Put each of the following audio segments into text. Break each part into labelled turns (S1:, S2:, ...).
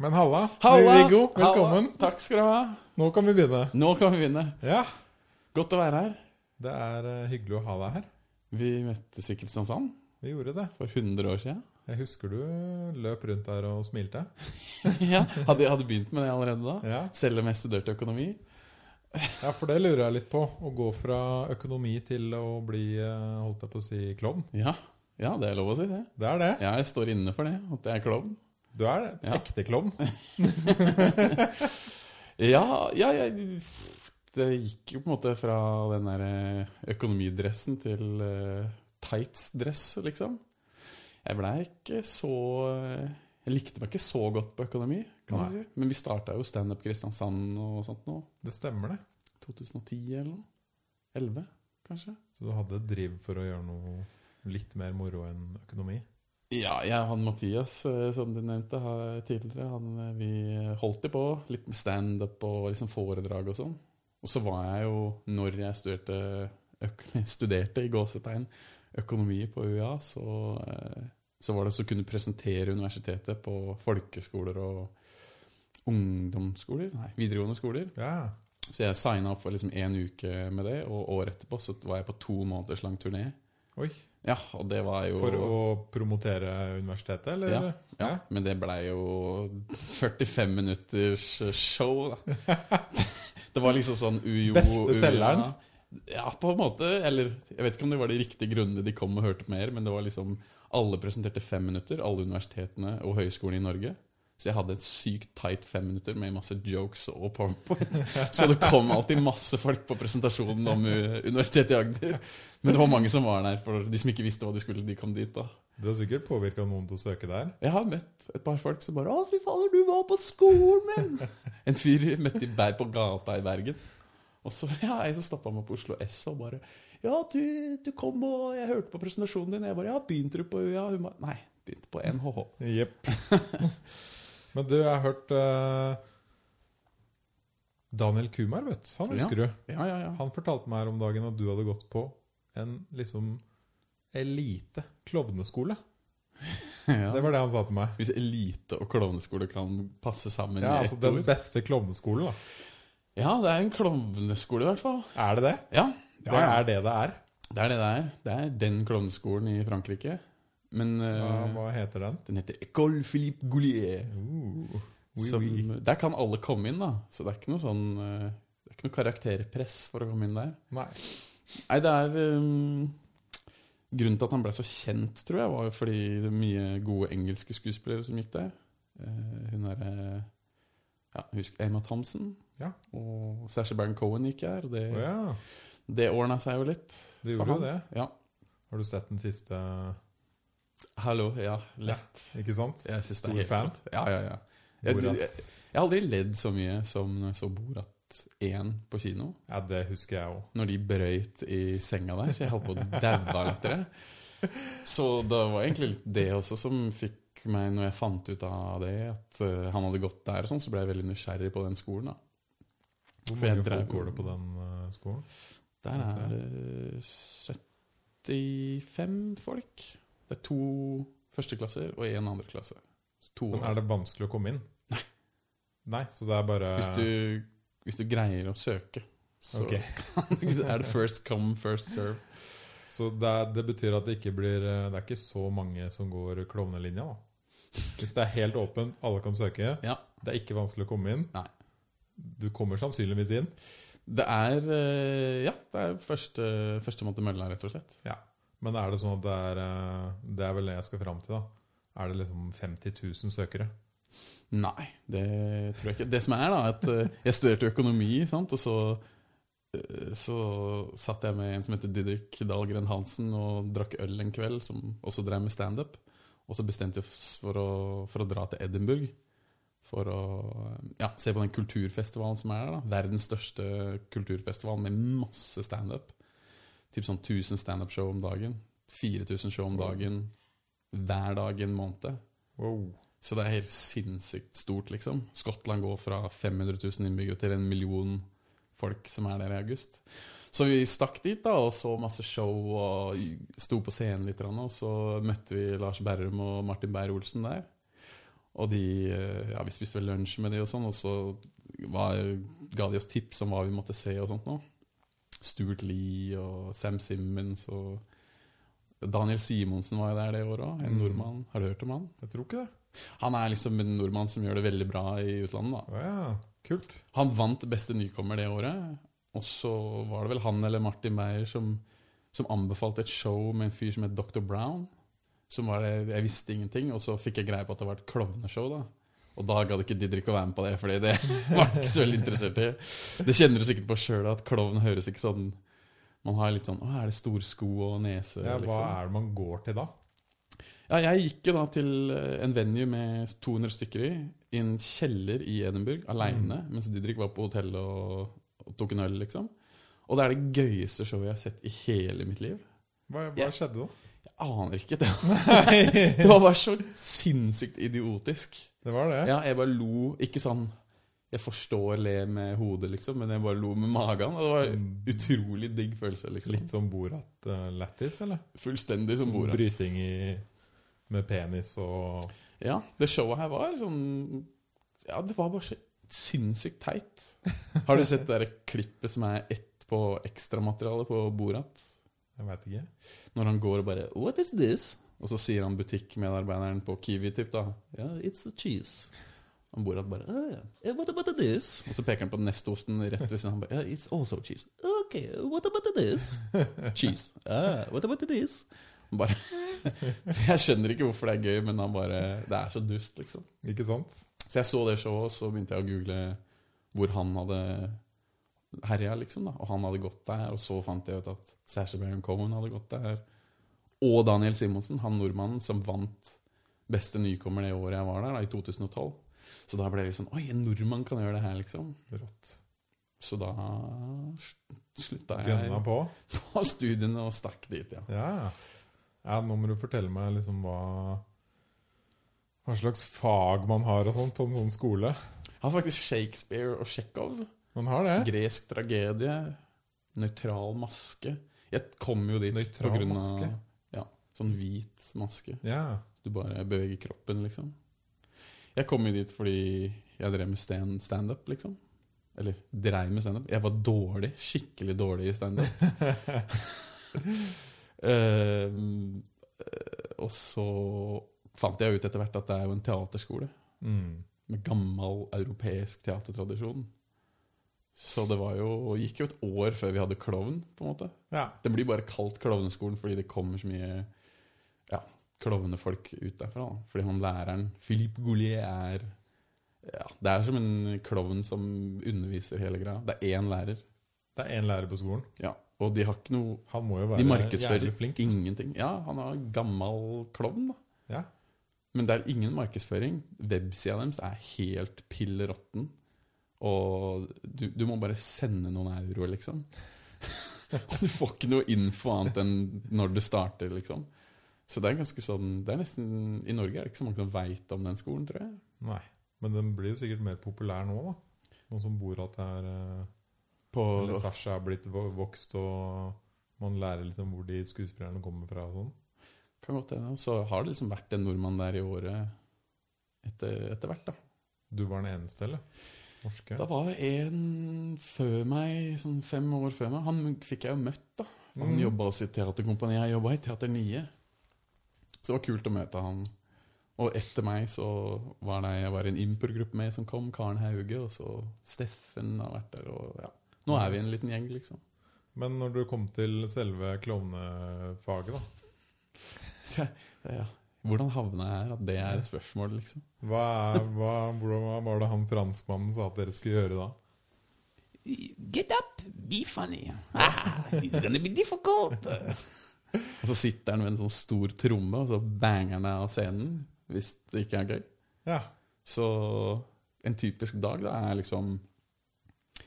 S1: Men halla,
S2: Halla!
S1: Viggo.
S2: Halla.
S1: Velkommen.
S2: Takk skal du ha.
S1: Nå kan vi begynne.
S2: Nå kan vi begynne.
S1: Ja,
S2: Godt å være her.
S1: det er eh, hyggelig å ha deg her.
S2: Vi møttes i Kristiansand
S1: Vi gjorde det.
S2: for 100 år siden.
S1: Jeg husker du løp rundt der og smilte.
S2: ja, hadde, hadde begynt med det allerede da.
S1: Ja,
S2: Selv om jeg studerte økonomi.
S1: ja for det lurer jeg litt på. Å gå fra økonomi til å bli, eh, holdt jeg på å si, klovn.
S2: Ja, ja det er lov å si det.
S1: Det er det.
S2: Ja, jeg står inne for det, at jeg er klovn.
S1: Du er et
S2: Ja.
S1: ekte klovn.
S2: Ja, ja, jeg Det gikk jo på en måte fra den der eh, økonomidressen til eh, tightsdress, liksom. Jeg blei ikke så eh, Jeg likte meg ikke så godt på økonomi, kan du si.
S1: Nei.
S2: Men vi starta jo standup Kristiansand og sånt nå.
S1: Det stemmer, det.
S2: 2010 eller noe? 11, kanskje?
S1: Så du hadde driv for å gjøre noe litt mer moro enn økonomi.
S2: Ja, jeg og han Mathias, eh, som du nevnte ha- tidligere, han, eh, vi holdt jo på litt med standup og liksom foredrag og sånn. Og så var jeg jo, når jeg studerte, øk studerte i gåsetegn økonomi på UiA, så, eh, så var det så å kunne presentere universitetet på folkeskoler og ungdomsskoler, nei, videregående skoler.
S1: Ja,
S2: Så jeg signa opp for liksom én uke med det, og året etterpå så var jeg på to måneders lang turné.
S1: Oi.
S2: Ja, og det var jo
S1: For å promotere universitetet, eller?
S2: Ja. Ja,
S1: Ja.
S2: men det blei jo 45 minutters show, da. Det var liksom sånn ujo
S1: Beste selgeren?
S2: uja. Ja, på en måte. Eller jeg vet ikke om det var de riktige grunnene de kom og hørte mer, men det var liksom Alle presenterte fem minutter, alle universitetene og høyskolene i Norge. Så jeg hadde et sykt tight fem minutter med masse jokes og powerpoint. Så det kom alltid masse folk på presentasjonen om eh, Universitetet i Agder. Men det var mange som var der, for de som ikke visste hva de skulle, de kom dit, da.
S1: Du har sikkert påvirka noen til å søke der.
S2: Jeg har møtt et par folk som bare 'Å, fy fader, du var på skolen min!' En fyr møtte i Berg på gata i Bergen. Og så ja, jeg som stappa meg på Oslo S og bare 'Ja, du, du kom, og jeg hørte på presentasjonen din.' Jeg bare 'Ja, begynte du på UiA?' Hun bare 'Nei, begynte på NHH'.
S1: Jepp. Men du, jeg har hørt eh, Daniel Kumar, vet du. Han husker du.
S2: Ja, ja, ja.
S1: Han fortalte meg her om dagen at du hadde gått på en liksom elite klovneskole. Det
S2: ja.
S1: var det han sa til meg.
S2: Hvis elite og klovneskole kan passe sammen
S1: Ja,
S2: i
S1: altså
S2: ett
S1: Den
S2: ord.
S1: beste klovneskolen, da.
S2: Ja, det er en klovneskole, i hvert fall.
S1: Er det det?
S2: Ja,
S1: Det er det det er.
S2: det er det det er. Det er den klovneskolen i Frankrike. Men
S1: Hva,
S2: eh,
S1: hva heter den?
S2: den heter École Philippe Goulier.
S1: Uh, oui,
S2: som,
S1: oui.
S2: Der kan alle komme inn, da. Så det er ikke noe sånn eh, Det er ikke noe karakterpress for å komme inn der.
S1: Nei.
S2: Nei, det er ehm, Grunnen til at han ble så kjent, tror jeg, var jo fordi det er mye gode engelske skuespillere som gikk der. Eh, hun derre ja, Husk Emma Thompson.
S1: Ja.
S2: Og Sasha Baron Cohen gikk her. Og det,
S1: Å ja,
S2: det ordna seg jo litt.
S1: det
S2: for
S1: gjorde jo
S2: han.
S1: det.
S2: Ja.
S1: Har du sett den siste,
S2: Hallo, ja, lett.
S1: ikke sant?
S2: Jeg synes det
S1: Stor
S2: er helt
S1: fan.
S2: rått. Ja, ja, ja. Jeg,
S1: Borat.
S2: jeg, jeg har aldri ledd så mye som når jeg så Borat 1 på kino.
S1: Ja, det husker jeg òg.
S2: Når de brøyt i senga der. Jeg holdt på å daue av latter. jeg. Så det var egentlig litt det også som fikk meg, når jeg fant ut av det, at eh, han hadde gått der og sånn, så ble jeg veldig nysgjerrig på den skolen. da.
S1: Hvor
S2: For jeg
S1: mange
S2: drev-
S1: folk går det på den eh, skolen?
S2: Der er det 75 folk. Det er to førsteklasser og én andreklasse. Så to
S1: Men
S2: år.
S1: er det vanskelig å komme inn? Nei, så det er bare
S2: Hvis du, hvis du greier å søke, så
S1: Ok.
S2: er det first come, first serve.
S1: Så det, er, det betyr at det ikke blir eh, Det er ikke så mange som går klovnelinja, da. Hvis det er helt åpent, alle kan søke,
S2: Ja.
S1: det er ikke vanskelig å komme inn
S2: Nei.
S1: Du kommer sannsynligvis inn.
S2: Det er eh, Ja, det er første, førstemann til mølla, rett og slett.
S1: Men er det sånn at det er eh, Det er vel det jeg skal fram til, da. Er det liksom 50 000 søkere?
S2: Nei, det tror jeg ikke. Det som er, da, at eh, jeg studerte økonomi, sant, og så eh, så satt jeg med en som heter Didrik Dahlgren Hansen og drakk øl en kveld, som også drev med standup. Og så bestemte vi oss for å, for å dra til Edinburgh for å ja, se på den kulturfestivalen som er der. da. Verdens største kulturfestival med masse standup. Typ sånn 1000 standup-show om dagen. 4000 show om dagen hver dag i en måned.
S1: Wow.
S2: Så det er helt sinnssykt stort, liksom. Skottland går fra 500 000 innbyggere til en million folk som er der i august. Så vi stakk dit da, og så masse show og sto på scenen litt. grann, Og så møtte vi Lars Berrum og Martin Beyer-Olsen der. Og de, eh, ja, vi spiste vel lunsj med de og sånn, og så var, ga de oss tips om hva vi måtte se og sånt nå. Stuart Lee og Sam Simmons og Daniel Simonsen var jo der det året òg, en
S1: Mm.
S2: nordmann. Har du hørt om han?
S1: Jeg tror ikke det.
S2: Han er liksom en nordmann som gjør det veldig bra i utlandet. da.
S1: Å ja, kult.
S2: Han vant beste nykommer det året, og så var det vel han eller Martin Meyer som, som anbefalte et show med en fyr som het Dr. Brown. Som var det, Jeg visste ingenting, og så fikk jeg greie på at det var et klovneshow. da. Og da gadd ikke Didrik å være med på det, Fordi det var jeg ikke så veldig interessert i. Det kjenner du sikkert på sjøl, at klovn høres ikke sånn Man har litt sånn Å, er det store sko og nese?
S1: Ja, hva
S2: liksom?
S1: er det man går til da?
S2: Ja, jeg gikk jo da til eh, en venue med 200 stykker i, i en kjeller i Edinburgh, aleine, mens Didrik var på hotellet og, og tok en øl, liksom. Og det er det gøyeste showet jeg har sett i hele mitt liv.
S1: Hva, hva
S2: Ja.
S1: skjedde da?
S2: Jeg aner ikke. Det var, det var bare så sinnssykt idiotisk.
S1: Det var det.
S2: Ja, jeg bare lo. Ikke sånn jeg forstår le med hodet, liksom, men jeg bare lo med magen. Og det var en
S1: Sånn-
S2: utrolig digg følelse, liksom.
S1: Litt som Borat-lættis, eller?
S2: Fullstendig som
S1: Sånn
S2: bordet.
S1: Bryting i, med penis og
S2: Ja, det showet her var sånn Ja, det var bare så sinnssykt teit. Har du sett det der klippet som er ett på ekstramaterialet på Borat?
S1: Jeg veit ikke.
S2: Når han går og bare What is this? Og så sier han butikkmedarbeideren på Kiwi typ da Yeah, it's a cheese. Og Borat bare oh, yeah. What about this? Og så peker han på den neste osten rett ved siden. Han bare yeah, It's also cheese. Ok, what about this? Cheese. Ah, what about this? Han Bare, jeg skjønner ikke hvorfor det er gøy, men han bare, det er så dust, liksom.
S1: Ikke sant?
S2: Så jeg så det showet, og så begynte jeg å google hvor han hadde herja, liksom. da. Og han hadde gått der, og så fant jeg ut at Sasha Baron Cohen hadde gått der. Og Daniel Simonsen, han nordmannen som vant beste nykommer det året jeg var der, da, i 2012. Så da ble jeg litt sånn Oi, en nordmann kan gjøre det her, liksom.
S1: Rått.
S2: Så da sl- slutta jeg
S1: Gønna på.
S2: på studiene og stakk dit, ja.
S1: Ja. ja. Nå må du fortelle meg liksom hva Hva slags fag man har og sånn på en sånn skole.
S2: Jeg har faktisk Shakespeare og Tsjekhov.
S1: Man har det.
S2: Gresk tragedie, nøytral maske. Jeg kom jo dit
S1: Nøytral
S2: på grunn av
S1: maske?
S2: Ja, sånn hvit maske.
S1: Ja.
S2: Du bare beveger kroppen, liksom. Jeg kom jo dit fordi jeg drev med stand- standup, liksom. Eller drev med standup. Jeg var dårlig, skikkelig dårlig i standup. um, eh, og så fant jeg ut etter hvert at det er jo en teaterskole
S1: Mm.
S2: med gammel europeisk teatertradisjon. Så det var jo, gikk jo et år før vi hadde klovn, på en måte.
S1: ja.
S2: Den blir bare kalt klovneskolen fordi det kommer så mye ja, klovnefolk ut derfra. da. Fordi han læreren, Philippe Goulier, er ja, Det er som en klovn som underviser hele greia. Det er én lærer.
S1: Det er én lærer på skolen.
S2: Ja, og de har ikke noe
S1: Han må jo
S2: De
S1: være
S2: markedsfører
S1: jævlig flink.
S2: ingenting. Ja, han er gammel klovn, da.
S1: Ja.
S2: Men det er ingen markedsføring. Websida deres er helt pill råtten. Og du, du må bare sende noen euro, liksom. du får ikke noe info annet enn når det starter, liksom. Så det er ganske sånn det er nesten, I Norge er det ikke så mange som veit om den skolen, tror jeg.
S1: Nei. Men den blir jo sikkert mer populær nå, da. Nå som Borat er eh,
S2: På,
S1: Eller Sasha er blitt vo- vokst, og man lærer litt om hvor de skuespillerne kommer fra og sånn.
S2: kan godt hende. Og Så har det liksom vært en nordmann der i året etter, etter hvert, da.
S1: Du var den eneste, eller? Norske?
S2: Da var en før meg, sånn fem år før meg. Han fikk jeg jo møtt, da. For Han
S1: Mm.
S2: jobba også i teaterkompani. Jeg jobba i Teater 9. Så det var kult å møte han. Og etter meg så var det jeg var i en improgruppe med som kom. Karen Hauge og så Steffen har vært der. og ja. Nå er vi en liten gjeng, liksom.
S1: Men når du kom til selve klovnefaget, da.
S2: Ja. Hvordan havna jeg her? At det er et spørsmål, liksom.
S1: Hva, er- hva, hvordan var det han franskmannen sa at dere skulle gjøre da?
S2: Get up, be funny. Ah, it's gonna be difficult. og så sitter han med en sånn stor tromme, og så banger han av scenen hvis det ikke er gøy.
S1: Ja.
S2: Så en typisk dag da er liksom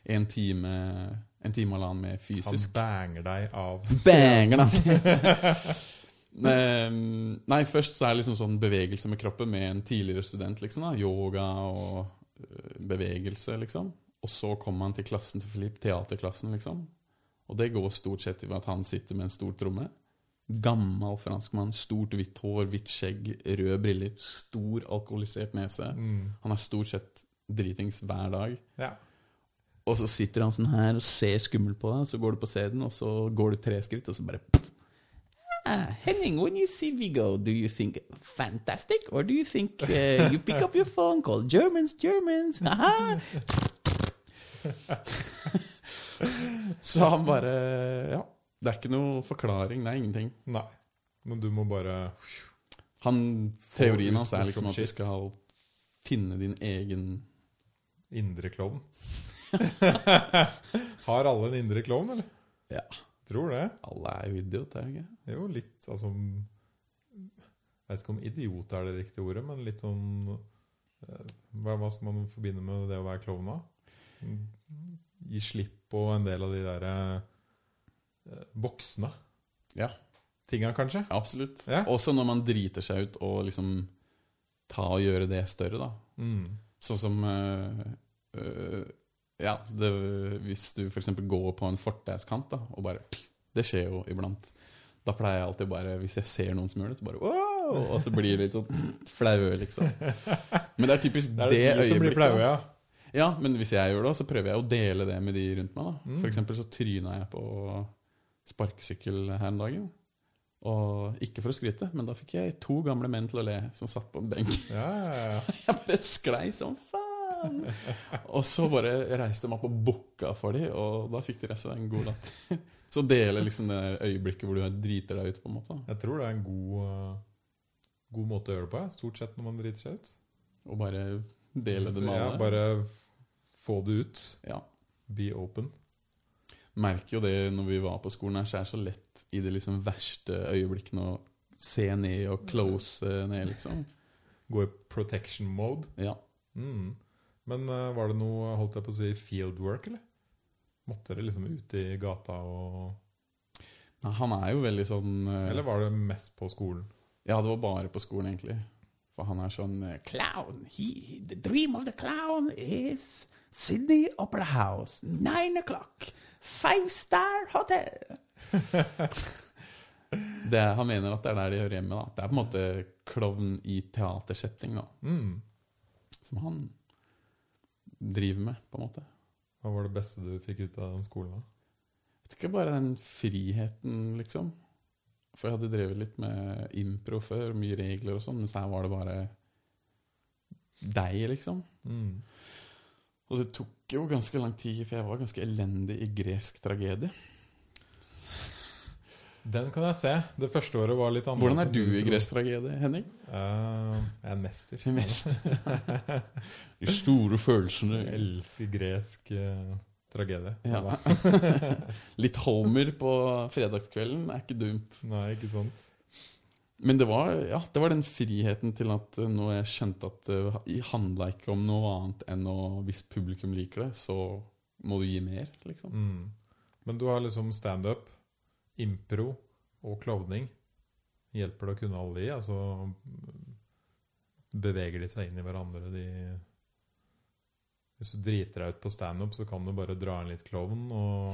S2: en time En time og halvannen
S1: Han
S2: med fysisk
S1: banger deg av
S2: Banger, altså! Men, Ehm, Nei, først så er det liksom sånn bevegelse med kroppen med en tidligere student. liksom da, Yoga og øh, bevegelse, liksom. Og så kommer han til klassen til Filip, teaterklassen, liksom. Og det går stort sett i at han sitter med en stor tromme. Gammel franskmann, stort hvitt hår, hvitt skjegg, røde briller, stor alkoholisert nese.
S1: Mm.
S2: Han er stort sett dritings hver dag.
S1: Ja.
S2: Og så sitter han sånn her og ser skummel på deg, så går du på scenen, og så går du tre skritt, og så bare Ah, Henning, when you see Viggo, do you think fantastic, or do you think uh, you pick up your phone, call Germans, Germans, haha? så han bare Ja. Det er ikke noe forklaring, det er ingenting.
S1: Nei. Men du må bare
S2: Han, teorien hans er
S1: Får
S2: liksom at du
S1: shit.
S2: skal finne din egen
S1: Indre klovn. Har alle en indre klovn, eller?
S2: Ja.
S1: Tror det.
S2: Alle er jo idiot, er jo ikke?
S1: Det er jo litt altså Jeg vet ikke om idiot er det riktige ordet, men litt sånn eh, Hva hva skal man forbinde med det å være klovn, da? Mm, Gi slipp på en del av de der eh, voksne
S2: Ja.
S1: tinga, kanskje?
S2: Absolutt.
S1: Ja.
S2: Også når man driter seg ut og liksom ta og gjøre det større, da.
S1: Mm.
S2: Sånn som øh, øh, Ja, det, hvis du f.eks. går på en fortauskant da, og bare Det skjer jo iblant. Da pleier jeg alltid bare Hvis jeg ser noen som gjør det, så bare wow! Og så blir jeg litt sånn flaue, liksom. Men det er typisk
S1: Det
S2: det,
S1: er det, de som blir
S2: øyeblikket.
S1: flaue, ja.
S2: da. Ja, men hvis jeg gjør det, så prøver jeg å dele det med de rundt meg. da.
S1: Mm.
S2: For eksempel så tryna jeg på sparkesykkel her en dag. Og ikke for å skryte, men da fikk jeg to gamle menn til å le, som satt på en benk.
S1: Ja, ja, ja.
S2: Jeg bare sklei som faen! Og så bare reiste jeg meg opp og bukka for de, og da fikk de resten en god latter. Så dele liksom det øyeblikket hvor du driter deg ut, på en måte. da.
S1: Jeg tror det er en god, eh, god måte å gjøre det på, ja. stort sett når man driter seg ut.
S2: Og bare dele det med
S1: Ja,
S2: alle.
S1: bare få det ut.
S2: Ja.
S1: Be open.
S2: merker jo det når vi var på skolen her, så er det så lett i de liksom verste øyeblikkene å se ned og close ned, liksom.
S1: Gå i protection mode.
S2: Ja.
S1: Mm. Men eh, var det noe, holdt jeg på å si, fieldwork, eller? Måtte dere liksom ut i gata og
S2: Nei, Han er jo veldig sånn eh,
S1: Eller var det mest på skolen?
S2: Ja, det var bare på skolen, egentlig. For han er sånn eh, Clown! He, he, the dream of the clown is Sydney Opera House, nine o'clock, five star hotel! det, han mener at det er der de hører hjemme. da. Det er på en måte klovn i teatersetting. da.
S1: Mm.
S2: som han driver med, på en måte.
S1: Hva var det beste du fikk ut av den skolen? da?
S2: Jeg vet ikke bare den friheten, liksom. For jeg hadde drevet litt med impro før, mye regler og sånn, mens her var det bare deg, liksom.
S1: Mm.
S2: Og det tok jo ganske lang tid, for jeg var ganske elendig i gresk tragedie.
S1: Den kan jeg se. Det første året var litt annerledes.
S2: Hvordan er
S1: enn
S2: du i
S1: tror.
S2: gresk tragedie, Henning?
S1: Eh, jeg er en mester.
S2: Mest. De store følelsene.
S1: Jeg elsker gresk eh, tragedie.
S2: Ja. Litt Homer på fredagskvelden er ikke dumt.
S1: Nei, ikke sant?
S2: Men det var, ja, det var den friheten til at eh, når jeg skjønte at det handla ikke om noe annet enn å Hvis publikum liker det, så må du gi mer, liksom.
S1: Mm. Men du har liksom standup, impro og klovning. Hjelper det å kunne alle de? Altså mm, beveger de seg inn i hverandre? De Hvis du driter deg ut på standup, så kan du bare dra inn litt klovn og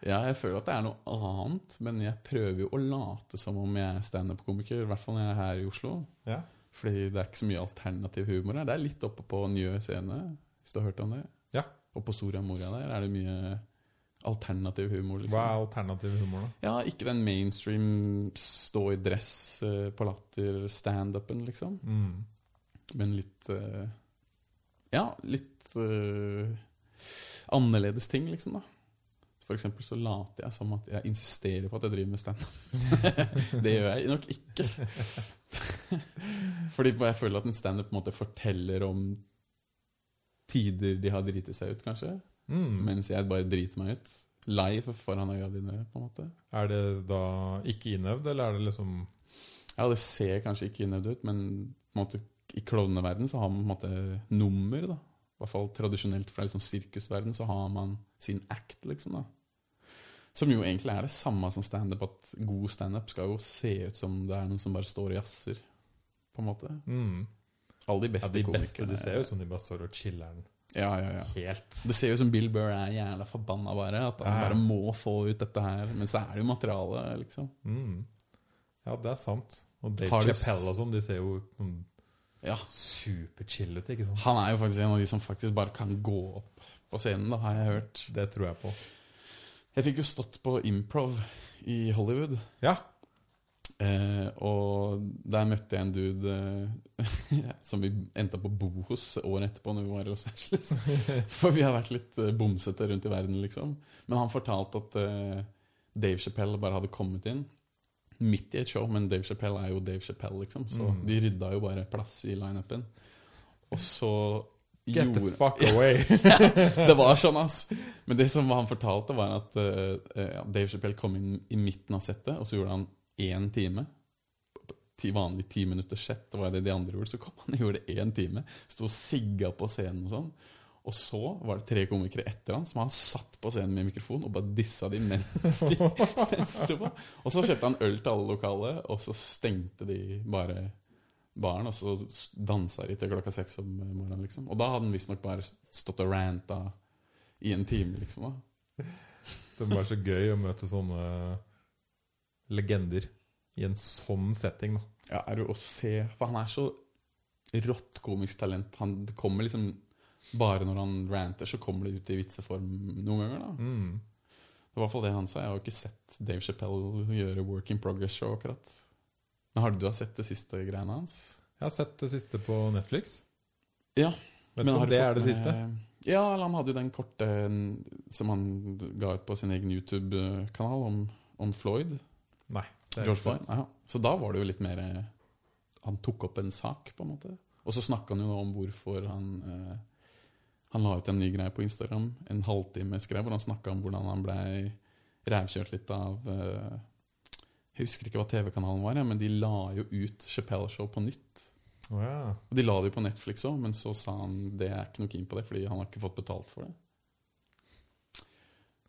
S2: Ja, jeg føler at det er noe annet, men jeg prøver jo å late som om jeg er standup-komiker, i hvert fall når jeg er her i Oslo.
S1: Ja.
S2: Fordi det er ikke så mye alternativ humor her. Det er litt oppe på Njø scene, hvis du har hørt om det.
S1: Ja.
S2: Og på Soria Moria der er det mye alternativ humor, liksom.
S1: Hva er alternativ humor, da?
S2: Ja, ikke den mainstream stå i dress eh, på latter standupen, liksom.
S1: Mm.
S2: Men litt eh, Ja, litt eh, annerledes ting, liksom, da. For eksempel så later jeg som at jeg insisterer på at jeg driver med standup. det gjør jeg nok ikke. Fordi jeg føler at en standup på en måte forteller om tider de har driti seg ut, kanskje.
S1: Mm.
S2: Mens jeg bare driter meg ut. Live foran øya dine, på en måte.
S1: Er det da ikke innøvd, eller er det liksom
S2: Ja, det ser kanskje ikke innøvd ut, men på en måte, i klovneverden så har man på en måte nummer, da. I hvert fall tradisjonelt fra liksom sirkusverden så har man sin act, liksom, da. Som jo egentlig er det samme som standup, at god standup skal jo se ut som det er noen som bare står og jazzer, på en måte.
S1: mm.
S2: Alle de
S1: ja,
S2: beste
S1: De
S2: komikerne.
S1: beste de ser ut som de bare står og chiller'n.
S2: Ja, ja, ja.
S1: Helt.
S2: Det ser jo ut som Bill Burr er jævla forbanna bare. At han
S1: Ja, ja.
S2: bare må få ut dette her. Men så er det jo materiale, liksom.
S1: Mm. Ja, det er sant. Og Dave
S2: Har du s-
S1: Chappelle og sånn, de ser jo mm,
S2: Ja.
S1: superchill ut, ikke sant?
S2: Han er jo faktisk en av de som faktisk bare kan gå opp på scenen, da, har jeg hørt.
S1: Det tror jeg på.
S2: Jeg fikk jo stått på improv i Hollywood.
S1: Ja.
S2: Eh, og der møtte jeg en dude eh, som vi endte opp å bo hos året etterpå når vi var i Los Angeles. For vi har vært litt eh, bomsete rundt i verden, liksom. Men han fortalte at eh, Dave Chappelle bare hadde kommet inn midt i et show. Men Dave Chappelle er jo Dave Chappelle, liksom. Så
S1: Mm.
S2: de rydda jo bare plass i lineupen. Og så
S1: Get the
S2: gjorde-
S1: fuck away.
S2: det var sånn, ass. Men det som han fortalte, var at eh, eh, ja, Dave Chappelle kom inn i midten av settet, og så gjorde han én time. Ti, vanlig ti minutters sett, det var det de andre gjorde. Så kom han og gjorde én time. Sto og sigga på scenen og sånn. Og så var det tre komikere etter han som han satt på scenen med mikrofon og bare dissa de mens de, mens de var. Og så kjøpte han øl til alle lokale, og så stengte de bare baren, og så s- dansa de til klokka seks om morgenen, liksom. Og da hadde han visstnok bare stått og ranta i en time, liksom. da.
S1: Det må være så gøy å møte sånne legender i en sånn setting, da.
S2: Ja, er du å se For han er så rått komisk talent. Han det kommer liksom Bare når han ranter, så kommer det ut i vitseform noen ganger, da.
S1: Mm.
S2: Det var i hvert fall det han sa. Jeg har jo ikke sett Dave Chappelle gjøre Work in Progress-show, akkurat. Men har du, du har sett det siste greiene hans?
S1: Jeg har sett det siste på Netflix.
S2: Ja,
S1: Vet du
S2: har
S1: om
S2: du
S1: det
S2: fått
S1: er det
S2: med-
S1: siste?
S2: Ja, eller han hadde jo den korte n- som han d- ga ut på sin egen YouTube-kanal om, om Floyd.
S1: Nei. det er
S2: George
S1: ikke
S2: Floyd.
S1: sant.
S2: Ja. Så da var det jo litt mer eh, Han tok opp en sak, på en måte. Og så snakka han jo nå om hvorfor han eh, Han la ut en ny greie på Instagram, en halvtime skrev, hvor han snakka om hvordan han blei rævkjørt litt av eh, Jeg husker ikke hva TV-kanalen var, ja, men de la jo ut Chappelle Show på nytt.
S1: Å ja.
S2: Og De la det jo på Netflix òg, men så sa han det er ikke noe keen på det, fordi han har ikke fått betalt for det.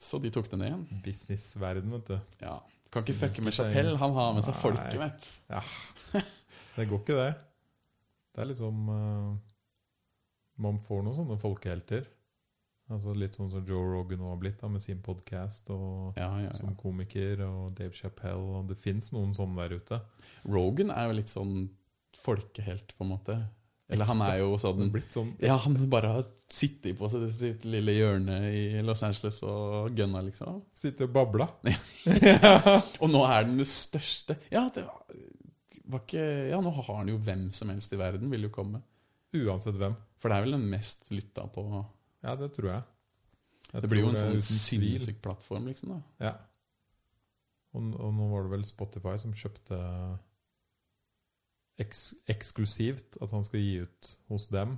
S2: Så de tok det ned igjen.
S1: Businessverden, vet du.
S2: Ja. Kan ikke fucke med
S1: Sneaker seg
S2: Chapell,
S1: inn.
S2: han har med seg
S1: Nei.
S2: folket, vet
S1: Det går ikke, det. Det er liksom eh, Man får noen sånne folkehelter. Altså Litt sånn som Joe Rogan nå har blitt, da, med sin podkast og
S2: Ja, ja, ja.
S1: som komiker, og Dave Chappelle og Det fins noen sånne der ute.
S2: Rogan er jo litt sånn folkehelt, på en måte. Eller han er jo
S1: Det
S2: sånn
S1: er blitt sånn
S2: Ja, han bare har sittet på sitt, sitt lille hjørne i Los Angeles og gunna, liksom.
S1: Sitte og babla.
S2: Og nå er den det største Ja, det var, var ikke Ja, nå har han jo hvem som helst i verden, vil jo komme.
S1: Uansett hvem.
S2: For det er vel den mest lytta på
S1: Ja, det tror jeg. jeg
S2: Det blir jo
S1: tror
S2: en sånn
S1: uten tvil.
S2: sinnssyk plattform, liksom. da
S1: Ja. Og, og nå var det vel Spotify som kjøpte eks eksklusivt at han skal gi ut hos dem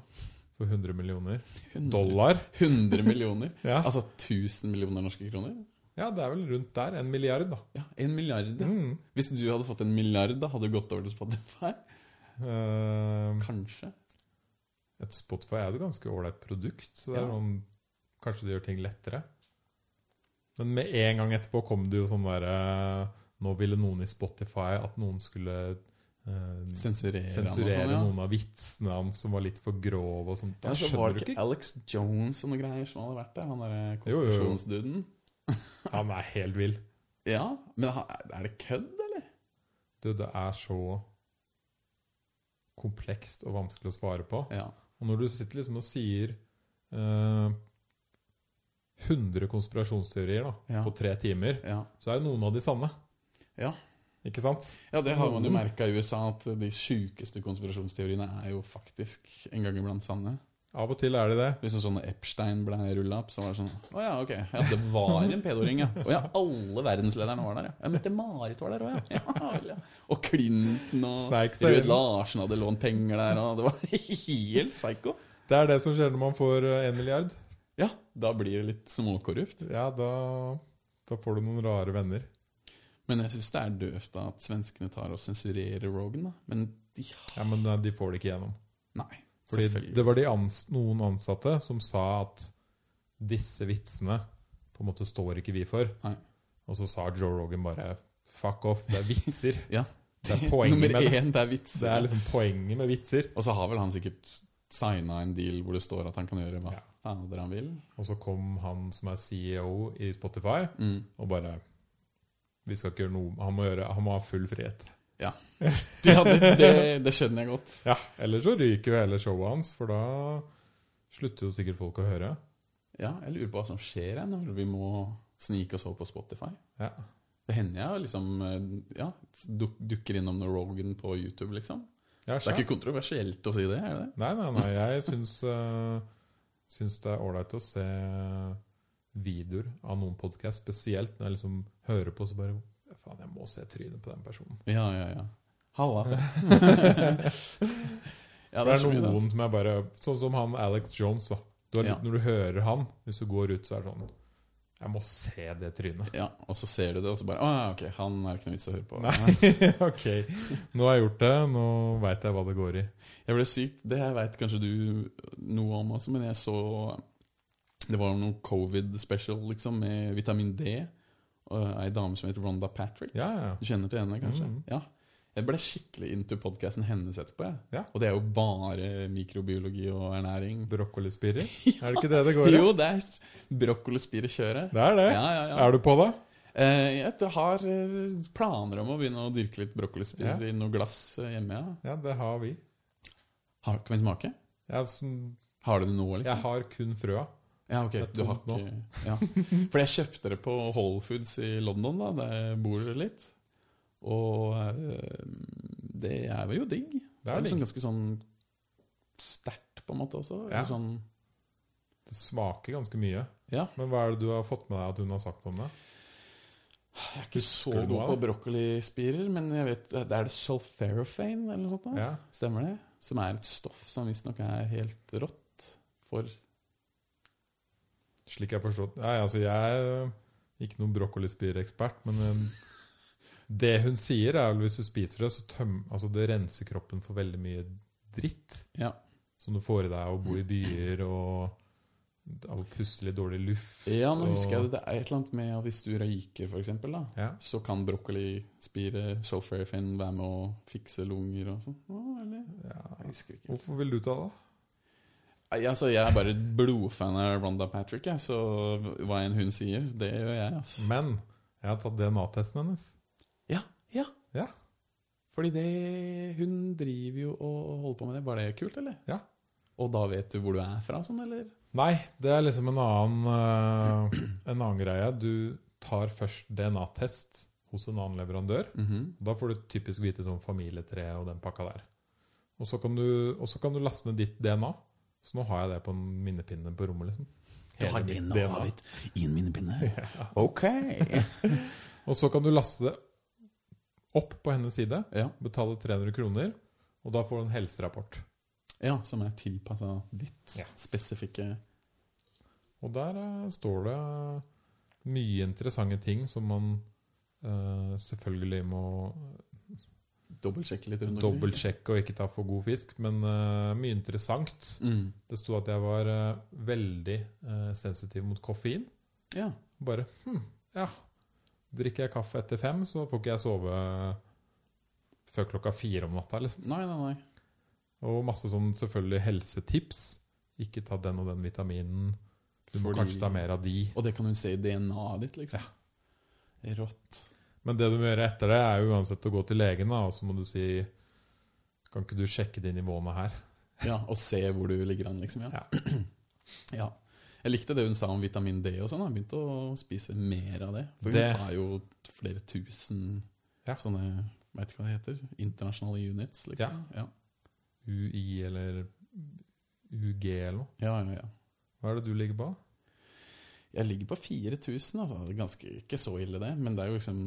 S1: for 100 millioner
S2: 100,
S1: dollar.
S2: 100 millioner.
S1: Ja.
S2: Altså 1000 millioner norske kroner.
S1: ja, det er vel rundt der. En milliard, da.
S2: Ja, En milliard. ja.
S1: Mm.
S2: Hvis du hadde fått en milliard, da hadde du gått over til Spotify?
S1: Eh,
S2: Kanskje.
S1: et Spotify er et ganske ålreit produkt, så det er
S2: Ja.
S1: noen, kanskje det gjør ting lettere. Men med en gang etterpå kom det jo sånn derre Nå ville noen i Spotify at noen skulle eh,
S2: Sensurere, han og
S1: sensurere
S2: sånn, ja.
S1: noen av vitsene hans som var litt for grove og sånt. Da
S2: Ja, så var
S1: skjønner
S2: det
S1: du
S2: ikke
S1: ikke
S2: Alex Jones og noen greier som hadde vært der? Han derre
S1: Jo, jo, jo.
S2: konspirasjonsduden?
S1: Han er helt vill.
S2: Ja, men han- er det kødd, eller?
S1: Du, det er så komplekst og vanskelig å svare på.
S2: Ja.
S1: Og når du sitter liksom og sier eh, 100 konspirasjonsteorier da,
S2: Ja.
S1: på tre timer,
S2: Ja,
S1: så er jo noen av de sanne.
S2: Ja.
S1: Ikke sant?
S2: ja det har man jo
S1: Noen.
S2: merka i USA, at de sjukeste konspirasjonsteoriene er jo faktisk en gang iblant sanne.
S1: Av og til er de det.
S2: Liksom sånn når Epstein ble rulla opp, så var det sånn Å ja, ok. Ja, det var en pedoring, ja. Å ja, alle verdenslederne var der, ja. ja Mette-Marit var der òg, ja. ja, vel, ja. Og Clinton og
S1: Sneik seg
S2: Rød
S1: inn.
S2: Larsen hadde lånt penger der, og det var helt psycho.
S1: Det er det som skjer når man får én milliard.
S2: Ja, da blir det litt småkorrupt.
S1: Ja, da, da får du noen rare venner.
S2: Men jeg syns det er døvt da at svenskene tar og sensurerer Rogan, da. Men de
S1: Ja, Men eh, de får det ikke gjennom.
S2: Nei.
S1: Fordi
S2: selvfølgelig.
S1: det var de ans noen ansatte som sa at disse vitsene på en måte står ikke vi for.
S2: Nei.
S1: Og så sa Joe Rogan bare fuck off, det er vitser.
S2: Ja.
S1: Det er poenget
S2: Nummer
S1: med det.
S2: én, det er
S1: Det er
S2: vitser.
S1: liksom poenget med vitser.
S2: Og så har vel han sikkert signa en deal hvor det står at han kan gjøre hva
S1: Ja.
S2: faen andre han vil.
S1: Og så kom han som er CEO i Spotify,
S2: Mm.
S1: og bare Vi skal ikke gjøre noe Han må, gjøre, han må ha full frihet.
S2: Ja, det, det, det skjønner jeg godt.
S1: Ja, Eller så ryker jo hele showet hans, for da slutter jo sikkert folk å høre.
S2: Ja, jeg lurer på hva som skjer her når vi må snike oss over på Spotify.
S1: Ja.
S2: Det hender jeg liksom eh, ja, duk, dukker innom noe Rogan på YouTube, liksom.
S1: Ja,
S2: Det er
S1: sjef.
S2: ikke kontroversielt å si det, er det det?
S1: Nei, nei, nei. Jeg syns, eh, syns det er ålreit å se videoer av noen podkast, spesielt når jeg liksom hører på, så bare Faen, jeg må se trynet på den personen.
S2: Ja, ja, ja. Halla, fett. ja,
S1: det, er
S2: så mye,
S1: noen
S2: altså.
S1: som er bare Sånn som han Alex Jones, da. Du har,
S2: Ja.
S1: Når du hører han, hvis du går ut, så er det sånn Jeg må se det trynet.
S2: Ja, og så ser du det, og så bare Å ja, ok, han er ikke noe vits å høre på.
S1: Nei, ok. Nå har jeg gjort det. Nå veit jeg hva det går i.
S2: Jeg ble sykt Det her veit kanskje du noe om også, men jeg så Det var noen covid-special, liksom, med vitamin D. Og ei dame som heter Rhonda Patrick.
S1: Ja, ja.
S2: Du kjenner til henne, kanskje?
S1: Mhm.
S2: Ja. Jeg ble skikkelig into podkasten hennes etterpå. Jeg.
S1: Ja.
S2: Og det er jo bare mikrobiologi og ernæring.
S1: Brokkolispirer. Er det ikke det det går i?
S2: Jo, det er s- brokkolispirekjøret.
S1: Det er det.
S2: Ja, ja, ja.
S1: Er du på det?
S2: Eh, Jeg har eh, planer om å begynne å dyrke litt brokkolispirer
S1: Ja.
S2: i noe glass eh, hjemme. Ja.
S1: Ja, det har vi.
S2: Har, kan vi smake?
S1: Jeg, er sånn-
S2: Har du det nå, liksom?
S1: jeg har kun frøa.
S2: Ja, ok,
S1: Det er
S2: du har
S1: tomt
S2: ikke ja. For jeg kjøpte det på Whole Foods i London, da, der jeg bor litt. Og eh, det er vel jo digg. Det er liksom
S1: digg.
S2: ganske sånn sterkt, på en måte, også.
S1: Ja.
S2: Eller sånn
S1: Det smaker ganske mye.
S2: Ja.
S1: Men hva er det du har fått med deg at hun har sagt om det?
S2: Ah, Jeg er ikke så
S1: Husker du
S2: god
S1: noe
S2: på
S1: av
S2: brokkolispirer, men jeg vet, eh, det er det sulferophane eller noe sånt? da?
S1: Ja.
S2: Stemmer det? Som er et stoff som visstnok er helt rått for
S1: Slik jeg forstod Nei, altså jeg er ikke noen brokkolispirekspert, men eh, det hun sier, er vel hvis du spiser det, så tøm... Altså, det renser kroppen for veldig mye dritt
S2: Ja.
S1: som du får i deg av å bo i byer og av å puste litt dårlig luft.
S2: Ja, nå
S1: og-
S2: husker jeg det. Det er et eller annet med at hvis du røyker, for eksempel, da,
S1: Ja.
S2: så kan brokkolispire, sulferfin, være med å fikse lunger og sånn. Å, eller?
S1: Ja.
S2: Jeg husker ikke.
S1: Hvorfor vil du ta det?
S2: Nei, Altså, jeg er bare blodfan av Rhonda Patrick, jeg, så hva enn hun sier, det gjør jeg. ass.
S1: Men jeg har tatt DNA-testen hennes.
S2: Fordi det, hun driver jo og holder på med det. Var det kult, eller?
S1: Ja.
S2: Og da vet du hvor du er fra, sånn, eller?
S1: Nei, det er liksom en annen, eh, en annen greie. Du tar først DNA-test hos en annen leverandør.
S2: Mhm.
S1: Da får du typisk vite sånn familietre og den pakka der. Og så kan du, og så kan du laste ned ditt DNA. Så nå har jeg det på en minnepinne på rommet, liksom.
S2: Du har
S1: Hele mitt
S2: DNA-et ditt i en minnepinne? Ok!
S1: Og så kan du laste det opp på hennes side,
S2: Ja,
S1: betale 300 kroner, og da får du en helserapport.
S2: ja som er tilpassa ditt
S1: Ja.
S2: spesifikke
S1: Og der eh, står det mye interessante ting som man eh, selvfølgelig må
S2: Dobbeltsjekke litt rundt omkring.
S1: dobbeltsjekke og ikke ta for god fisk, men eh, mye interessant.
S2: Mm.
S1: Det sto at jeg var eh, veldig eh, sensitiv mot koffein.
S2: Ja.
S1: Bare hm, ja. Drikker jeg kaffe etter fem, så får ikke jeg sove eh, før klokka fire om natta. liksom.
S2: Nei, nei, nei.
S1: Og masse sånn selvfølgelig helsetips. Ikke ta den og den vitaminen. Du må
S2: Fordi-
S1: kanskje ta mer av de.
S2: Og det kan hun se i DNA-et ditt, liksom. Rått.
S1: Men det du må gjøre etter det, er jo uansett å gå til legen, da, og så må du si Kan ikke du sjekke de nivåene her?
S2: Ja, Og se hvor du ligger an, liksom. Ja. ja. Jeg likte det hun sa om vitamin D og sånn. Hun begynte å spise mer av det. For
S1: Det-
S2: hun tar jo flere tusen
S1: Ja.
S2: sånne Veit ikke hva det heter. Internasjonale units, liksom. Ja.
S1: UI eller UG eller noe?
S2: Ja. ja, ja,
S1: Hva er det du ligger på?
S2: Jeg ligger på 4000, altså. Det er ganske, ikke så ille, det. Men det er jo liksom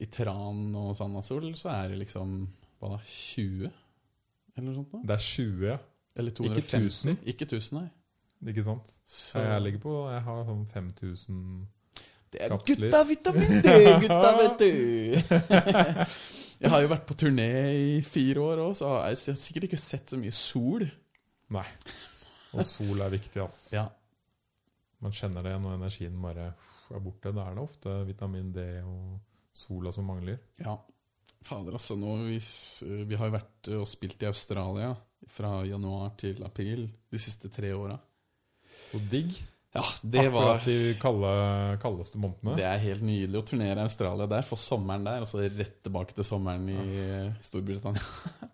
S2: I Tran og Sandasol så er det liksom Hva da? 20? Eller noe sånt? da?
S1: Det er 20, ja.
S2: Eller
S1: Ikke
S2: 250.
S1: 1000.
S2: Ikke 1000, nei.
S1: ikke sant?
S2: Så
S1: Så jeg ligger på Jeg har sånn 5000
S2: det er
S1: kapsler.
S2: gutta vitamin D, gutta, vet du! jeg har jo vært på turné i fire år òg, så har jeg jeg har sikkert ikke sett så mye sol.
S1: Nei. Og sol er viktig, ass.
S2: Ja.
S1: Man kjenner det når energien bare er borte. Da er det ofte vitamin D og sola som mangler.
S2: ja. Fader, altså. Nå, vi, s- vi har jo vært eh, og spilt i Australia fra januar til april de siste tre åra.
S1: Så digg.
S2: Ja, det var
S1: Akkurat de kalde, kaldeste månedene.
S2: Det er helt nydelig å turnere i Australia der, få sommeren der, og så rett tilbake til sommeren i eh, Storbritannia.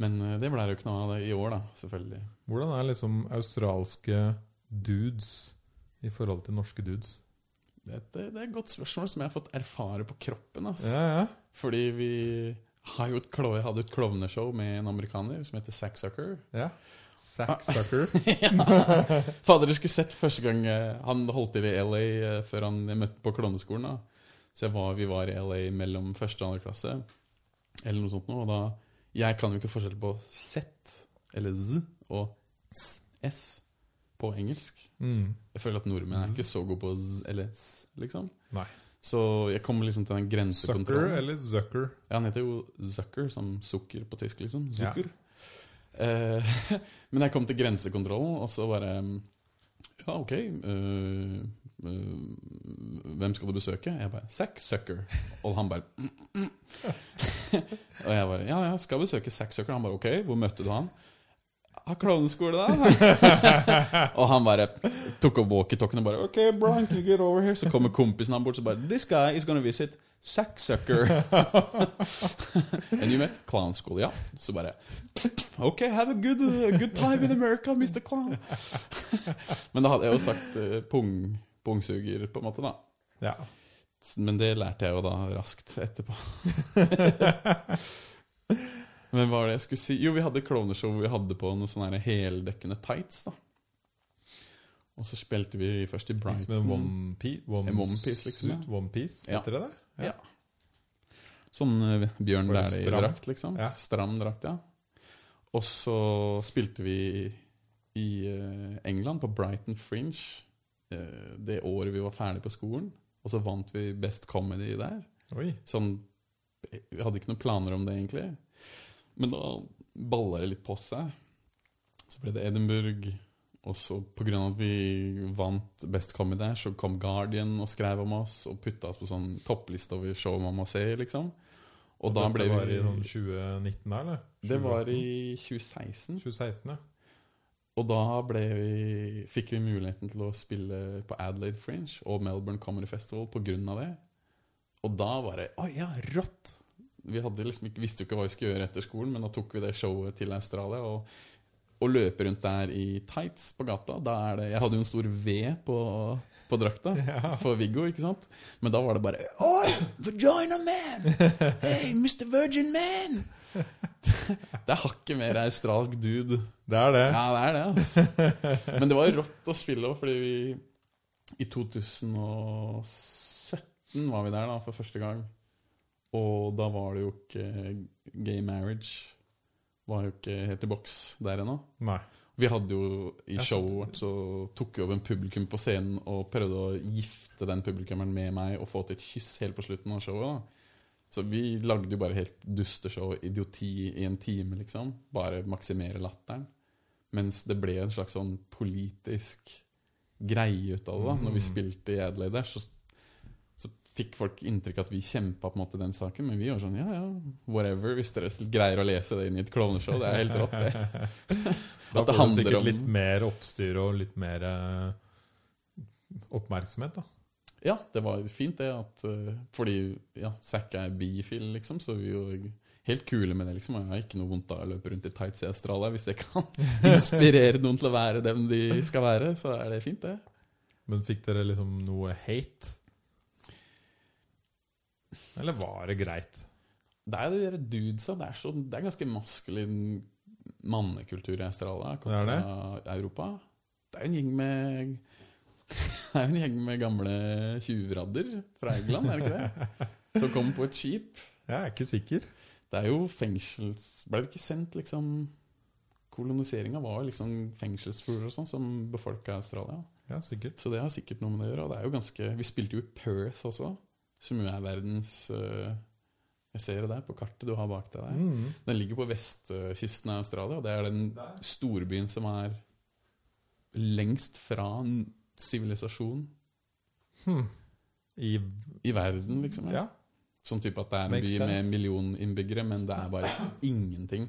S2: Men eh, det ble det jo ikke noe av det i år, da, selvfølgelig.
S1: Hvordan er liksom australske dudes i forhold til norske dudes?
S2: Det, det, det er et godt spørsmål som jeg har fått erfare på kroppen. ass.
S1: Ja, ja.
S2: Fordi vi har jo et, klo- jeg hadde et klovneshow med en amerikaner som heter Sack Sucker.
S1: ja.
S2: Ah.
S1: Sack sucker.
S2: Ja. Fader, du skulle sett første gang eh, han holdt til i LA eh, før han møtte på klovneskolen. da. Så jeg var, vi var i LA mellom første og andre klasse, eller noe sånt noe. Og da Jeg kan jo ikke forskjell på Z, eller Z, og S, S på engelsk.
S1: Mm.
S2: Jeg føler at nordmenn er ikke så gode på Z eller S, liksom.
S1: Nei.
S2: Så jeg kommer liksom til den
S1: Sucker
S2: grensekontrollen.
S1: eller zucker?
S2: Ja, han heter jo Zucker, som sukker på tysk, liksom.
S1: Ja.
S2: Zucker. Eh, men jeg kom til grensekontrollen, og så bare mm, Ja, OK. eh, eh, hvem skal du besøke? Jeg bare Zack Zucker. Og han bare mm, mm. Og jeg bare Ja, jeg skal besøke Zack Zucker. Han bare OK, hvor møtte du han? Har klovneskole, da. og han bare tok opp walkietalkien og bare OK, Brian, can you get over here? Så kommer kompisen han bort så bare This guy is gonna visit Zack Zucker. And you met Clown School, ja. Så bare OK, have a good, uh, good time in America, Mr. Clown. Men da hadde jeg jo sagt eh, pung, pungsuger, på en måte, da.
S1: Ja.
S2: Men det lærte jeg jo da raskt etterpå. Men hva var det jeg skulle si? Jo, vi hadde klovneshow hvor vi hadde på noen sånne her heldekkende tights. da. Og så spilte vi først i
S1: Liksom en
S2: Brighton.
S1: one, pi one,
S2: En one piece, liksom,
S1: suit, One piece,
S2: Ja.
S1: heter det det?
S2: Ja. Sånn eh, Bjørn
S1: Var det
S2: Dæhlie-drakt, liksom.
S1: Ja.
S2: Stram drakt, ja. Og så spilte vi i- i eh, England, på Brighton Fringe, eh, det året vi var ferdig på skolen. Og så vant vi Best Comedy der.
S1: Oi.
S2: Sånn, vi hadde ikke noen planer om det egentlig. Men da balla det litt på seg. Så ble det Edinburgh. Og så pga. at vi vant Best Comedy der, så kom Guardian og skrev om oss og putta oss på sånn toppliste over show man må se, liksom. Og da
S1: Dette
S2: ble
S1: var
S2: vi
S1: i sånn 2019 der, eller?
S2: Det var
S1: 2018?
S2: i 2016.
S1: 2016, ja.
S2: Og da ble vi, fikk vi muligheten til å spille på Adelaide Fringe og Melbourne Comedy Festival på grunn av det. Og da var det Å ja, rått! Vi hadde liksom ikke, visste jo ikke hva vi skulle gjøre etter skolen, men da tok vi det showet til Australia. Og, og løpe rundt der i tights på gata. Da er det, jeg hadde jo en stor V på, på drakta
S1: Ja.
S2: for Viggo, ikke sant? Men da var det bare Oi, vagina man! Hey, Mr. Virgin man! Det er hakket mer australsk dude
S1: Det er det.
S2: ja, det er det, altså. Men det var jo rått å spille òg, fordi vi I 2017 var vi der da, for første gang. Og da var det jo ikke Gay marriage var jo ikke helt i boks der ennå.
S1: Nei.
S2: Vi hadde jo I
S1: Ja, sant.
S2: showet vårt så tok vi over en publikum på scenen og prøvde å gifte den publikummeren med meg og få til et kyss helt på slutten av showet. da. Så vi lagde jo bare helt dusteshow, idioti, i en time, liksom. Bare maksimere latteren. Mens det ble en slags sånn politisk greie ut av det. da. Når vi
S1: Mm.
S2: spilte i Adelaide der, så, så fikk folk inntrykk at vi kjempa på en måte den saken, men vi var sånn ja, ja, whatever, hvis dere greier å lese det inn i et klovneshow. Det er helt rått, det.
S1: Da får
S2: At det
S1: du
S2: handler
S1: sikkert
S2: om-
S1: litt mer oppstyr og litt mer eh, oppmerksomhet, da.
S2: Ja, det var fint det at eh, Fordi ja, Zack er bifil, liksom, så vi er jo helt kule med det. liksom Og Jeg har ikke noe vondt av å løpe rundt i tights i Australia hvis det kan inspirere noen til å være dem de skal være. Så er det fint, det.
S1: Men fikk dere liksom noe hate? Eller var det greit?
S2: Det er jo de der dudesa. Det er, så, det er ganske maskulin mannekultur i Australia kontra
S1: Det
S2: Europa. Det er jo en gjeng med Det er jo en gjeng med gamle tjuvradder fra England, er det ikke det? Som kommer på et skip.
S1: Jeg er ikke sikker.
S2: Det er jo fengsels... Ble det ikke sendt liksom Koloniseringa var jo liksom fengselsfugler og sånn som befolka Australia.
S1: Ja, sikkert.
S2: Så det har sikkert noe med det å gjøre. Og det er jo ganske Vi spilte jo i Perth også, som jo er verdens øh, Jeg ser det der på kartet du har bak deg der.
S1: Mm.
S2: Den ligger på vestkysten av Australia, og det er den storbyen som er lengst fra en sivilisasjon
S1: Hmm. I
S2: i verden, liksom.
S1: Ja.
S2: Sånn type at det er en
S1: Makes
S2: by med en
S1: sense.
S2: million innbyggere, men det er bare ingenting.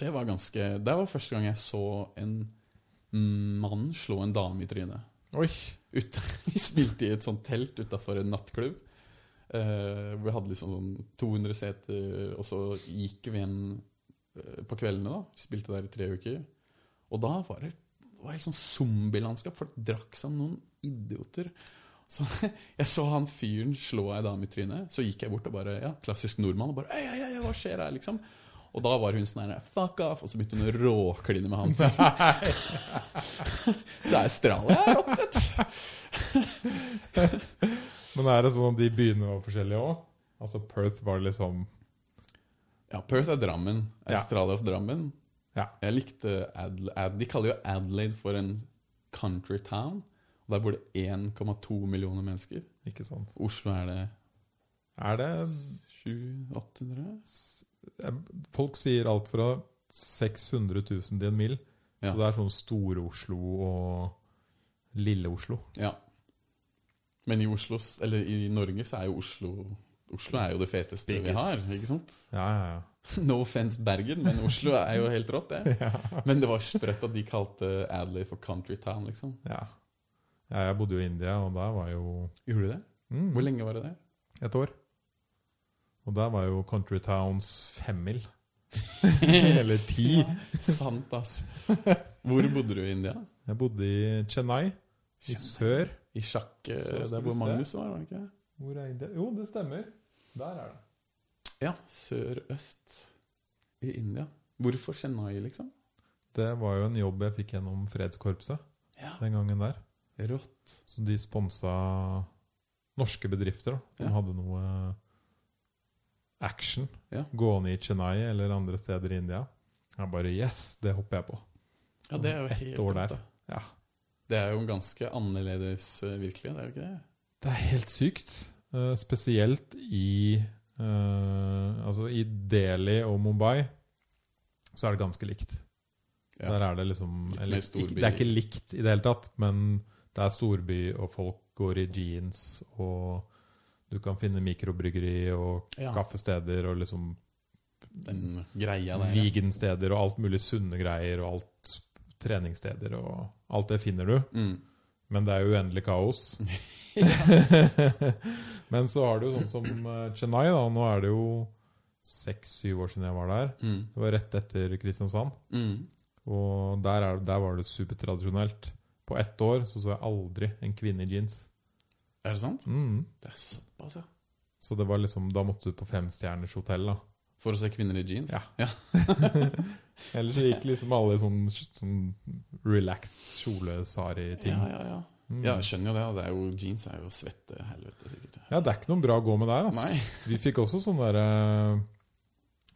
S2: Det var ganske Det var første gang jeg så en mann slå en dame i trynet.
S1: Oi!
S2: Ut, vi spilte i et sånt telt utafor en nattklubb. eh, hvor vi hadde liksom sånn 200 seter, og så gikk vi igjen eh, på kveldene. da Vi spilte der i tre uker. Og da var det, det var helt sånn zombielandskap. Folk drakk som noen idioter. Så Jeg så han fyren slå ei dame i trynet. Så gikk jeg bort og bare ja, Klassisk nordmann. Og bare, «Ei, ei, ei, hva skjer her liksom Og da var hun sånn her Fuck off! Og så begynte hun å råkline med han. så det er Australia her, rått, vet du.
S1: Men er det sånn at de byene var forskjellige òg? Altså Perth var liksom
S2: Ja, Perth er Drammen.
S1: Ja.
S2: Australias Drammen.
S1: Ja.
S2: Jeg likte Adla Ad De kaller jo Adelaide for en country town. Og der bor det 1,2 millioner mennesker.
S1: Ikke sant.
S2: Oslo er det
S1: Er det
S2: 700-800?
S1: Folk sier alt fra 600 000 til en mil.
S2: Ja.
S1: Så det er sånn Store-Oslo og Lille-Oslo.
S2: Ja. Men i Oslo, s- eller i Norge så er jo Oslo Oslo er jo det feteste vi
S1: Biggest.
S2: har. ikke sant?
S1: Ja, ja, ja.
S2: No offense Bergen, men Oslo er jo helt rått, det. Men det var sprøtt at de kalte Adelaide for country town, liksom.
S1: ja. ja jeg bodde jo i India, og der var jo
S2: Gjorde du det?
S1: mm,
S2: Hvor lenge var det der?
S1: Et år. Og der var jo Country Towns femmil. Eller ti.
S2: Sant, ass. Hvor bodde du i India?
S1: Jeg bodde i Chennai, i sør.
S2: I sjakk,
S1: Så
S2: eh,
S1: skal
S2: der
S1: vi
S2: hvor
S1: se.
S2: Magnus var, var det ikke?
S1: Hvor er India? Jo, det stemmer. Der er det.
S2: Ja, sør-øst i India. Hvorfor Chennai, liksom?
S1: Det var jo en jobb jeg fikk gjennom Fredskorpset
S2: Ja,
S1: den gangen der.
S2: rått.
S1: Så de sponsa norske bedrifter da, som
S2: Ja.
S1: hadde noe eh, action
S2: Ja.
S1: gående i Chennai eller andre steder i India. Jeg bare Yes, det hopper jeg på.
S2: Ja, det er jo
S1: Ett
S2: helt
S1: år der.
S2: rått, da.
S1: Ja.
S2: Det er jo en ganske annerledes eh, virkelighet, er det ikke det?
S1: Det er helt sykt. eh, spesielt i eh, Altså i Delhi og Mumbai så er det ganske likt.
S2: Ja.
S1: Der er det liksom
S2: Litt mer
S1: eller,
S2: storby.
S1: ikke, Det er ikke likt i det hele tatt, men det er storby, og folk går i jeans, og du kan finne mikrobryggeri og
S2: Ja.
S1: kaffesteder og liksom
S2: Den greia der. ja.
S1: vegansteder og alt mulig sunne greier og alt treningssteder og alt det finner du.
S2: Mm.
S1: Men det er jo uendelig kaos. Men så har du jo sånn som eh, Chennai, da. Nå er det jo seks-syv år siden jeg var der.
S2: Mm.
S1: Det var rett etter Kristiansand.
S2: Mm.
S1: Og der, er, der var det supertradisjonelt. På ett år så så jeg aldri en kvinne i jeans.
S2: Er det sant?
S1: Mm.
S2: Det er såpass, ja.
S1: Så det var liksom, da måtte du på femstjerners hotell, da.
S2: For å se kvinner i jeans?
S1: Ja. Ellers så gikk liksom alle i sånn, sånn relaxed
S2: ja,
S1: kjole-sari-ting.
S2: ja. ja.
S1: Mm.
S2: ja jeg skjønner jo det. da. det er jo, jeans er jo svette helvete, sikkert.
S1: Ja, det er ikke noe bra å gå med der. Altså.
S2: Nei.
S1: Vi fikk også sånn derre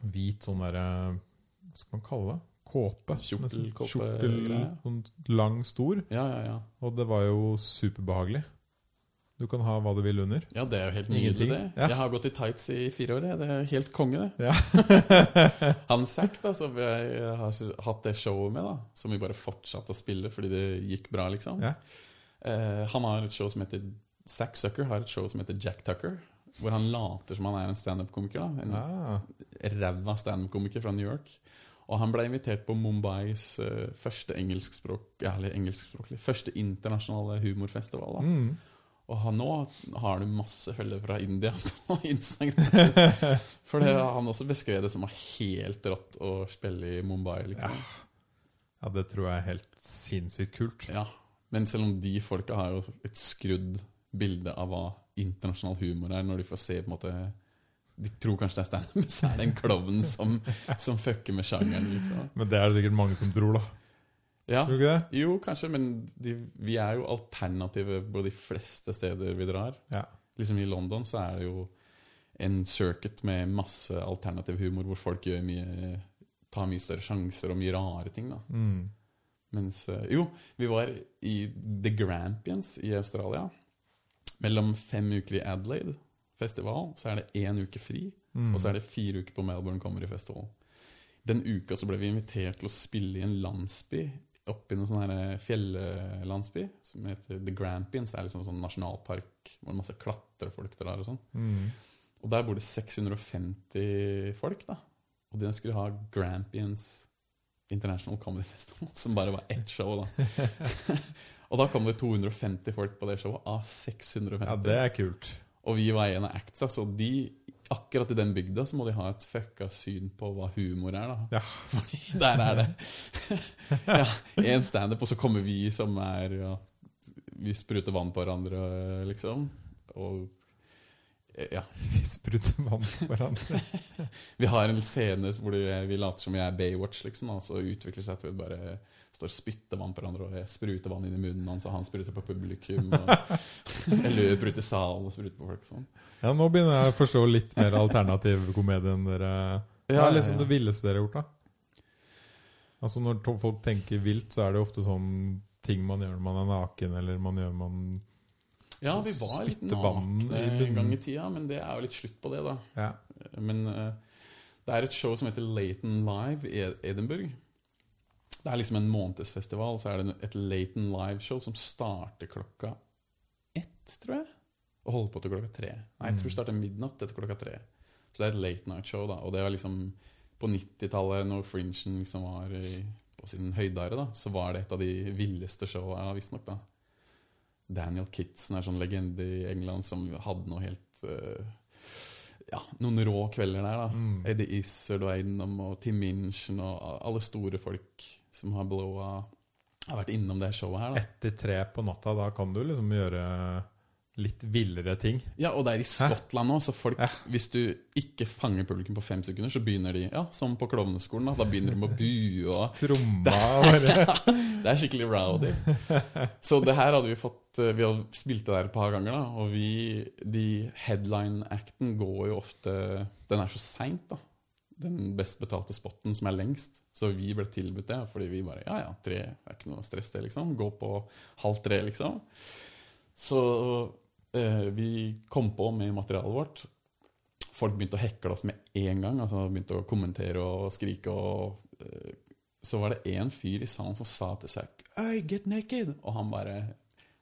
S1: hvit sånn derre Hva skal man kalle det? Kåpe.
S2: Kjortel-
S1: Nesten.
S2: kåpe-
S1: Kjortel,
S2: greier.
S1: sånn lang, stor.
S2: Ja, ja, ja.
S1: Og det var jo superbehagelig. Du kan ha hva du vil under.
S2: Ja, det er jo helt nydelig,
S1: Ingenting.
S2: det.
S1: Ja.
S2: Jeg har gått i tights i fire år, jeg. Det er helt konge, det.
S1: Ja.
S2: Han Zack, da, som jeg har hatt det showet med, da, som vi bare fortsatte å spille fordi det gikk bra, liksom.
S1: Ja.
S2: Eh, han har et show som heter Zack Zucker har et show som heter Jack Tucker, hvor han later som han er en standup-komiker. da, En
S1: Ah,
S2: ræva standup-komiker fra New York. Og han ble invitert på Mumbais eh, første engelskspråk, ja, eller engelskspråklig, første internasjonale humorfestival. da.
S1: mm.
S2: Og han, nå har du masse følgere fra India på Instagram. For det, han også beskrev det som var helt rått å spille i Mumbai. liksom.
S1: Ja, det tror jeg er helt sinnssykt kult.
S2: Ja. Men selv om de folka har jo et skrudd bilde av hva internasjonal humor er, når de får se på en måte De tror kanskje det er standup, men så er det en klovn som, som fucker med sjangeren. liksom.
S1: Men det er det sikkert mange som tror, da.
S2: Ja,
S1: Tror du ikke det?
S2: Jo, kanskje, men de, vi er jo alternative på de fleste steder vi drar.
S1: Ja.
S2: Liksom I London så er det jo en circuit med masse alternativ humor hvor folk gjør mye, tar mye større sjanser og mye rare ting. da.
S1: Mm.
S2: Mens, eh, jo, vi var i The Grampians i Australia. Mellom fem uker i Adelaide festival, så er det én uke fri.
S1: Mm.
S2: Og så er det fire uker på Melbourne Comedy Festival. Den uka så ble vi invitert til å spille i en landsby opp i noen sånn her, eh, fjellandsby som heter The Grampians. Det er liksom sånn nasjonalpark hvor det er masse klatrefolk drar og sånn.
S1: Mm.
S2: Og der bor det 650 folk, da. Og de skulle ha Grampians International Comedy Festival, som bare var ett show, da. og da kom det 250 folk på det showet, av 650.
S1: Ja, det er kult.
S2: Og vi var en av actsa, så de, akkurat i den bygda så må de ha et fucka syn på hva humor er, da.
S1: Ja.
S2: Fordi der er det ja, en standup, og så kommer vi som er ja, Vi spruter vann på hverandre, liksom. Og ja.
S1: Vi spruter vann på hverandre.
S2: Vi har en scene hvor det- vi later som vi er Baywatch, liksom, og så utvikler det seg til at vi bare står og spytter vann på hverandre, og jeg spruter vann inn i munnen hans, og han spruter på publikum, og jeg løper ut i salen og spruter på folk. sånn.
S1: Ja, Nå begynner jeg å forstå litt mer alternativ komedie enn dere Hva er liksom det villeste dere har gjort, da? Altså Når to- folk tenker vilt, så er det ofte sånn ting man gjør når man er naken, eller man gjør man
S2: Ja, vi var litt
S1: Altså, Spytte vann i
S2: nakne en
S1: munnen.
S2: gang i tida, men det er jo litt slutt på det, da.
S1: Ja.
S2: Men eh, det er et show som heter Laton Live i Ed- Edinburgh. Det er liksom en månedsfestival, så er det en- et Laton Live-show som starter klokka ett, tror jeg. Og holder på til klokka tre. Nei, jeg tror
S1: Mm.
S2: det starter midnatt etter klokka tre. Så det er et late night-show, da. Og det var liksom på 90-tallet, når Fringen liksom var i, på sin høydare, da, så var det et av de villeste showa, visstnok. da. Daniel Kitson er sånn legende i England som hadde noe helt eh, Ja, noen rå kvelder der, da.
S1: Mm.
S2: Eddie Izzard og Eidenom og Tim Minchin og alle store folk som har blowa Har vært innom det showet her, da.
S1: Etter tre på natta, da kan du liksom gjøre litt villere ting.
S2: Ja, og det er i Skottland òg, så folk,
S1: Ja.
S2: hvis du ikke fanger publikum på fem sekunder, så begynner de ja, som på klovneskolen. Da, da begynner de med å bue. og
S1: Tromma og bare
S2: Det er skikkelig rowdy. Så det her hadde vi fått eh, Vi hadde spilt det der et par ganger, da, og vi de Headline-acten går jo ofte Den er så seint, da. Den best betalte spotten som er lengst. Så vi ble tilbudt det, fordi vi bare Ja ja, tre er ikke noe stress, det, liksom. Gå på halv tre, liksom. Så eh, vi kom på med materialet vårt. Folk begynte å hekle oss med en gang. altså Begynte å kommentere og skrike. og eh, Så var det en fyr i salen som sa til seg Øy, get naked! Og han bare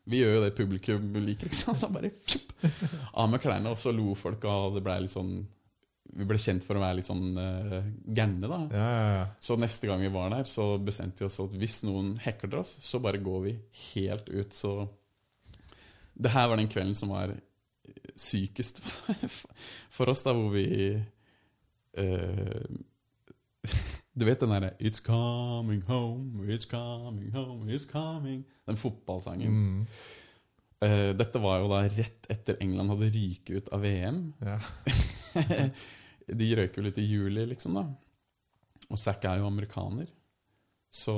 S2: Vi gjør jo det publikum liker, ikke sant? Så han bare fjupp, av med klærne, og så lo folk, og det ble litt sånn Vi ble kjent for å være litt sånn uh, gærne, da.
S1: Ja, ja, ja.
S2: Så neste gang vi var der, så bestemte vi oss at hvis noen hacker oss, så bare går vi helt ut. Så det her var den kvelden som var sykest for oss, da, hvor vi eh, Du vet den derre It's coming home, it's coming home, it's coming Den fotballsangen.
S1: Mm.
S2: Eh, dette var jo da rett etter England hadde ryket ut av VM.
S1: ja.
S2: De røyker jo litt i juli, liksom, da. Og Zack er jo amerikaner. Så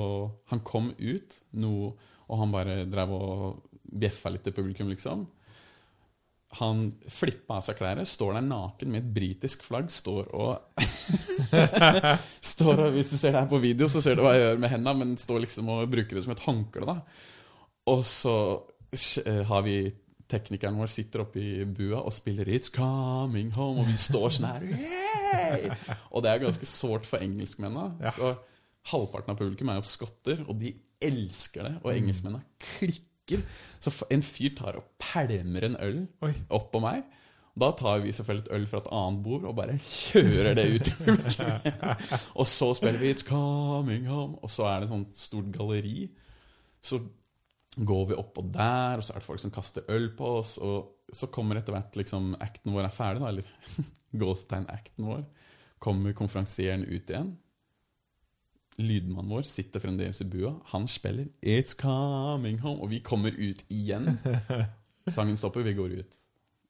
S2: han kom ut noe, og han bare drev og bjeffa litt til publikum, liksom. Han flippa av seg klærne, står der naken med et britisk flagg, står og står og, Hvis du ser det her på video, så ser du hva jeg gjør med henda, men står liksom og bruker det som et håndkle, da. Og så eh, har vi teknikeren vår sitter oppe i bua og spiller 'It's coming home', og vi står sånn her «Yay!» Og det er ganske sårt for engelskmennene.
S1: Ja.
S2: Så halvparten av publikum er jo skotter, og de elsker det. Og
S1: Mm.
S2: engelskmennene klikker. Så f- en fyr tar og pælmer en øl
S1: Oi.
S2: opp på meg. Da tar vi selvfølgelig et øl fra et annet bord og bare kjører det ut. i publikum. og så spiller vi 'It's coming home', og så er det et sånt stort galleri. Så går vi opp og der, og så er det folk som kaster øl på oss. Og så kommer etter hvert liksom acten vår er ferdig, da, eller gåstegn-acten vår. Kommer konferansieren ut igjen. Lydmannen vår sitter fremdeles i bua. Han spiller 'It's Coming Home', og vi kommer ut igjen. Sangen stopper, vi går ut.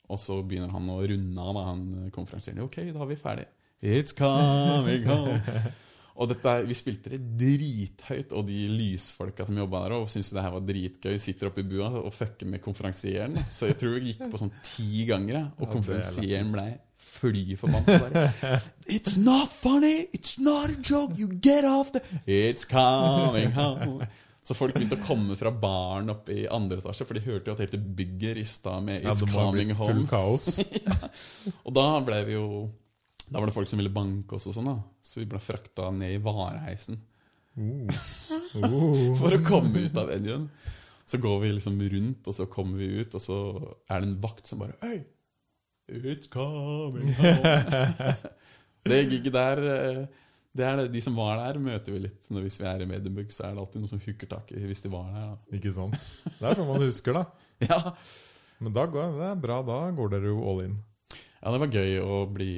S2: Og så begynner han å runde av, da, han konferansieren. 'Ok, da er vi ferdig'. 'It's Coming Home'. Og dette, er- vi spilte det drithøyt, og de lysfolka som jobba der, og syntes det her var dritgøy. Sitter oppe i bua og fucker med konferansieren. Så jeg tror vi gikk på sånn ti ganger, jeg, og
S1: Ja, det er
S2: konferansieren blei fly forbanna. bare, It's not funny! It's not a joke! You get off the It's coming home! Så folk begynte å komme fra baren opp i andre etasje, for de hørte jo at hele bygget rista med
S1: Ja,
S2: It's
S1: det må ha
S2: coming
S1: blitt
S2: home.
S1: full kaos.
S2: Og da ble vi jo Da var det folk som ville banke oss og sånn, da. Så vi ble frakta ned i vareheisen.
S1: Uh. Uh.
S2: For å komme ut av edgen. Så går vi liksom rundt, og så kommer vi ut, og så er det en vakt som bare Hei! It's coming home. det gigget der eh, det er det, De som var der, møter vi litt. Når, hvis vi er i Medinburg, så er det alltid noen som hooker tak i hvis de var der. Da.
S1: Ikke sant? Det er sånn man husker, da.
S2: Ja.
S1: Men da går, det er bra, da går dere jo all in.
S2: ja, det var gøy å bli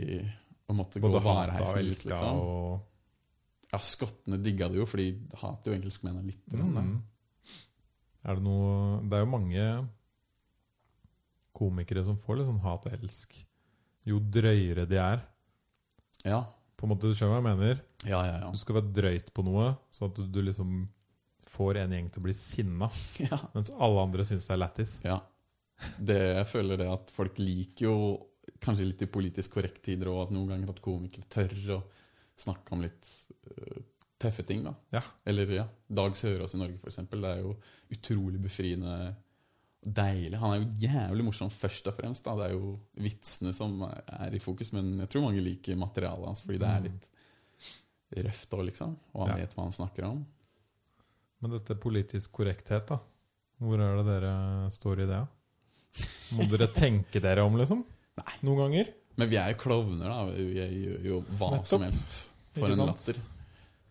S2: Å måtte gå
S1: Både hata og
S2: vareheisen litt,
S1: elska
S2: liksom.
S1: og
S2: Ja, skottene digga det jo, for de hater jo engelskmennene litt. grann, da.
S1: Mm. Er det noe Det er jo mange komikere som får litt sånn hat-elsk. Jo drøyere de er.
S2: Ja.
S1: På en måte, Du skjønner hva jeg mener?
S2: ja, ja, ja.
S1: Du skal være drøyt på noe, sånn at du liksom får en gjeng til å bli sinna,
S2: ja.
S1: mens alle andre syns det er lættis.
S2: Ja. Det, jeg føler det at folk liker jo kanskje litt i politisk korrekt tider, og at noen ganger at komikere tør å snakke om litt eh, tøffe ting. da.
S1: Ja.
S2: Eller ja, Dag Sørås i Norge, for eksempel. Det er jo utrolig befriende og deilig. Han er jo jævlig morsom først og fremst. da. Det er jo vitsene som er- er i fokus, men jeg tror mange liker materialet hans fordi det er litt røft òg, liksom. Og han
S1: Mm. Ja.
S2: vet hva han snakker om.
S1: Men dette politisk korrekthet, da. Hvor er det dere står i det? Må dere tenke dere om, liksom?
S2: Nei.
S1: Noen ganger?
S2: Men vi er jo klovner, da. Vi gjør jo hva
S1: Nettopp.
S2: som helst for
S1: Ikke
S2: en
S1: sant?
S2: latter.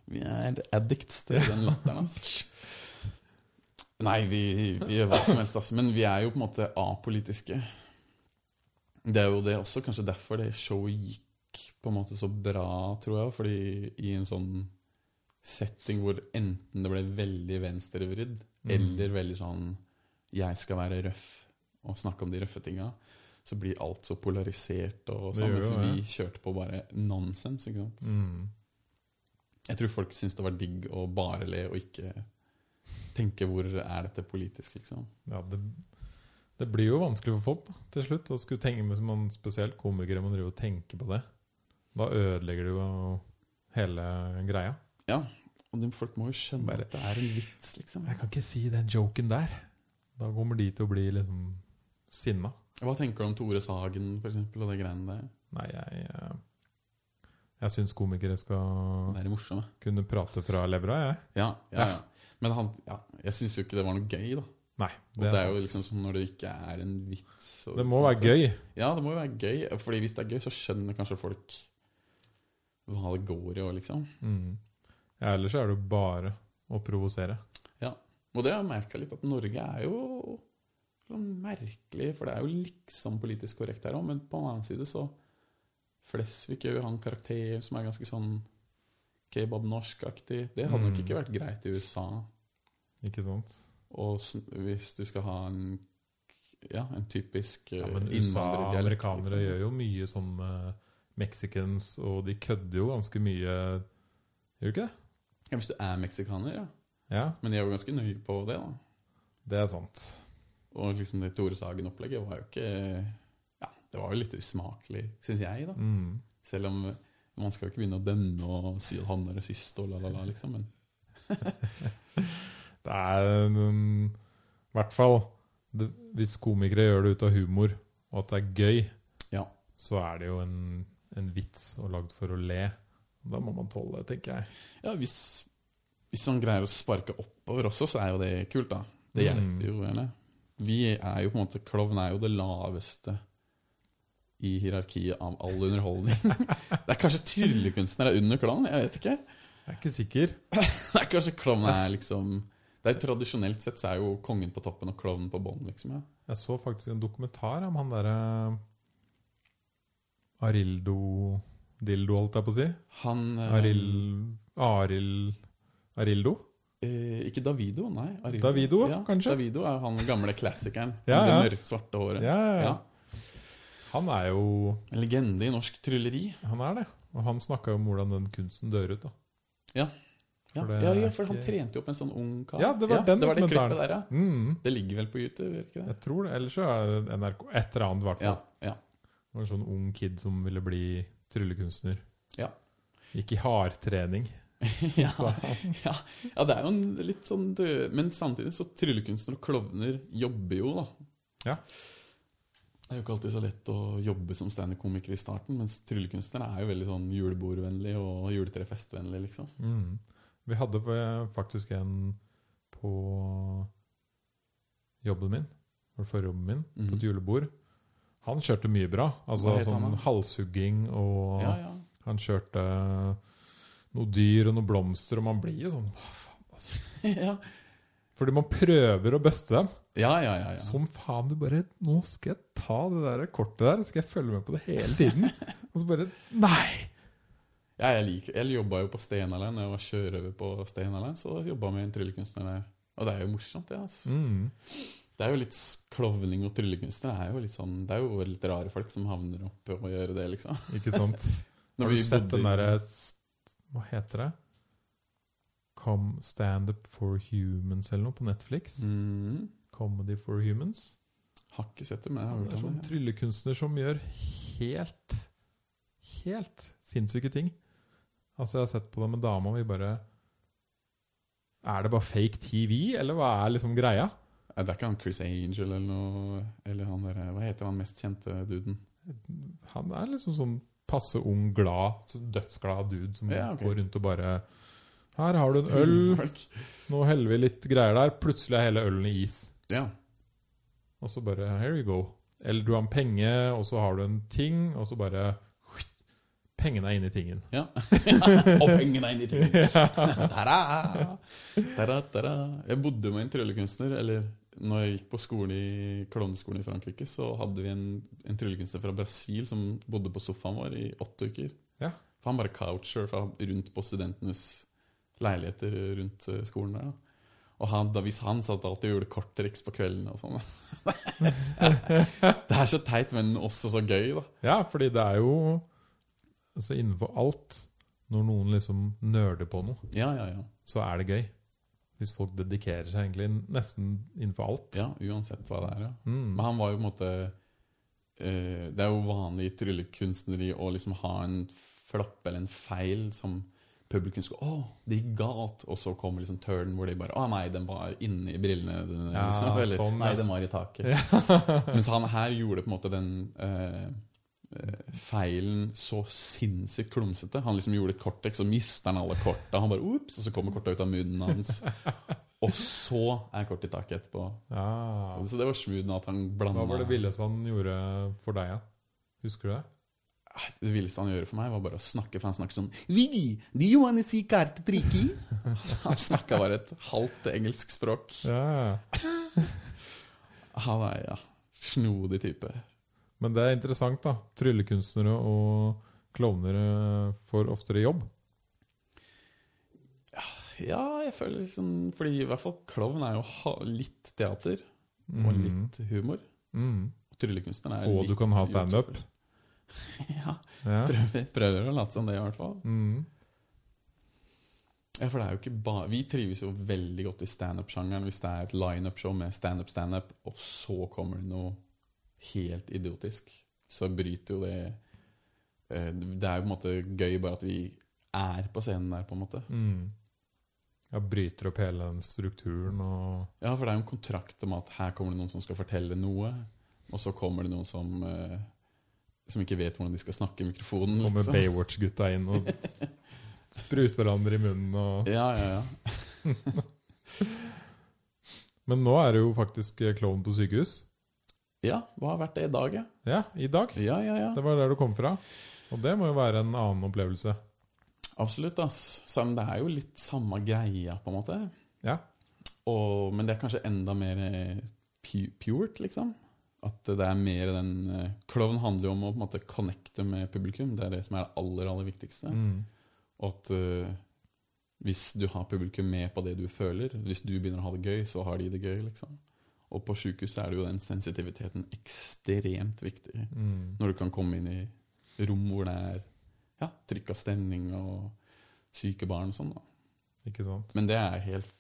S2: Vi er addicts til den latteren, ass. Nei, vi, vi gjør hva som helst, ass. Men vi er jo på en måte apolitiske. Det er jo det også kanskje derfor det showet gikk på en måte så bra, tror jeg. Fordi i en sånn setting hvor enten det ble veldig venstrevridd,
S1: Mm.
S2: eller veldig sånn jeg skal være røff og snakke om de røffe tinga, så blir alt så polarisert og
S1: Det
S2: sånn.
S1: gjør jo
S2: så vi kjørte på bare nonsens, ikke sant.
S1: Mm.
S2: Jeg tror folk syntes det var digg å bare le og ikke tenke hvor er dette politisk, liksom.
S1: Ja, det, det blir jo vanskelig for folk da, til slutt. Og skulle tenke med som man, Spesielt komikere må drive og tenke på det. Da ødelegger du jo hele greia.
S2: Og de, folk må jo skjønne
S1: Bare-
S2: at det er en vits, liksom.
S1: Jeg kan ikke si den joken der. Da kommer de til å bli liksom sinna.
S2: Hva tenker du om Tore Sagen for eksempel, og de greiene der?
S1: Nei, jeg eh, Jeg syns komikere skal
S2: Være morsomme.
S1: kunne prate fra levra, jeg.
S2: Ja, ja, ja. Men han, ja, jeg syns jo ikke det var noe gøy, da.
S1: Nei,
S2: Og det er, jo
S1: sant.
S2: liksom som når det ikke er en vits. og-
S1: Det må være gøy.
S2: Ja, det må jo være gøy. Fordi hvis det er gøy, så skjønner kanskje folk hva det går i òg, liksom.
S1: Mm. Ja, ellers er det jo bare å provosere.
S2: Og det har jeg merka litt, at Norge er jo sånn merkelig, for det er jo liksom politisk korrekt her òg, men på den annen side så Flesvig gjør jo han karakter som er ganske sånn kebab-norsk-aktig. Det hadde nok
S1: Mm.
S2: ikke vært greit i USA.
S1: Ikke sant?
S2: Og sn- hvis du skal ha en ja, en typisk
S1: Ja,
S2: eh,
S1: men USA og
S2: innvandrerdialekt,
S1: amerikanere
S2: liksom.
S1: gjør jo mye sånn med mexicans, og de kødder jo ganske mye Gjør de ikke det?
S2: ja, Hvis du er meksikaner, ja.
S1: Ja,
S2: Men de er jo ganske nøye på det, da.
S1: det er sant.
S2: Og liksom det Tore Sagen-opplegget var jo ikke Ja, det var jo litt usmakelig, syns jeg, da.
S1: Mm.
S2: Selv om eh, man skal jo ikke begynne å dømme og si at han er rasist og la-la-la, liksom. Men
S1: Det er mm, I hvert fall det, Hvis komikere gjør det ut av humor, og at det er gøy,
S2: Ja.
S1: så er det jo en, en vits og lagd for å le. Da må man tåle det, tenker jeg.
S2: ja, hvis, hvis man greier å sparke oppover også, så er jo det kult, da. Det
S1: Mm.
S2: hjelper jo gjerne. Vi er jo på en måte Klovn er jo det laveste i hierarkiet av all underholdning. det er kanskje tryllekunstner er under klovn, jeg vet ikke.
S1: Jeg er ikke sikker.
S2: Det er kanskje klovn er liksom det er jo Tradisjonelt sett så er jo kongen på toppen og klovnen på bånn, liksom. ja.
S1: Jeg så faktisk en dokumentar om han derre Arildo Dildo, holdt jeg på å si.
S2: Han eh,
S1: Arild Arild Arildo?
S2: Eh, ikke Davido, nei. Arild.
S1: Davido,
S2: ja,
S1: kanskje?
S2: Davido er han gamle klassikeren.
S1: Ja,
S2: med
S1: ja.
S2: Det mørke, svarte
S1: Ja,
S2: håret.
S1: ja, ja.
S2: Ja.
S1: Han er jo
S2: En legende i norsk trylleri.
S1: Han er det. Og han snakka jo om hvordan den kunsten dør ut, da.
S2: Ja,
S1: For det
S2: ja, ja,
S1: er
S2: for han
S1: ikke-
S2: trente jo opp en sånn ung kar.
S1: Ja, det var den
S2: det, var det
S1: dokumentaren.
S2: klippet der, ja.
S1: Mm,
S2: Det ligger vel på YouTube? gjør det ikke det?
S1: jeg tror det. Ellers så er det NRK et eller annet, i hvert
S2: Ja,
S1: fall.
S2: ja.
S1: Det var En sånn ung kid som ville bli tryllekunstner.
S2: Ja.
S1: Gikk i hardtrening.
S2: ja.
S1: sa han.
S2: ja. ja, det er jo en litt sånn død Men samtidig så tryllekunstnere og klovner jobber jo, da.
S1: Ja.
S2: Det er jo ikke alltid så lett å jobbe som standup-komiker i starten, mens tryllekunstnere er jo veldig sånn julebordvennlig og juletrefestvennlig, liksom.
S1: Mm. Vi hadde eh, faktisk en på jobben min, eller forjobben min, på
S2: Mhm.
S1: et julebord. Han kjørte mye bra. Altså
S2: Hva het han
S1: sånn
S2: da?
S1: halshugging og
S2: Ja, ja.
S1: Han kjørte noe dyr og noen blomster, og man blir jo sånn hva faen, altså.
S2: ja.
S1: Fordi man prøver å bøste dem.
S2: Ja, ja, ja, ja.
S1: Som faen, du bare Nå skal jeg ta det der kortet der, og så skal jeg følge med på det hele tiden. og så bare Nei!
S2: ja jeg, liker, jeg jobba jo på Stenaland. Jeg var sjørøver på Stenaland, så jobba med en tryllekunstner der. Og det er jo morsomt, det. ass.
S1: Mm.
S2: Det er jo litt s- klovning og tryllekunstnere er jo litt sånn Det er jo litt rare folk som havner oppe og gjør det, liksom.
S1: Ikke sant?
S2: Når
S1: Har du
S2: vi
S1: sett
S2: bodde
S1: den eh,
S2: i-
S1: derre Hva heter det? Come Stand Up for Humans eller noe på Netflix?
S2: Mhm.
S1: Comedy for Humans?
S2: Har ikke sett det, men jeg har
S1: Han er
S2: hørt om
S1: sånn
S2: det.
S1: tryllekunstner som gjør helt, helt sinnssyke ting. Altså, jeg har sett på det med dama, og vi bare Er det bare fake TV, eller hva er liksom greia?
S2: Ja, det er ikke han Chris Angel eller noe Eller han der Hva heter han mest kjente duden?
S1: Han er liksom sånn passe ung, glad, så dødsglad dude som
S2: Ja, ok.
S1: går rundt og bare Her har du en øl,
S2: Folk.
S1: nå heller vi litt greier der. Plutselig er hele ølen i is.
S2: Ja.
S1: Og så bare Here you go. Eller du har en penge, og så har du en ting, og så bare Pengene er inni tingen.
S2: ja. og pengene inn i ting. Ta-da! Ta-da, ta-da. Jeg bodde med en tryllekunstner. Eller når jeg gikk på skole i klovneskolen i Frankrike, så hadde vi en, en tryllekunstner fra Brasil som bodde på sofaen vår i åtte uker.
S1: Ja.
S2: For han bare couchsurfa rundt på studentenes leiligheter rundt eh, skolen der. da. Og han, da, hvis han satt alltid og gjorde korttriks på kveldene og sånn. det er så teit, men også så gøy, da.
S1: Ja, fordi det er jo Altså innenfor alt Når noen liksom nerder på noe,
S2: Ja, ja, ja.
S1: så er det gøy. Hvis folk dedikerer seg egentlig nesten innenfor alt.
S2: Ja, uansett hva det er, ja.
S1: Mm.
S2: Men han var jo på en måte eh, Det er jo vanlig i tryllekunstneri å liksom ha en flopp eller en feil som publikum skulle Å, det gikk galt! Og så kommer liksom turnen hvor de bare Å nei, den var inni brillene. dine»,
S1: Ja,
S2: liksom, eller
S1: sånn,
S2: nei,
S1: ja.
S2: den var i taket. Mens han her gjorde på en måte den eh, eh, feilen så sinnssykt klumsete. Han liksom gjorde et korttek, så mister han alle korta. Han bare ops, og så kommer korta ut av munnen hans. Og så er kortet i taket etterpå.
S1: Ja.
S2: Så det var smooth at han blanda
S1: Hva var det villeste han gjorde for deg, da? Husker du det?
S2: Det villeste han gjorde for meg, var bare å snakke, for han snakker sånn Vidi, do you wanna see kartetriki? han snakka bare et halvt engelsk språk.
S1: Ja.
S2: Han er ja, snodig type.
S1: Men det er interessant, da. Tryllekunstnere og klovner eh, får oftere jobb.
S2: Ja, jeg føler liksom Fordi i hvert fall klovn er jo ha, litt teater og
S1: Mhm.
S2: litt humor.
S1: Mm.
S2: Og Tryllekunstneren er
S1: Og du
S2: litt
S1: kan ha standup.
S2: gjort- Ja,
S1: Ja.
S2: prøver, prøver å late som det, i hvert fall.
S1: Mm.
S2: Ja, for det er jo ikke bare Vi trives jo veldig godt i standup-sjangeren hvis det er et lineup-show med standup, standup, og så kommer det noe helt idiotisk. Så bryter jo det eh, Det er jo på en måte gøy bare at vi er på scenen der, på en måte.
S1: Mm. Ja, bryter opp hele den strukturen og
S2: Ja, for det er jo en kontrakt om at her kommer det noen som skal fortelle noe, og så kommer det noen som eh, som ikke vet hvordan de skal snakke i mikrofonen.
S1: Kommer
S2: Liksom.
S1: Baywatch-gutta inn og spruter hverandre i munnen. Og...
S2: Ja, ja, ja.
S1: Men nå er det jo faktisk eh, klovn på sykehus.
S2: Ja, hva har vært det i dag, ja?
S1: Ja, i dag.
S2: Ja, ja, ja.
S1: Det var der du kom fra. Og det må jo være en annen opplevelse.
S2: Absolutt, ass. Selv om det er jo litt samme greia, på en måte.
S1: Ja.
S2: Og, men det er kanskje enda mer eh, pu purt, liksom. At det er mer den eh, Klovn handler jo om å på en måte connecte med publikum. Det er det som er det aller, aller viktigste.
S1: Mm.
S2: Og at eh, hvis du har publikum med på det du føler, hvis du begynner å ha det gøy, så har de det gøy, liksom. Og på sjukehuset er det jo den sensitiviteten ekstremt viktig.
S1: Mm.
S2: Når du kan komme inn i rom hvor det er ja, trykk av stemning og syke barn og sånn. da.
S1: Ikke sant?
S2: Men det er helt,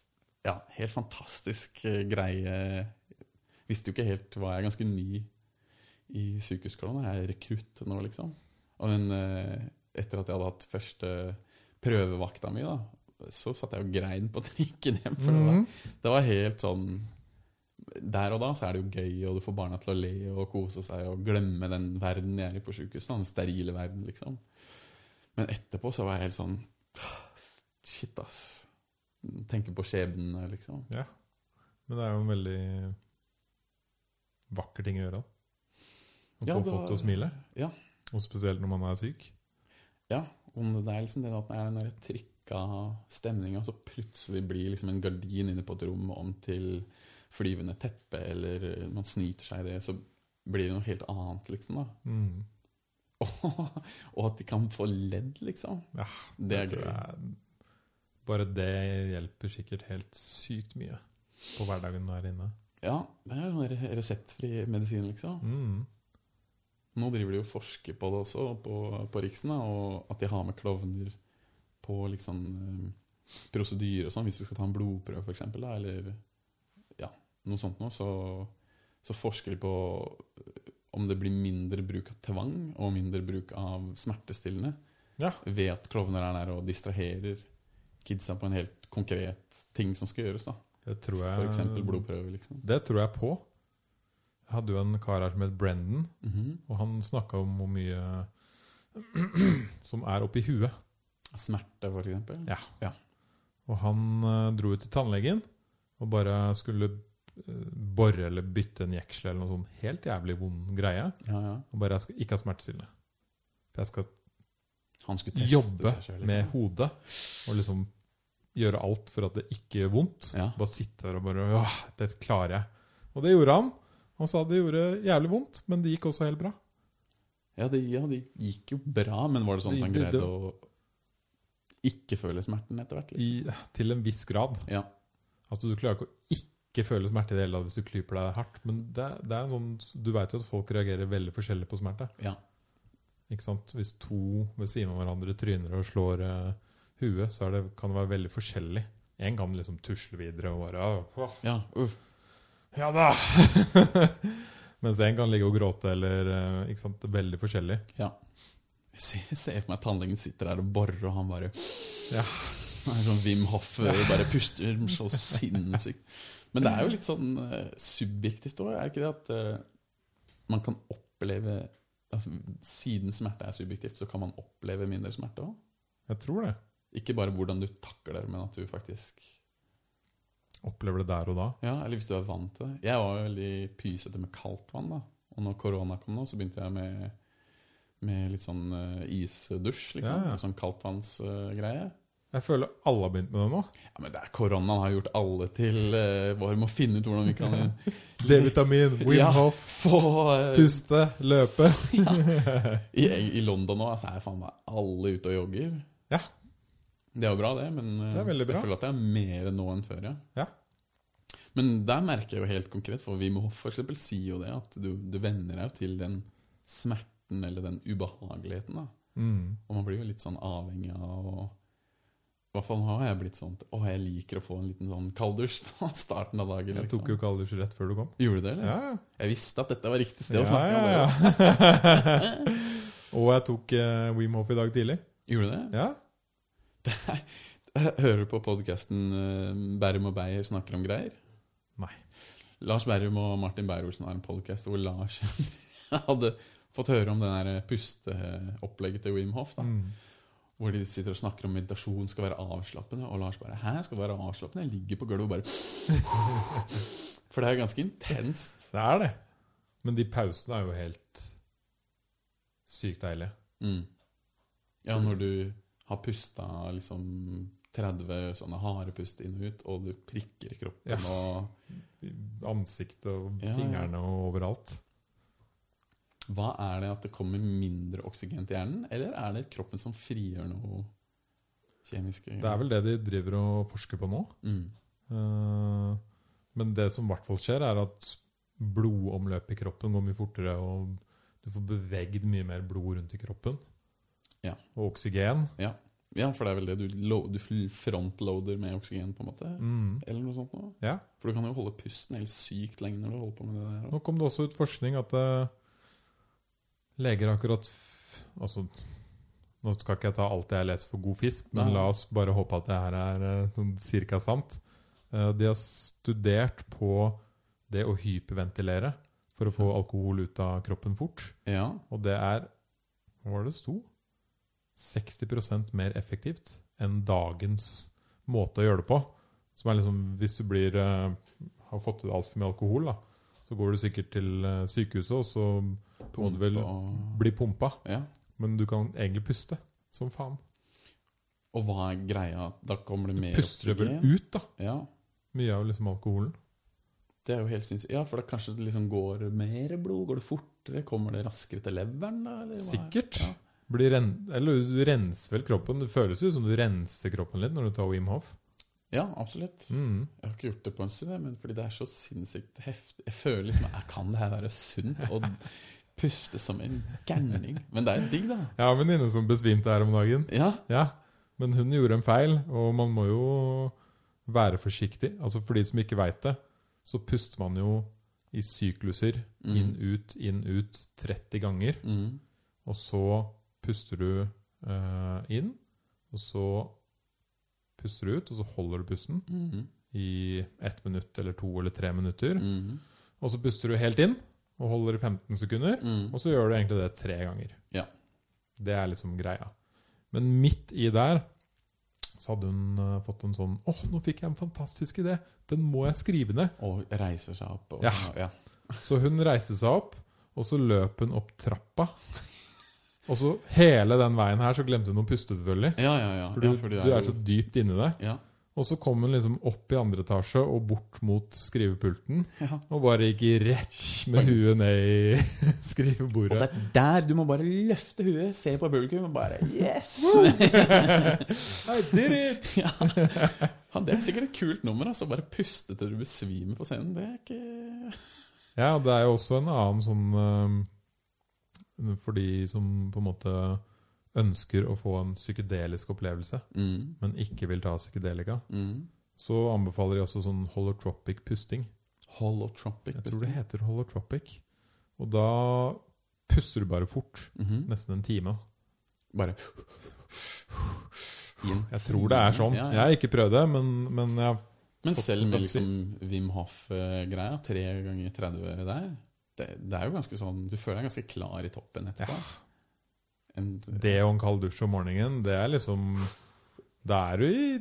S2: ja, helt fantastisk eh, greie. Visste jo ikke helt hva jeg er ganske ny i sykehusklovn. Jeg er rekrutt nå, liksom. Og den, eh, etter at jeg hadde hatt første prøvevakta mi, da, så satt jeg og grein på trikken hjem. For det,
S1: Mhm.
S2: var, det var helt sånn Der og da så er det jo gøy, og du får barna til å le og kose seg og glemme den verden jeg er i på sykehuset. Den sterile verden, liksom. Men etterpå så var jeg helt sånn Shit, ass. tenker på skjebnene, liksom.
S1: Men det er jo en veldig vakker ting å gjøre. Å
S2: Ja,
S1: få
S2: det
S1: folk
S2: var-
S1: til å smile.
S2: ja.
S1: Og spesielt når man er syk.
S2: Om det er liksom det at det er den der trykka stemninga, så plutselig blir liksom en gardin inne på et rom om til flyvende teppe, eller man snyter seg i det, så blir det noe helt annet, liksom. da.
S1: Mm.
S2: Og at de kan få ledd, liksom.
S1: Ja,
S2: det er
S1: tror
S2: gøy.
S1: jeg er- Bare det hjelper sikkert helt sykt mye på hverdagen der inne.
S2: Ja, det er sånn re- reseptfri medisin, liksom.
S1: Mm.
S2: Nå driver de jo og forsker på det også, på, på Riksen, da, og at de har med klovner på liksom eh, prosedyrer og sånn, hvis du skal ta en blodprøve, for eksempel, da, eller ja, noe sånt noe, så, så forsker de på eh, om det blir mindre bruk av tvang og mindre bruk av smertestillende
S1: Ja.
S2: ved at klovner er der og distraherer kidsa på en helt konkret ting som skal gjøres, da.
S1: Det tror jeg
S2: For eksempel blodprøve, liksom.
S1: Det tror jeg på. Jeg hadde jo en kar her som het Brendan,
S2: Mhm.
S1: og han snakka om hvor mye som er oppi huet.
S2: Smerte, for eksempel.
S1: Ja. Og han eh, dro ut til tannlegen og bare skulle eh, bore eller bytte en jeksel eller noe sånn helt jævlig vond greie.
S2: ja, ja.
S1: Og bare jeg skal ikke ha smertestillende. For jeg skal
S2: Han skulle teste
S1: jobbe
S2: seg selv, liksom.
S1: med hodet og liksom gjøre alt for at det ikke gjør vondt.
S2: Ja.
S1: Bare sitte der og bare Åh, det klarer jeg. Og det gjorde han. Han sa det gjorde jævlig vondt, men det gikk også helt bra.
S2: Ja, det, ja, det gikk jo bra, men var det sånn at han
S1: Det- det-
S2: greide å ikke føle smerten etter hvert?
S1: I, til en viss grad.
S2: Ja.
S1: Altså, du klarer ikke å ikke føle smerte i det hele tatt hvis du klyper deg hardt, men det, det er en sånn Du veit jo at folk reagerer veldig forskjellig på smerte.
S2: Ja.
S1: Ikke sant? Hvis to ved siden av hverandre tryner og slår eh, huet, så er det, kan det være veldig forskjellig. Én kan liksom tusle videre og bare «Åh,
S2: Ja, uff.
S1: Ja da! Mens en kan ligge og gråte eller eh, ikke sant, det er veldig forskjellig.
S2: Jeg ser, ser for meg at tannlegen sitter der og borer, og han bare
S1: Ja.
S2: Han er sånn Wim Hoff, bare puster så sinnssykt. Men det er jo litt sånn eh, subjektivt òg, er det ikke det? At eh, man kan oppleve altså, Siden smerte er subjektivt, så kan man oppleve mindre smerte òg?
S1: Jeg tror det.
S2: Ikke bare hvordan du takler, men at du faktisk
S1: Opplever det der og da.
S2: Ja, eller hvis du er vant til det. Jeg var jo veldig pysete med kaldt vann. da. Og når korona kom nå, så begynte jeg med, med litt sånn eh, isdusj. liksom.
S1: Ja, ja.
S2: Sånn kaldtvannsgreie.
S1: Jeg føler alle har begynt med det nå.
S2: ja, men det er koronaen har gjort alle til eh, bare må finne ut hvordan vi kan
S1: D-vitamin, Wim
S2: Ja.
S1: Hof,
S2: få eh,
S1: puste, løpe.
S2: i, I London nå altså, er faen meg alle ute og jogger.
S1: Ja.
S2: Det er jo bra, det, men eh,
S1: Det er veldig bra.
S2: jeg føler at det er mer nå enn før. Ja.
S1: Ja.
S2: Men der merker jeg jo helt konkret, for Wim Hof for eksempel sier jo det, at du, du venner deg jo til den smerten eller den ubehageligheten. da.
S1: Mm.
S2: Og man blir jo litt sånn avhengig av å I hvert fall nå har jeg blitt sånn at, Å, jeg liker å få en liten sånn kalddusj på starten av dagen. liksom.
S1: Jeg tok jo kalddusj rett før du kom.
S2: Gjorde du det, eller?
S1: Ja, ja.
S2: Jeg visste at dette var riktig sted
S1: Ja,
S2: å snakke om det. da.
S1: ja, ja. Og jeg tok eh, Wim Hof i dag tidlig.
S2: Gjorde du det?
S1: Ja.
S2: Hører du på podkasten Bærum og Beyer snakker om greier?
S1: Nei.
S2: Lars Bærum og Martin Beyer-Olsen har en podkast hvor Lars hadde fått høre om det der eh, pusteopplegget til Wim Hof. Da,
S1: Mm.
S2: Hvor de sitter og snakker om meditasjon skal være avslappende. Og Lars bare 'Hæ, skal det være avslappende?' Jeg ligger på gulvet og bare For det er ganske intenst.
S1: Det er det. Men de pausene er jo helt sykt deilige.
S2: Mm. Ja, når du har pusta liksom 30 sånne harde pust inn og ut, og du prikker i kroppen
S1: Ja.
S2: og
S1: Ansiktet og
S2: Ja, ja.
S1: fingrene og overalt.
S2: Hva er det at det kommer mindre oksygen til hjernen, eller er det kroppen som frigjør noe kjemisk?
S1: Det er vel det de driver og forsker på nå.
S2: mm.
S1: Eh, Men det som i hvert fall skjer, er at blodomløpet i kroppen går mye fortere, og du får bevegd mye mer blod rundt i kroppen.
S2: Ja.
S1: Og oksygen.
S2: Ja, for det er vel det du, lo- du frontloader med oksygen, på en måte?
S1: Mm.
S2: Eller noe sånt noe?
S1: Ja.
S2: For du kan jo holde pusten helt sykt lenge når du holder på med det der.
S1: Nå kom det også ut forskning at eh, leger akkurat f- Altså, nå skal ikke jeg ta alt det jeg leser for god fisk, men
S2: Nei.
S1: la oss bare håpe at det her er eh, sånn cirka sant. Eh, de har studert på det å hyperventilere for å få alkohol ut av kroppen fort.
S2: Ja,
S1: Og det er Hva var det det sto? 60 mer effektivt enn dagens måte å gjøre det på. Som er liksom Hvis du blir eh, har fått i deg altfor mye alkohol, da, så går du sikkert til eh, sykehuset, og så Må du vel
S2: og,
S1: blir pumpa.
S2: ja.
S1: Men du kan egentlig puste som faen.
S2: og hva er greia? Da kommer det
S1: Du
S2: mer
S1: puster det vel
S2: oksygen?
S1: ut, da.
S2: Ja,
S1: Mye av liksom alkoholen.
S2: det er jo helt sinnssykt. Ja, for da kanskje det liksom går mer blod? Går det fortere? Kommer det raskere til leveren, da? Eller hva er-
S1: Sikkert.
S2: Ja.
S1: Blir ren, eller du renser vel kroppen. Det føles jo som du renser kroppen litt når du tar Wim Hof.
S2: ja, absolutt.
S1: Mm.
S2: Jeg har ikke gjort det på en stund, jeg, men fordi det er så sinnssykt heftig. Jeg føler liksom jeg Kan det her være sunt? Å puste som en gærning? Men det er digg, da.
S1: Jeg har en venninne som besvimte her om dagen.
S2: Ja.
S1: Ja, men hun gjorde en feil, og man må jo være forsiktig. Altså For de som ikke veit det, så puster man jo i sykluser
S2: Mm.
S1: inn, ut, inn, ut 30 ganger.
S2: Mm.
S1: Og så puster du eh, inn, og så puster du ut, og så holder du pusten
S2: Mhm.
S1: i ett minutt eller to eller tre minutter.
S2: Mhm.
S1: Og så puster du helt inn og holder i 15 sekunder.
S2: Mhm.
S1: Og så gjør du egentlig det tre ganger.
S2: Ja.
S1: Det er liksom greia. Men midt i der så hadde hun eh, fått en sånn Åh, nå fikk jeg en fantastisk idé! Den må jeg skrive ned!
S2: Og reiser seg opp. Og,
S1: Ja.
S2: ja.
S1: Så hun reiste seg opp, og så løp hun opp trappa. Og så hele den veien her så glemte hun å puste, selvfølgelig.
S2: Ja, ja, ja.
S1: For du,
S2: ja, for
S1: du er så dypt inni deg.
S2: ja.
S1: Og så kom hun liksom opp i andre etasje og bort mot skrivepulten.
S2: ja.
S1: Og bare gikk rett med huet ned i
S2: Og det
S1: skrivebordet.
S2: er der du må bare løfte huet, se på publikum og bare Yes!
S1: I did it!
S2: ja. Ja, det er sikkert et kult nummer. altså Bare puste til du besvimer på scenen. Det er ikke
S1: Ja, det er jo også en annen sånn øhm, For de som på en måte ønsker å få en psykedelisk opplevelse,
S2: mm.
S1: men ikke vil ta psykedelika,
S2: Mm.
S1: så anbefaler de også sånn holotropic pusting.
S2: Holotropic.
S1: Jeg tror det heter holotropic. Og da puster du bare fort.
S2: Mhm.
S1: Nesten en time.
S2: Bare inn.
S1: Jeg tror det er sånn.
S2: Ja,
S1: Jeg
S2: ja.
S1: har ikke prøvd det, men, men jeg,
S2: Men
S1: fått
S2: selv med
S1: noen
S2: liksom Wim Hof-greia, tre ganger 30 der, det, det er jo ganske sånn Du føler deg ganske klar i toppen etterpå. En-
S1: det og en kald dusj om morgenen, det er liksom Da er du i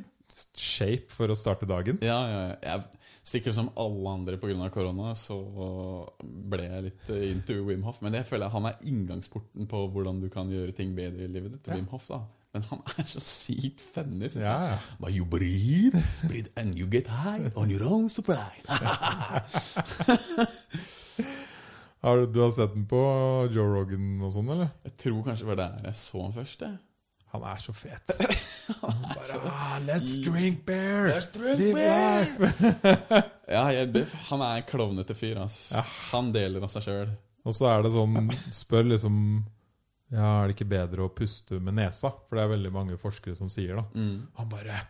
S1: shape for å starte dagen.
S2: Ja, ja, ja. jeg, sikkert som alle andre pga. korona, så ble jeg litt eh, into Wim Hof. Men jeg føler han er inngangsporten på hvordan du kan gjøre ting bedre i livet ditt. til
S1: Ja.
S2: Wim Hof da. Men han er så sykt funny, syns jeg.
S1: Ja, ja.
S2: But you breathe, breathe and you get high on your own supply.
S1: Har du, du har sett den på Joe Rogan og sånn, eller?
S2: Jeg tror kanskje det var der jeg så han først. jeg.
S1: Han er så fet. Bare, ah, let's drink beer!
S2: Let's drink
S1: Live
S2: beer!»
S1: life!
S2: Ja, jeg, det, Han er en klovnete fyr. ass. Han deler av seg sjøl.
S1: Og så er det sånn Spør liksom Ja, er det ikke bedre å puste med nesa? For det er veldig mange forskere som sier da.
S2: Mm.
S1: Han bare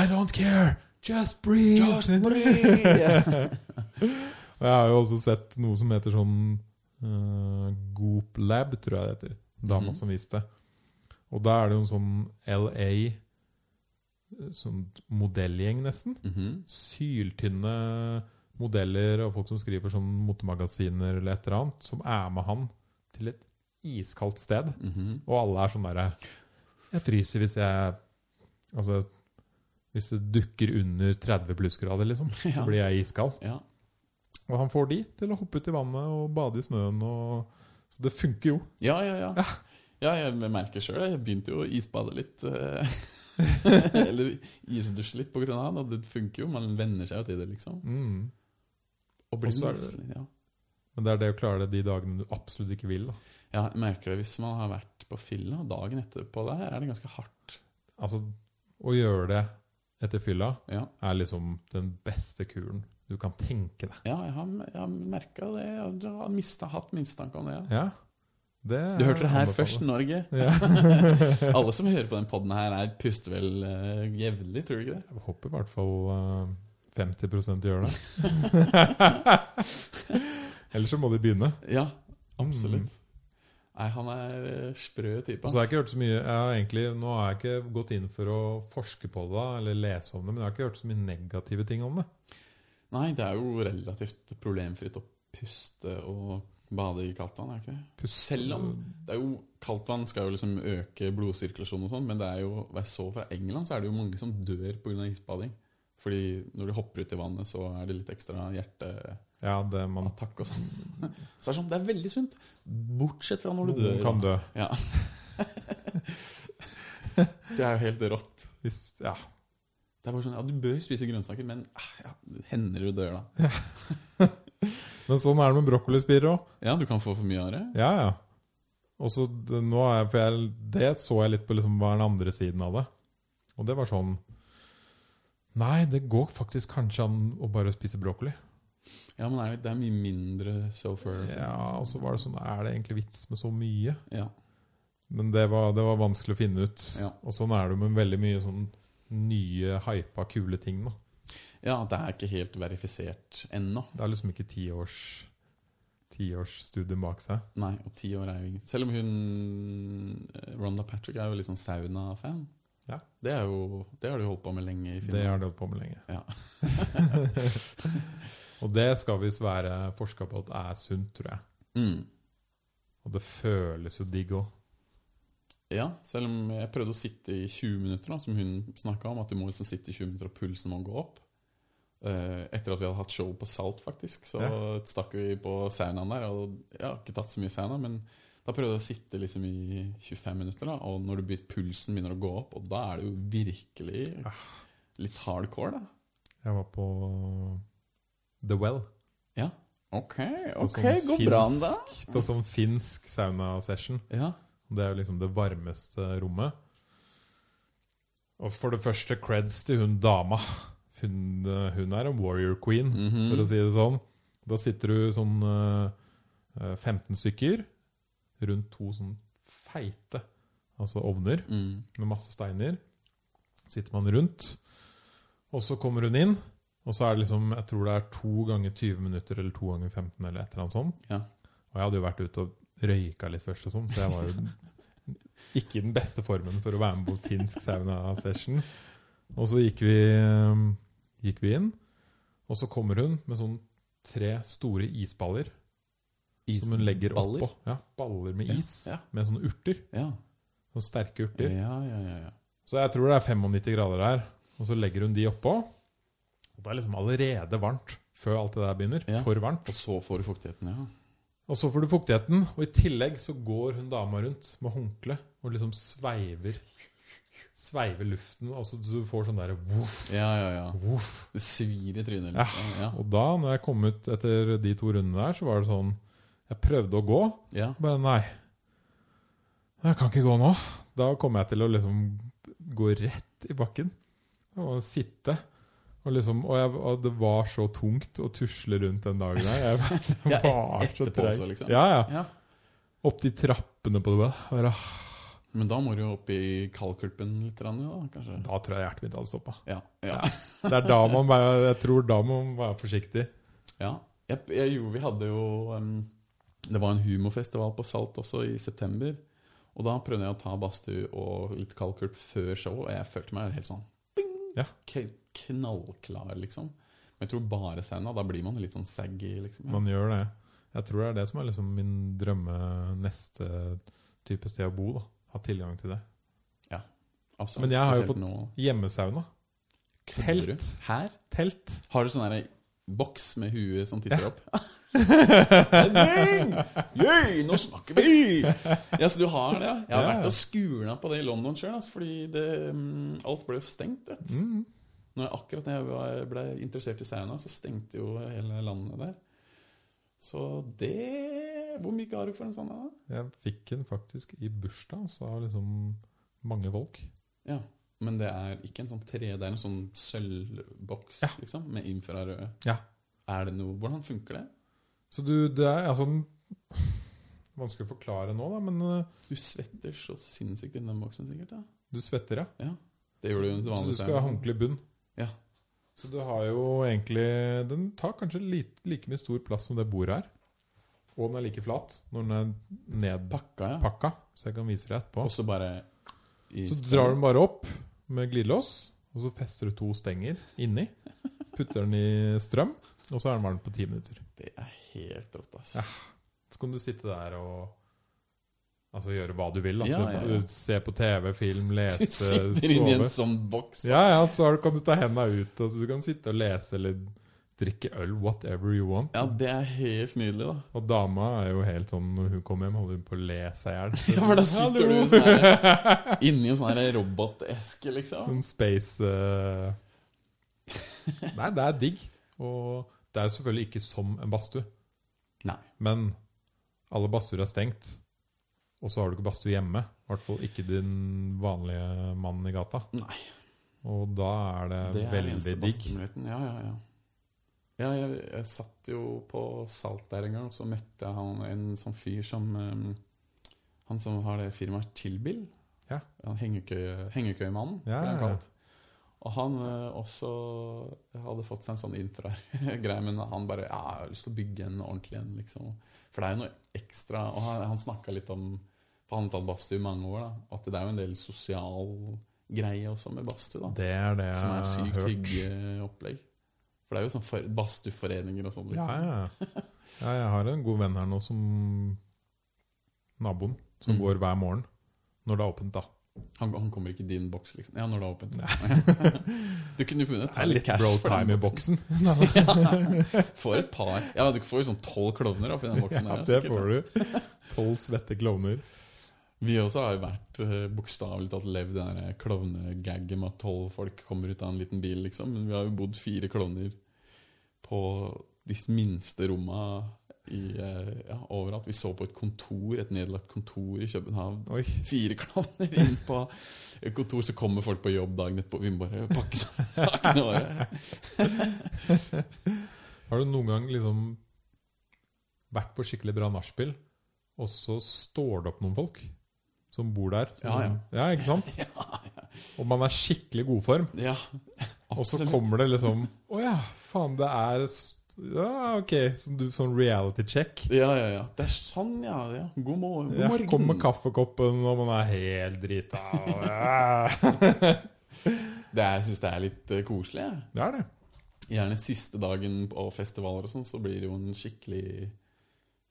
S1: I don't care! Just breathe! Og jeg har jo også sett noe som heter sånn uh, Goop Lab, tror jeg det heter. Dama
S2: Mhm.
S1: som viste det. Og da er det jo en sånn LA eh, sånn modellgjeng, nesten.
S2: Mhm.
S1: Syltynne modeller og folk som skriver sånn motemagasiner eller et eller annet, som er med han til et iskaldt sted.
S2: Mhm.
S1: Og alle er sånn derre Jeg fryser hvis jeg Altså hvis det dukker under 30 plussgrader, liksom, så
S2: Ja.
S1: blir jeg iskald.
S2: Ja.
S1: Og han får de til å hoppe ut i vannet og bade i snøen. Og... Så det funker jo.
S2: Ja, ja, ja. ja, jeg merker sjøl Jeg begynte jo å isbade litt. eh, Eller isdusje litt på grunn av han, og det funker jo. Man venner seg jo til det, liksom.
S1: Mm.
S2: Og blir
S1: så er
S2: nesten- ja.
S1: Men det er det å klare det de dagene du absolutt ikke vil. Da.
S2: ja, jeg merker det hvis man har vært på fylla, og dagen etterpå der er det ganske hardt.
S1: Altså, å gjøre det etter fylla
S2: Ja,
S1: er liksom den beste kuren du kan tenke deg.
S2: ja jeg har, jeg har merka det. Jeg har mista, hatt mistanke om det. Ja.
S1: Ja. Det
S2: Du hørte det her
S1: anbefales.
S2: først, Norge.
S1: Ja.
S2: Alle som hører på den podden her, er, puster vel eh, jevnlig, tror du ikke det?
S1: Jeg håper i hvert fall eh, 50 gjør det. Ellers så må de begynne.
S2: Ja, Mm. absolutt. Nei, han er eh, sprø type.
S1: Og så har jeg ikke hørt så mye jeg har egentlig, Nå har jeg ikke gått inn for å forske på det eller lese om det, men jeg har ikke hørt så mye negative ting om det.
S2: Nei, det er jo relativt problemfritt å puste og bade i kaldt vann, er det ikke det? Selv om det er jo, Kaldt vann skal jo liksom øke blodsirkulasjonen og sånn, men det er jo, hva jeg så fra England, så er det jo mange som dør pga. isbading. Fordi når de hopper ut i vannet, så er det litt ekstra hjerteattakk
S1: Ja, det man
S2: og sånn. Så det er sånn, det er veldig sunt. Bortsett fra når du
S1: Noen
S2: dør.
S1: kan dø.
S2: Ja. det er jo helt rått.
S1: Hvis, ja.
S2: Det er bare sånn, ja, Du bør spise grønnsaker, men eh, ja, hender det du dør, da?
S1: Men sånn er det med brokkolispirer òg.
S2: Ja, du kan få for mye av det.
S1: Ja, ja. Og så d- nå er jeg, for jeg, Det så jeg litt på liksom, hva er den andre siden av det. Og det var sånn Nei, det går faktisk kanskje an å bare spise brokkoli.
S2: Ja, men det er, det er mye mindre sulfur.
S1: Ja, Og så var det sånn Er det egentlig vits med så mye?
S2: Ja.
S1: Men det var, det var vanskelig å finne ut.
S2: Ja.
S1: Og sånn er det jo med veldig mye sånn nye, hypa, kule ting. Da.
S2: ja, det er ikke helt verifisert ennå.
S1: Det er liksom ikke tiårs tiårsstudium bak seg.
S2: Nei, og ti år er jo ingen Selv om hun eh, Rhonda Patrick er jo litt sånn sauna-fan.
S1: Ja.
S2: Det, er jo, det har du holdt på med lenge i
S1: Det har
S2: Finland.
S1: de holdt på med lenge.
S2: Ja.
S1: og det skal visst være forska på at er sunt, tror jeg.
S2: Mm.
S1: Og det føles jo digg òg.
S2: ja, selv om jeg prøvde å sitte i 20 minutter, da, som hun snakka om, at du må liksom sitte i 20 minutter og pulsen må gå opp. Eh, etter at vi hadde hatt show på Salt, faktisk, så stakk vi på saunaen der. Og jeg har ikke tatt så mye sauna, men da prøvde jeg å sitte liksom i 25 minutter, da, og når du be- pulsen begynner å gå opp, og da er det jo virkelig
S1: Ah.
S2: litt hardcore, da.
S1: Jeg var på The Well.
S2: Ok,
S1: på
S2: ok,
S1: sånn
S2: går bra
S1: finsk-
S2: da.
S1: På sånn finsk sauna-session.
S2: Ja.
S1: Det er jo liksom det varmeste rommet. Og for det første creds til hun dama. Hun, eh, hun er en warrior queen,
S2: Mhm.
S1: for å si det sånn. Da sitter du sånn eh, eh, 15 stykker rundt to sånn feite altså ovner
S2: Mm.
S1: med masse steiner. Sitter man rundt, og så kommer hun inn. Og så er det liksom, jeg tror det er to ganger 20 minutter eller to ganger 15 eller et eller annet sånt.
S2: Ja.
S1: Og jeg hadde jo vært ute og røyka litt først og sånn, så jeg var jo ikke i den beste formen for å være med på finsk sauna-session. Og så gikk vi, eh, gikk vi inn, og så kommer hun med sånn tre store isballer som hun legger
S2: Baller?
S1: oppå. Ja, baller med
S2: Ja,
S1: is,
S2: ja.
S1: med sånne urter.
S2: Ja.
S1: Sånne sterke
S2: Ja,
S1: urter.
S2: ja, ja, ja.
S1: Så jeg tror det er 95 grader her, og så legger hun de oppå. Og det er liksom allerede varmt før alt det der begynner.
S2: Ja.
S1: For varmt.
S2: Og så får du fuktigheten, ja.
S1: Og så får du fuktigheten, og i tillegg så går hun dama rundt med håndkle og liksom sveiver Sveiver luften, altså du får sånn derre voff,
S2: Ja, ja, ja.
S1: voff.
S2: Det svir i trynet litt.
S1: Ja.
S2: Ja.
S1: Og da, når jeg kom ut etter de to rundene der, så var det sånn Jeg prøvde å gå,
S2: ja.
S1: bare nei. Jeg kan ikke gå nå. Da kommer jeg til å liksom gå rett i bakken og sitte. Og, liksom, og, jeg, og det var så tungt å tusle rundt den dagen der. Jeg var
S2: Ja, et-
S1: så
S2: etterpå
S1: treig.
S2: også, liksom.
S1: Ja, ja.
S2: Ja. ja.
S1: Opp de trappene på det bare. bare, ah,
S2: Men da må du jo opp i kaldkulpen litt, grann, jo da, kanskje?
S1: Da tror jeg hjertet mitt hadde stoppa.
S2: Ja. ja.
S1: Det er da man bare, jeg tror da må man være forsiktig.
S2: ja. Jeg, jeg, jo, vi hadde jo em, Det var en humorfestival på Salt også i september. Og da prøvde jeg å ta badstue og litt kaldkulp før showet, og jeg følte meg helt sånn bing,
S1: Ja.
S2: k- knallklar, liksom. Men jeg tror bare sauna, da blir man litt sånn saggy, liksom. Ja.
S1: Man gjør det. Jeg tror det er det som er liksom min drømme neste type sted å bo. da. Ha tilgang til det.
S2: Absolutt,
S1: Men jeg har jo
S2: spesielt
S1: fått
S2: nå.
S1: Hjemmesauna.
S2: Kødder du?
S1: Telt.
S2: Her?
S1: Telt.
S2: Har du sånn der boks med huet som titter opp?
S1: ja,
S2: Henning! Yay, nå snakker vi! Ja, så du har det, ja. Jeg har
S1: Ja, ja.
S2: vært og skula på det i London sjøl, altså, fordi det, mm, alt ble jo stengt. vet du.
S1: Mm.
S2: Når jeg, akkurat da jeg var- ble interessert i sauna, så stengte jo hele landet der. Så det Hvor mye ga du for en sånn? da?
S1: Jeg fikk den faktisk i bursdag, så av liksom mange folk.
S2: Ja, Men det er ikke en sånn tre, det er en sånn sølvboks liksom, med infrarøde.
S1: Ja.
S2: Er det noe, Hvordan funker det?
S1: Så du, det er altså den- Vanskelig å forklare nå, da, men eh,
S2: Du svetter så sinnssykt inni den boksen, sikkert. da.
S1: du svetter, ja.
S2: Det gjør du jo i en
S1: Så du
S2: vanlig
S1: skal ha håndkle i bunn.
S2: Ja.
S1: Så du har jo egentlig Den tar kanskje like, like mye stor plass som det bordet her. Og den er like flat når den er nedpakka,
S2: Pakka, ja.
S1: så jeg kan vise deg etterpå.
S2: Og så bare i
S1: Så drar du den bare opp med glidelås, og så fester du to stenger inni. Putter den i strøm, og så er den varm på ti minutter.
S2: Det er helt rått, ass.
S1: Ja. Så kan du sitte der og Altså gjøre hva du vil. Altså,
S2: Ja, ja, ja.
S1: Se på TV, film,
S2: Du
S1: lese,
S2: sitter
S1: sove.
S2: inni en sånn boks.
S1: eh, Ja, ja, så har du- kan du ta henda ut, og så du kan sitte og lese eller drikke øl, whatever you want.
S2: Ja, det er helt nydelig, da.
S1: Og dama er jo helt sånn Når hun kommer hjem, holder hun på å le seg i hjel.
S2: Ja, for da sitter du sånn her, inni en sånn her roboteske, liksom.
S1: Sånn space eh. Nei, det er digg. Og det er jo selvfølgelig ikke som en badstue.
S2: Nei.
S1: Men alle badstuer er stengt. Og så har du ikke badstue hjemme. I hvert fall ikke din vanlige mann i gata.
S2: Nei.
S1: Og da er det,
S2: Det er
S1: veldig
S2: eneste
S1: digg.
S2: badstuenheten. Ja, ja, ja. Ja, jeg, jeg satt jo på Salt der en gang, og så møtte jeg han en sånn fyr som eh, Han som har det firmaet Chillbil.
S1: Ja.
S2: Han Hengekøye- Hengekøyemannen,
S1: Ja,
S2: ble
S1: ja,
S2: han
S1: ja.
S2: kalt. Og han eh, også hadde fått seg en sånn infragreie, men han bare ja, 'Jeg har lyst til å bygge en ordentlig en', liksom. For det er jo noe ekstra Og han, han snakka litt om For han har tatt badstue i mange år, da. At det er jo en del sosial greie også med badstue, da.
S1: Det er det jeg
S2: Som er
S1: har
S2: sykt
S1: hørt.
S2: hyggeopplegg. For det er jo sånn for- badstueforeninger og sånn.
S1: Ja,
S2: Liksom.
S1: ja. ja, jeg har en god venn her nå som Naboen. Som
S2: Mm.
S1: går hver morgen når det er åpent, da.
S2: Han, han kommer ikke i din boks, liksom. Ja, når det er åpent.
S1: Nei.
S2: Du kunne funnet
S1: Det er litt bro time i boksen.
S2: ja, får et par. Ja, du får jo sånn tolv klovner da, for den boksen.
S1: Ja,
S2: der,
S1: det
S2: sikkert.
S1: får du. Tolv svette klovner.
S2: Vi også har jo vært eh, bokstavelig talt levd det der klovnegagget med at tolv folk kommer ut av en liten bil, liksom. Men vi har jo bodd fire klovner på de minste romma i, eh, ja, overalt. Vi så på et kontor, et nedlagt kontor i København.
S1: Oi.
S2: Fire klovner inn på et kontor, så kommer folk på jobb dagen etterpå. Vi må bare pakke sammen sakene våre.
S1: Har du noen gang liksom vært på skikkelig bra nachspiel, og så står det opp noen folk som bor der? som-
S2: Ja, ja.
S1: ikke sant? Og man er skikkelig god form,
S2: Ja,
S1: og så
S2: absolutt.
S1: kommer det liksom Å ja, faen, det er s- ja, ok, sånn, du, sånn reality check.
S2: Ja, ja, ja. Det er sånn, ja. ja. God, mor god
S1: Ja,
S2: morgen.
S1: kom med kaffekoppen, og man er helt drita. og Ja.
S2: Det er, jeg syns det er litt eh, koselig, jeg.
S1: Det er det.
S2: Gjerne siste dagen på festivaler og sånn, så blir det jo en skikkelig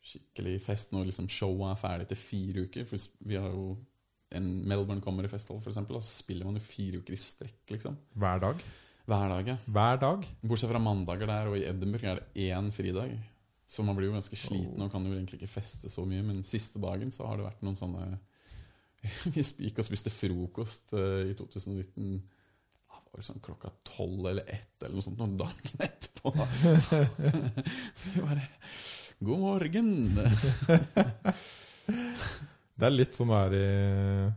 S2: Skikkelig fest når liksom showet er ferdig etter fire uker. For vi har jo en Melbourne Comedy Festival, for eksempel, og så spiller man jo fire uker i strekk, liksom.
S1: Hver dag.
S2: Hver dag, ja.
S1: Hver dag.
S2: Bortsett fra mandager der, og i Edinburgh er det én fridag. Så man blir jo ganske sliten
S1: Oh.
S2: og kan jo egentlig ikke feste så mye. Men siste dagen så har det vært noen sånne Vi gikk og spiste frokost eh, i 2019. Ja, Det var vel sånn klokka tolv eller ett eller noe sånt noen dagen etterpå. Vi bare God morgen!
S1: Det er litt sånn det er i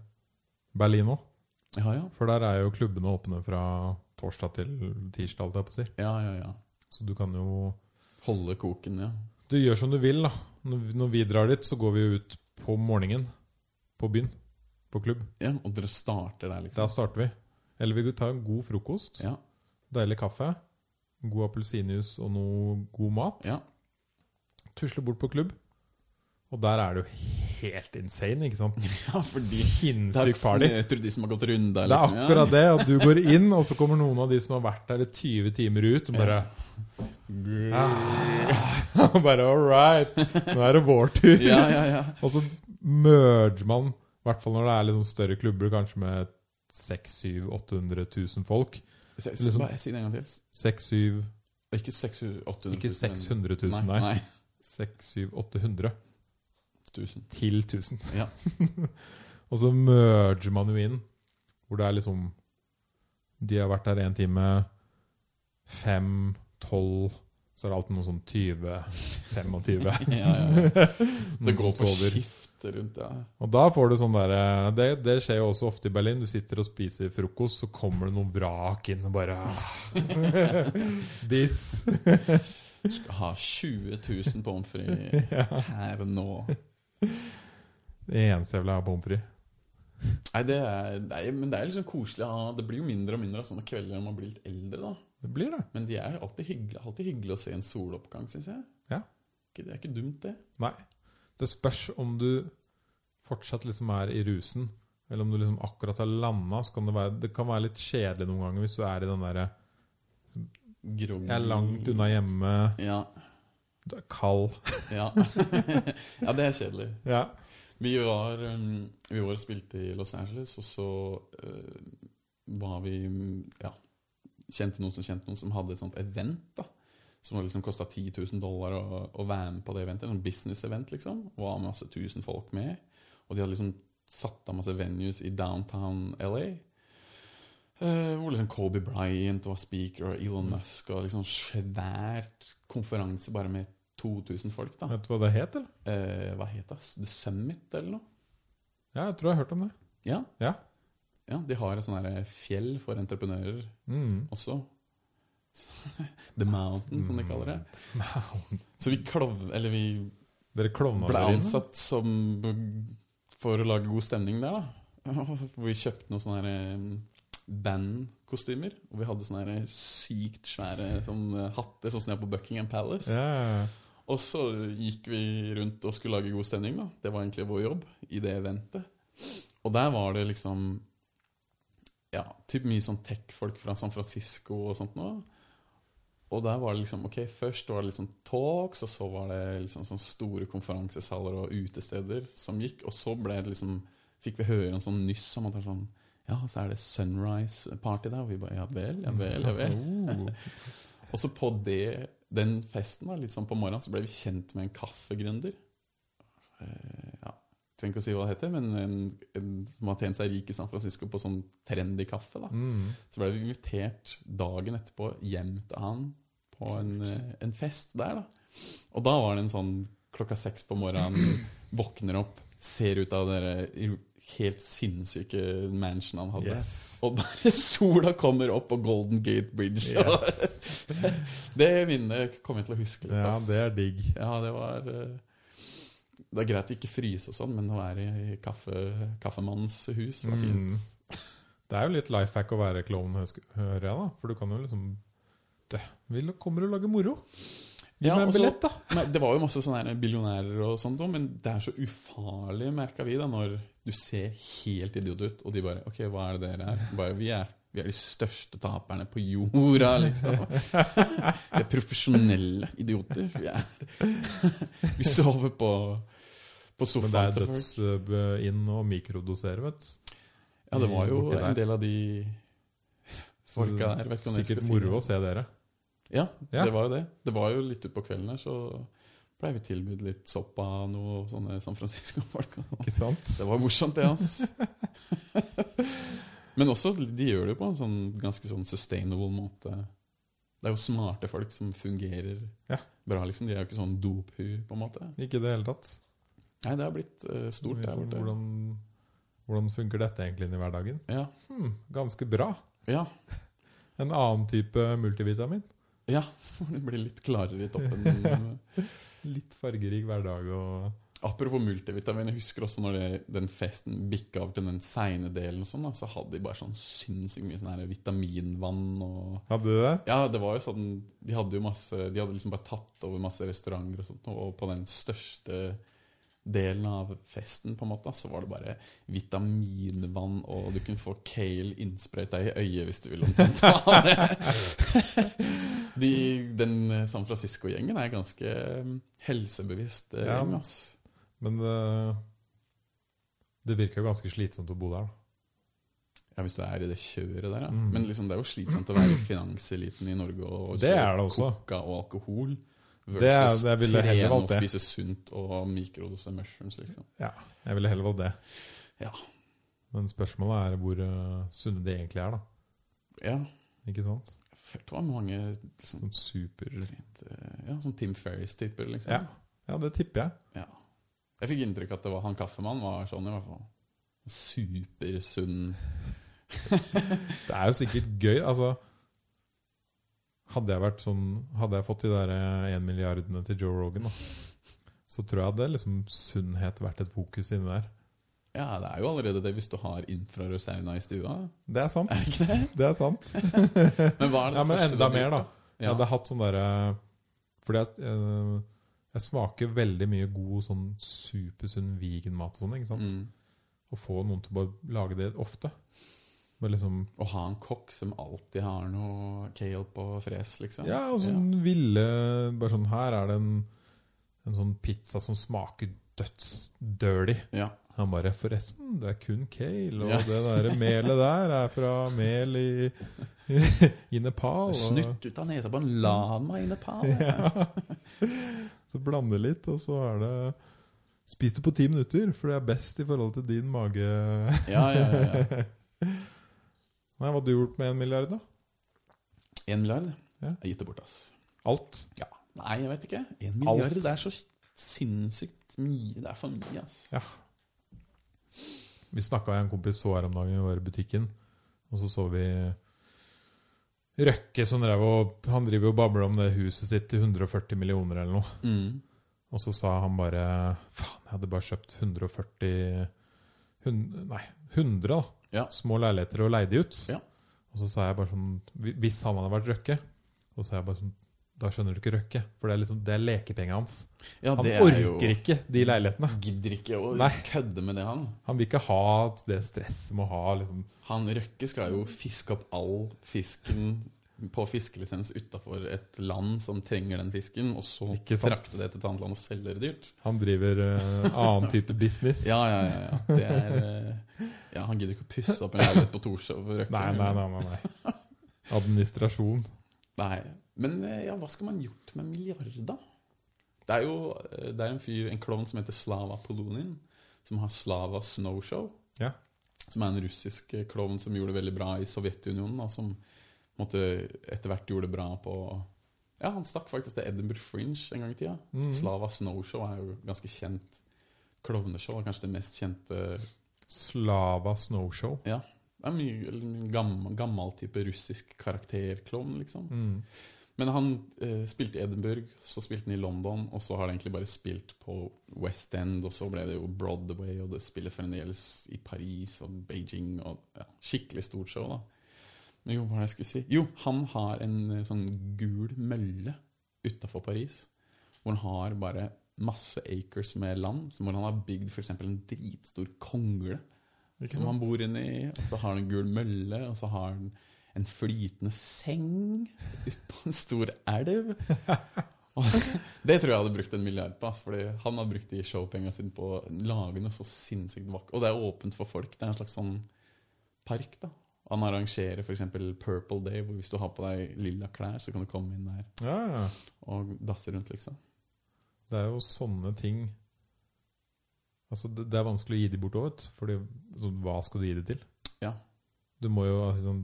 S1: Berlin òg.
S2: Ja, ja.
S1: For der er jo klubbene åpne fra torsdag til tirsdag, alt jeg på å si.
S2: Ja, ja, ja.
S1: Så du kan jo
S2: Holde koken, ja.
S1: Du gjør som du vil, da. Når når vi drar dit, så går vi jo ut på morgenen. På byen. På klubb.
S2: ja. Og dere starter der,
S1: Der
S2: liksom.
S1: starter vi. Eller vi tar en god frokost.
S2: Ja,
S1: Deilig kaffe. God appelsinjuice og noe god mat.
S2: ja.
S1: Tusler bort på klubb. Og der er det jo helt insane, ikke sant?
S2: ja fordi det er jo
S1: Sinnssyk
S2: ikke
S1: party.
S2: jeg tror de som har gått runder,
S1: Det er
S2: liksom.
S1: akkurat det. At du går inn, og så kommer noen av de som har vært der i 20 timer ut, og bare
S2: Ja.
S1: ah, Bare all right, nå er det vår tur.
S2: ja, ja, ja.
S1: Og så merger man, i hvert fall når det er litt sånn større klubber, kanskje med 600 000-800 000 folk.
S2: Se- se-
S1: Liksom-
S2: bare si det en gang til.
S1: 6-7
S2: Ikke 600 800
S1: Ikke 600 000,
S2: nei.
S1: nei.
S2: nei.
S1: 6-7-800
S2: 1000.
S1: til 1000.
S2: Ja.
S1: og så merger man jo inn, hvor det er liksom De har vært der én time, fem, tolv Så er det alltid noen sånn 20, 25
S2: Ja, ja, ja. Det
S1: noen
S2: går
S1: som
S2: på
S1: sover.
S2: skift rundt, ja.
S1: Og da får du sånn derre det, det skjer jo også ofte i Berlin. Du sitter og spiser frokost, så kommer det noen vrak inn og bare ah. This.
S2: Skal ha 20 000 pommes frites her og nå.
S1: Det eneste jeg vil ha, er pommes frites.
S2: Nei, det er, nei, men det er liksom koselig. å ha- Det blir jo mindre og mindre av sånne kvelder når man blir litt eldre. da.
S1: Det blir det.
S2: Men de er jo alltid hyggelig, alltid hyggelig å se en soloppgang, syns jeg.
S1: Ja.
S2: Ikke- Det er ikke dumt, det.
S1: Nei. Det spørs om du fortsatt liksom er i rusen, eller om du liksom akkurat har landa. Så kan det være Det kan være litt kjedelig noen ganger hvis du er i den derre
S2: Groggy.
S1: Jeg er langt unna hjemme,
S2: Ja.
S1: du er kald
S2: Ja. ja, det er kjedelig.
S1: Ja.
S2: Vi var, um, vi var og spilte i Los Angeles, og så eh, var vi mm, ja, kjente noen som kjente noen som hadde et sånt event. da, Som var liksom kosta 10 000 dollar å, å være med på det eventet. En sånn business-event, liksom. Og var masse tusen folk med. Og de hadde liksom satt av masse venues i downtown LA. eh, hvor liksom Kobe Bryant var speaker, og Elon Musk og liksom svært konferanse bare med 2000 folk. da.
S1: Vet du hva det het, eller?
S2: Eh, hva het det? The Summit, eller noe?
S1: Ja, jeg tror jeg har hørt om det.
S2: Ja.
S1: Ja.
S2: Ja, De har et sånn her fjell for entreprenører
S1: Mm.
S2: også. The Mountain, som de kaller det. Så vi, klov, eller vi
S1: Dere klovna
S2: ble
S1: dere inn? eller?
S2: ansatt som for å lage god stemning der, da. Hvor vi kjøpte noen sånne her, eh, bandkostymer. Og vi hadde sånne her eh, sykt svære sånne hatter, sånn som de har på Buckingham Palace.
S1: Ja, ja, ja.
S2: Og så gikk vi rundt og skulle lage god stemning. da. Det var egentlig vår jobb i det eventet. Og der var det liksom ja, typ mye sånn tech-folk fra San Francisco og sånt noe. Og der var det liksom, ok, Først var det liksom talks, og så var det liksom sånn store konferansesaler og utesteder som gikk. Og så ble det liksom, fikk vi høre en sånn nyss om at det er sånn Ja, så er det Sunrise-party der. Og vi bare ja vel, ja vel, ja vel.
S1: Oh.
S2: Og så på det, den festen, da, litt sånn på morgenen, så ble vi kjent med en kaffegründer. Eh, ja, trenger ikke å si hva det heter, men en, en som har tjent seg rik i San Francisco på sånn trendy kaffe. da.
S1: Mm.
S2: Så ble vi invitert dagen etterpå hjem til han på en, eh, en fest der. da. Og da var det en sånn klokka seks på morgenen, våkner opp, ser ut av den helt sinnssyke mansion han hadde.
S1: Yes.
S2: Og bare sola kommer opp på Golden Gate Bridge.
S1: Yes.
S2: Det minnet kommer jeg til å huske litt.
S1: Ja,
S2: ass.
S1: det er digg.
S2: ja, det var eh, Det er greit å ikke fryse og sånn, men å være i kaffe, kaffemannens hus
S1: Mm.
S2: var fint.
S1: Det er jo litt life hack å være klovn, hø- hører jeg, da. For du kan jo liksom Dø, vil, kommer du og lager moro? Gi
S2: Ja,
S1: meg
S2: og
S1: en
S2: så-
S1: billett, da!
S2: Men det var jo masse sånne her billionærer og sånt også, men det er så ufarlig, merka vi, da, når du ser helt idiot ut, og de bare OK, hva er det dere er? Bare, vi er vi er de største taperne på jorda, liksom. Vi er profesjonelle idioter. Vi, er. vi sover på, på
S1: Men
S2: sofaen.
S1: det er
S2: til folk.
S1: døds-inn og mikrodosere, vet du.
S2: Ja, det var jo
S1: borti der.
S2: en del av de
S1: Så
S2: folka der. Vet ikke om jeg skal
S1: Sikkert
S2: si
S1: moro
S2: det.
S1: å se dere.
S2: Ja,
S1: Ja.
S2: det var jo det. Det var jo litt utpå kvelden her, så blei vi tilbudt litt sopp av noe sånne San Francisco-folk. og sånn.
S1: Ikke sant?
S2: Det var morsomt, det, altså. Men også, de gjør det jo på en sånn ganske sånn sustainable måte. Det er jo smarte folk som fungerer
S1: Ja.
S2: bra, liksom. De er jo ikke sånn dophu, på en måte.
S1: Ikke i det hele tatt.
S2: Nei, det har blitt eh, stort der borte.
S1: Hvordan, hvordan funker dette egentlig inn i hverdagen?
S2: Ja.
S1: Hmm, ganske bra.
S2: ja.
S1: En annen type multivitamin.
S2: Ja, det blir litt klarere i toppen.
S1: Litt fargerik hverdag og
S2: Apropos multivitamin, jeg husker også når det, den festen bikka over til den seine delen, og sånn da, så hadde de bare sånn sinnssykt mye sånn her vitaminvann og
S1: Hadde du det?
S2: Ja, det var jo sånn De hadde jo masse De hadde liksom bare tatt over masse restauranter og sånt, og på den største delen av festen på en måte, så var det bare vitaminvann, og du kunne få kale innsprøyta i øyet hvis du ville omtrent ha det. De, den San Francisco-gjengen er ganske eh, helsebevisst eh,
S1: Ja.
S2: gjeng, ass.
S1: Men eh, det virker jo ganske slitsomt å bo der. da.
S2: Ja, hvis du er i det kjøret der, ja.
S1: Mm.
S2: Men liksom, det er jo slitsomt å være i finanseliten i Norge og
S1: Det
S2: kjøre
S1: er det også.
S2: coca og alkohol.
S1: Det er-
S2: Versus
S1: jeg ville heller
S2: trene
S1: valgt
S2: og
S1: det.
S2: spise sunt og mikrodose mushrooms, liksom.
S1: Jeg ville heller valgt det.
S2: Ja.
S1: Men spørsmålet er hvor eh, sunne de egentlig er, da.
S2: Ja,
S1: Ikke sant?
S2: jeg følte det var mange liksom,
S1: Sånn super
S2: trent, eh, ja, sånn Tim Ferris-typer, liksom.
S1: Ja. Ja, det tipper jeg.
S2: Ja. Jeg fikk inntrykk at det var han kaffemannen var sånn, i hvert fall. Supersunn.
S1: Det er jo sikkert gøy. Altså Hadde jeg vært sånn Hadde jeg fått de der én milliardene til Joe Rogan, da, så tror jeg hadde liksom sunnhet vært et fokus inni der.
S2: Ja, det er jo allerede det hvis du har infrarød sauna i stua.
S1: Det er sant. Det er sant.
S2: Men hva er det
S1: Ja, men
S2: første du
S1: enda
S2: har
S1: mer,
S2: gjort,
S1: da. Jeg
S2: Ja.
S1: hadde hatt sånn derre Fordi jeg, eh, jeg smaker veldig mye god sånn supersunn vegan-mat og sånn. ikke sant?
S2: Mm.
S1: Å få noen til å bare lage det ofte. Med liksom
S2: Å ha en kokk som alltid har noe kale på fres, liksom.
S1: Ja, og sånn ville Bare sånn Her er det en, en sånn pizza som smaker dødsdirty.
S2: Ja.
S1: Han bare 'Forresten, det er kun kale, og
S2: Ja.
S1: det der melet der er fra mel i, i Nepal'. og-
S2: Snytt ut av nesa på en lama i Nepal. Ja.
S1: Ja. Så blande litt, og så er det Spis det på ti minutter, for det er best i forhold til din mage.
S2: Ja, ja, ja,
S1: Nei, Hva hadde du gjort med en milliard, da?
S2: En milliard?
S1: Ja.
S2: Jeg har gitt det bort, ass.
S1: Alt?
S2: Ja. Nei, jeg vet ikke. En milliard,
S1: Alt.
S2: det er så sinnssykt mye. Det er for mye, ass.
S1: Ja. Vi snakka med en kompis så her om dagen, vi var i butikken, og så så vi Røkke som drev og Han driver og babler om det huset sitt til 140 millioner eller noe.
S2: Mm.
S1: Og så sa han bare Faen, jeg hadde bare kjøpt 140 hun- Nei, 100 da,
S2: Ja.
S1: små leiligheter og leid de ut.
S2: Ja.
S1: Og så sa jeg bare sånn Hvis han hadde vært Røkke, så sa jeg bare sånn Da skjønner du ikke Røkke, for det er liksom, det er lekepengene hans.
S2: Ja,
S1: Han
S2: det
S1: orker
S2: er jo
S1: ikke de leilighetene.
S2: Gidder ikke å
S1: Nei.
S2: kødde med det, han.
S1: Han vil ikke ha det stresset med å ha liksom,
S2: Han Røkke skal jo fiske opp all fisken på fiskelisens utafor et land som trenger den fisken, og så
S1: Ikke sant?
S2: frakte det til et annet land og selge det dyrt.
S1: Han driver eh, annen type business.
S2: Ja, ja, ja. ja. Det er, eh, ja han gidder ikke å pusse opp en leilighet på Torshov. Røkke.
S1: Nei, nei, nei. nei, nei. Administrasjon.
S2: Nei. Men eh, ja, hva skal man gjort med milliarder? Det er jo eh, det er en fyr, en klovn som heter Slava Polonin, som har Slava Snowshow.
S1: Ja.
S2: Som er en russisk eh, klovn som gjorde det veldig bra i Sovjetunionen, og som på en måte, etter hvert gjorde det bra på Ja, han stakk faktisk til Edinburgh Fringe en gang i tida.
S1: Mhm.
S2: Så Slava Snowshow er jo ganske kjent klovneshow. er Kanskje det mest kjente Det
S1: Slava Snowshow.
S2: er mye eller en gammel, gammel type russisk karakterklovn, liksom.
S1: Mm.
S2: Men han eh, spilte i Edinburgh, så spilte han i London, og så har han egentlig bare spilt på West End, og så ble det jo Broadway, og det spiller fremdeles i Paris og Beijing, og ja, skikkelig stort show, da. Men jo, hva var det jeg skulle si? Jo, han har en eh, sånn gul mølle utafor Paris, hvor han har bare masse acres med land, som hvor han har bygd f.eks. en dritstor kongle
S1: Ikke
S2: som
S1: sant?
S2: han bor inni. Og så har han en gul mølle, og så har han en flytende seng på en stor elv. Og det tror jeg hadde brukt en milliard på. ass, Fordi han har brukt de showpenga sine på å lage noe så sinnssykt vakkert. Og det er åpent for folk. Det er en slags sånn park. da Han arrangerer f.eks. Purple Day, hvor hvis du har på deg lilla klær, så kan du komme inn der
S1: Ja, ja.
S2: og dasse rundt, liksom.
S1: Det er jo sånne ting Altså, det, det er vanskelig å gi de bort òg, vet du. Fordi sånn, hva skal du gi det til?
S2: Ja.
S1: Du må jo altså, sånn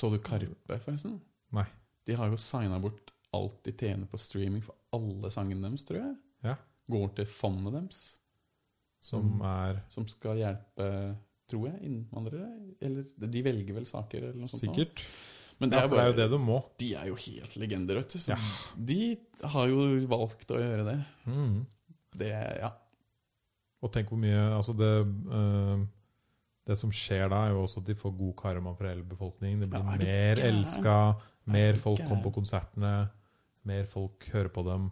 S2: Så du Karpe, forresten?
S1: Nei.
S2: De har jo signa bort alt de tjener på streaming for alle sangene deres, tror jeg.
S1: Ja.
S2: Går til fondet deres,
S1: Som
S2: Mm.
S1: er
S2: som skal hjelpe, tror jeg, innvandrere. Eller de velger vel saker, eller noe sånt. nå.
S1: Sikkert.
S2: Men det
S1: Ja,
S2: er
S1: for det er jo
S2: bare,
S1: det du må.
S2: de er jo helt legender, vet du. Så
S1: Ja.
S2: De har jo valgt å gjøre det.
S1: Mm.
S2: Det, ja.
S1: Og tenk hvor mye Altså, det eh, Det som skjer da, er jo også at de får god karma fra hele befolkningen. Det blir
S2: Ja, er du
S1: mer
S2: gæren?
S1: elska,
S2: Er
S1: mer
S2: du
S1: folk
S2: gæren?
S1: kommer på konsertene, mer folk hører på dem.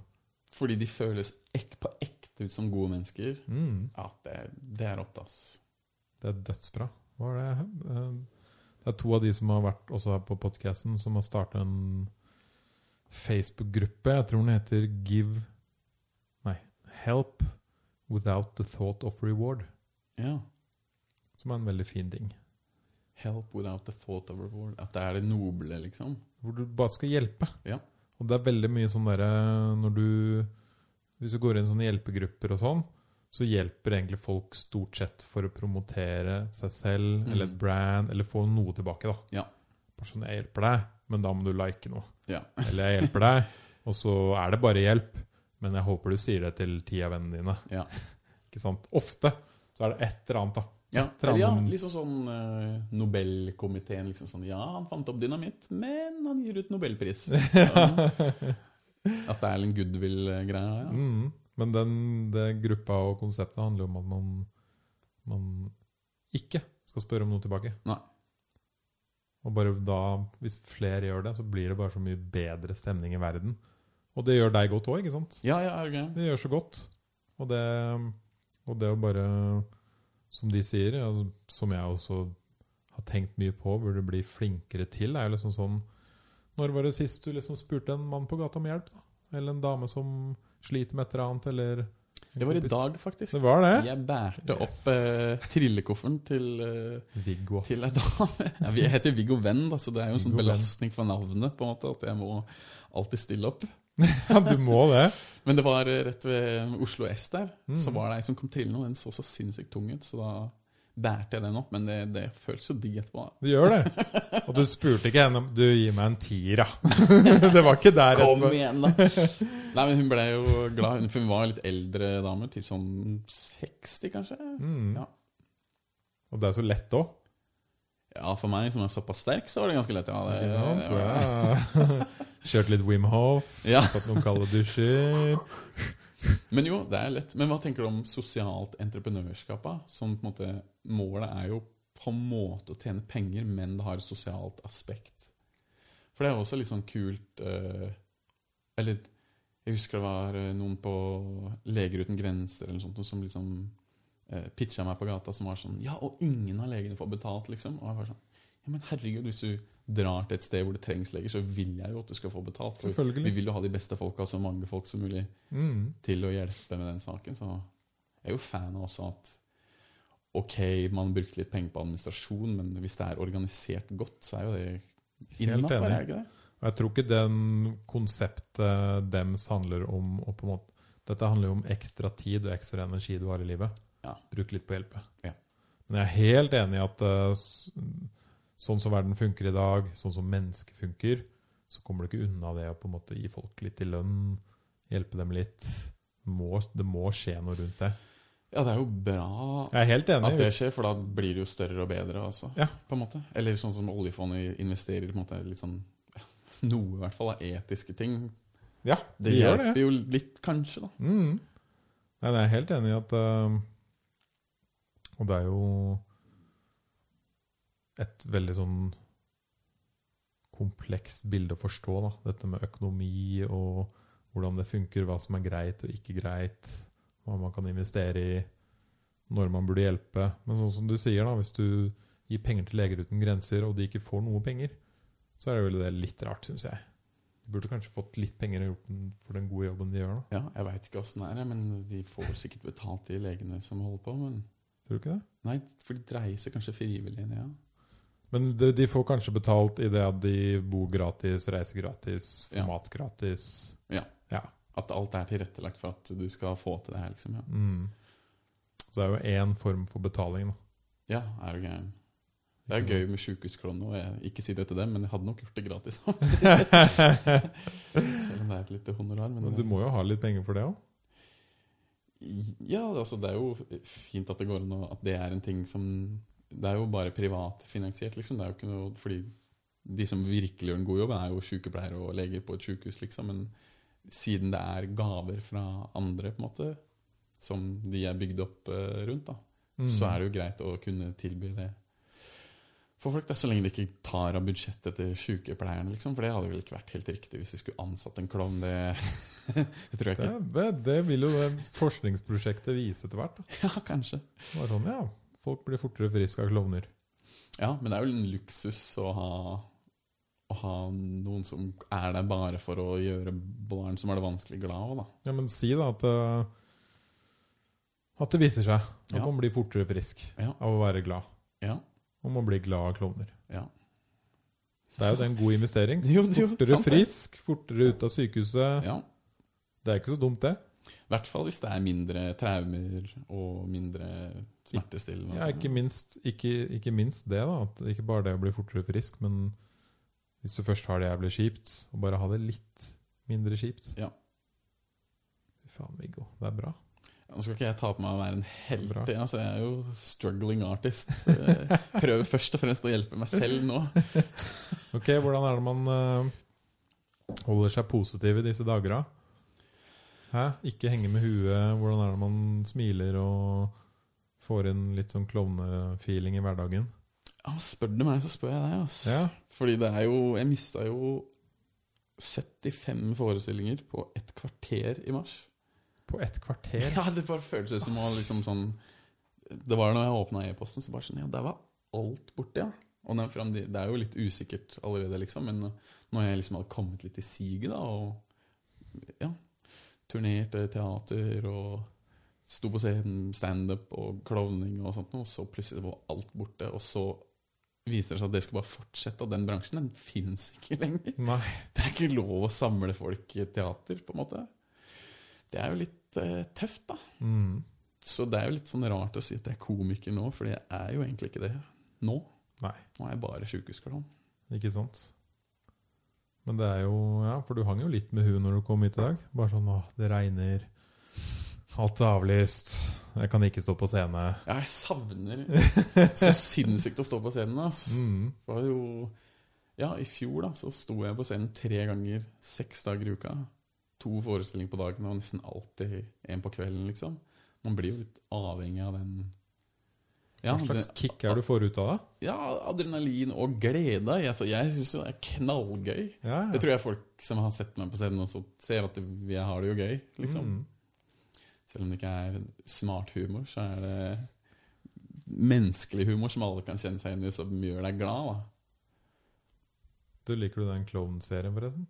S2: Fordi de føles ek, på ekte ut som gode mennesker.
S1: Mm.
S2: Ja, det, det er rått, ass.
S1: Det er dødsbra. Hva var det? Eh, Det er to av de som har vært også her på podkasten, som har starta en Facebook-gruppe. Jeg tror den heter Give Nei, Help Without the Thought of Reward.
S2: Ja.
S1: Som er en veldig fin ting.
S2: Help without the thought of reward. At det er det noble, liksom.
S1: Hvor du bare skal hjelpe.
S2: Ja.
S1: Og det er veldig mye sånn derre når du Hvis du går inn i sånne hjelpegrupper og sånn, så hjelper egentlig folk stort sett for å promotere seg selv
S2: Mm.
S1: eller et brand, eller få noe tilbake, da.
S2: Ja.
S1: Bare sånn 'Jeg hjelper deg, men da må du like noe'.
S2: Ja.
S1: Eller 'Jeg hjelper deg, og så er det bare hjelp', men jeg håper du sier det til ti av vennene dine.
S2: Ja.
S1: Ikke sant? Ofte så er det et eller annet, da.
S2: Ja,
S1: Etter
S2: eller ja
S1: han-
S2: liksom sånn eh, Nobelkomiteen. liksom sånn, Ja, han fant opp dynamitt, men han gir ut nobelpris. Så, at det er en goodwill-greie. Ja.
S1: Mm. Men den, det gruppa og konseptet handler om at man, man ikke skal spørre om noe tilbake.
S2: Nei.
S1: Og bare da, hvis flere gjør det, så blir det bare så mye bedre stemning i verden. Og det gjør deg godt òg, ikke sant?
S2: Ja, ja, er du gæren?
S1: Det gjør så godt. Og det, og det å bare Som de sier, altså, som jeg også har tenkt mye på, burde bli flinkere til, er jo liksom sånn Når var det sist du liksom spurte en mann på gata om hjelp? da? Eller en dame som sliter med et eller annet, eller
S2: Det var i
S1: kompis.
S2: dag, faktisk.
S1: Det var det?
S2: Jeg bærte opp
S1: Yes.
S2: eh, trillekofferten til, eh,
S1: Viggo, ass.
S2: til ei dame. Ja, vi- jeg heter Viggo Venn, da, så det er jo en sånn
S1: Viggo Venn.
S2: belastning for navnet på en måte, at jeg må alltid stille opp.
S1: Ja, du må det.
S2: Men det var eh, rett ved Oslo S der,
S1: Mm.
S2: så var det ei som kom trillende, og den så så sinnssykt tung ut, så da bærte jeg den opp. Men det, det føltes så digg etterpå. da.
S1: Du gjør det. Og du spurte ikke henne om du gir meg en tier, da. Det var ikke der.
S2: Kom
S1: etterpå.
S2: igjen, da! Nei, men hun ble jo glad, hun, for hun var en litt eldre dame, til sånn 60 kanskje?
S1: Mm.
S2: Ja.
S1: Og det er så lett òg.
S2: Ja, for meg som er såpass sterk, så var det ganske lett. Ja, det,
S1: Kjørt litt Wim Hof,
S2: Ja.
S1: tatt noen kalde dusjer.
S2: Men jo, det er lett. Men hva tenker du om sosialt entreprenørskap? da? Som på en måte, Målet er jo på en måte å tjene penger, men det har et sosialt aspekt. For det er også litt sånn kult eh, Eller jeg husker det var eh, noen på Leger uten grenser eller noe sånt, som liksom eh, pitcha meg på gata som var sånn Ja, og ingen av legene får betalt, liksom. Og jeg var sånn Ja, men herregud, hvis du drar til et sted hvor det trengs leger, så vil jeg jo at du skal få betalt. For vi
S1: Selvfølgelig.
S2: vil jo ha de beste folka, så mange folk som mulig
S1: Mm.
S2: til å hjelpe med den saken. Så jeg er jo fan av også at ok, man brukte litt penger på administrasjon, men hvis det er organisert godt, så er jo det
S1: Helt
S2: innafor, er
S1: enig.
S2: det ikke det?
S1: Og jeg tror ikke den konseptet dems handler om å på en måte Dette handler jo om ekstra tid og ekstra energi du har i livet.
S2: Ja.
S1: Bruk litt på hjelpe.
S2: Ja.
S1: Men jeg er helt enig i at eh, s- sånn som verden funker i dag, sånn som mennesker funker, så kommer du ikke unna det å på en måte gi folk litt i lønn, hjelpe dem litt. Må, det må skje noe rundt det.
S2: Ja, det er jo bra
S1: Jeg er helt enig.
S2: at det
S1: hvis-
S2: skjer, for da blir det jo større og bedre, altså.
S1: Ja.
S2: På en måte. Eller sånn som oljefondet investerer, på en måte litt sånn noe i hvert fall av etiske ting.
S1: Ja,
S2: Det
S1: de gjør det.
S2: hjelper jo litt, kanskje, da.
S1: Mm. Nei, jeg er helt enig i at eh, Og det er jo et veldig sånn komplekst bilde å forstå, da. Dette med økonomi og hvordan det funker, hva som er greit og ikke greit, hva man kan investere i, når man burde hjelpe. Men sånn som du sier, da, hvis du gir penger til Leger uten grenser, og de ikke får noe penger, så er det vel det litt rart, syns jeg. De burde kanskje fått litt penger og gjort den for den gode jobben de gjør, da.
S2: Ja, jeg veit ikke åssen det er, men de får vel sikkert betalt, de legene som holder på. Men
S1: Tror du ikke det?
S2: nei, for de dreier seg kanskje frivillig, ja.
S1: Men de, de får kanskje betalt i det at de bor gratis, reiser gratis, får
S2: Ja.
S1: mat gratis.
S2: At alt er tilrettelagt for at du skal få til det her, liksom. Ja,
S1: Mm. Så det er jo én form for betaling, da.
S2: ja er jo gæren. Det er gøy med sjukehusklovn òg. Ikke si det til dem, men jeg hadde nok gjort det gratis. Selv om det er et lite honorar. Men,
S1: Men du må jo ha litt penger for det òg.
S2: Ja, altså, det er jo fint at det går an å At det er en ting som Det er jo bare privatfinansiert, liksom. Det er jo ikke noe Fordi de som virkelig gjør en god jobb, er jo sykepleiere og leger på et sykehus, liksom. Men siden det er gaver fra andre, på en måte, som de er bygd opp eh, rundt, da.
S1: Mm.
S2: så er det jo greit å kunne tilby det for folk. Da, så lenge de ikke tar av budsjettet til sykepleierne, liksom. For det hadde vel ikke vært helt riktig hvis vi skulle ansatt en klovn. Det, det tror jeg
S1: det,
S2: ikke.
S1: det, det vil jo det forskningsprosjektet vise etter hvert. Da.
S2: Ja, kanskje.
S1: Det var sånn, ja, Folk blir fortere friske av klovner.
S2: Ja, men det er jo en luksus å ha å ha noen som er der bare for å gjøre barn som er det vanskelig, glad òg, da.
S1: Ja, Men si da at eh, At det viser seg at
S2: Ja.
S1: man blir fortere frisk
S2: Ja.
S1: av å være glad.
S2: Ja.
S1: Og man blir glad av klovner.
S2: Ja.
S1: Det er jo det en god investering.
S2: Jo, jo,
S1: Fortere
S2: sant det.
S1: frisk, fortere ut av sykehuset.
S2: Ja.
S1: Det er ikke så dumt, det.
S2: I hvert fall hvis det er mindre traumer og mindre smertestillende. og
S1: Ja,
S2: sånn.
S1: ikke, minst, ikke, ikke minst det, da. At ikke bare det å bli fortere frisk, men hvis du først har det jævlig kjipt, og bare ha det litt mindre kjipt
S2: Ja.
S1: Fy faen, Viggo. Det er bra.
S2: Nå skal ikke jeg ta på meg å være en helt,
S1: Bra.
S2: jeg, altså, jeg er jo struggling artist. Eh, Prøver først og fremst å hjelpe meg selv nå.
S1: Ok, hvordan er det man eh, holder seg positiv i disse dager, da? Hæ? Ikke henge med huet. Hvordan er det man smiler og får inn litt sånn klovnefeeling i hverdagen?
S2: Ja, spør du meg, så spør jeg deg. Ass.
S1: Ja.
S2: Fordi det er jo Jeg mista jo 75 forestillinger på et kvarter i mars.
S1: På et kvarter?
S2: Ja, Det bare føltes ut som å liksom sånn Det var når jeg åpna e-posten, så bare sånn Ja, der var alt borte, ja. Og den fremde- det er jo litt usikkert allerede, liksom, men når jeg liksom hadde kommet litt i siget, da, og ja, turnerte teater og Sto på scenen, standup og klovning og sånt, og så plutselig var alt borte. Og så viser det seg at det skal bare fortsette, og den bransjen den fins ikke lenger.
S1: Nei.
S2: Det er ikke lov å samle folk i et teater, på en måte. Det er jo litt eh, tøft, da.
S1: Mm.
S2: Så det er jo litt sånn rart å si at jeg er komiker nå, for jeg er jo egentlig ikke det nå.
S1: Nei.
S2: Nå er jeg bare sjukehuskalon.
S1: Ikke sant? Men det er jo Ja, for du hang jo litt med huet når du kom hit i dag. Bare sånn åh, det regner. Alt er avlyst. Jeg kan ikke stå på scene.
S2: Jeg savner så sinnssykt å stå på scenen. ass.
S1: Mm.
S2: Det var jo Ja, i fjor da, så sto jeg på scenen tre ganger, seks dager i uka. To forestillinger på dagen og nesten alltid en på kvelden, liksom. Man blir jo litt avhengig av den Ja,
S1: Hva slags
S2: det-
S1: kick er du får ut av det?
S2: ja adrenalin og glede. Jeg, altså, jeg syns det er knallgøy.
S1: Ja, ja.
S2: Det tror jeg folk som har sett meg på scenen, også ser at jeg har det jo gøy, liksom.
S1: Mm.
S2: Selv om det ikke er smart humor, så er det menneskelig humor som alle kan kjenne seg inn i, som gjør deg glad. da.
S1: Du Liker du den klovnserien, forresten?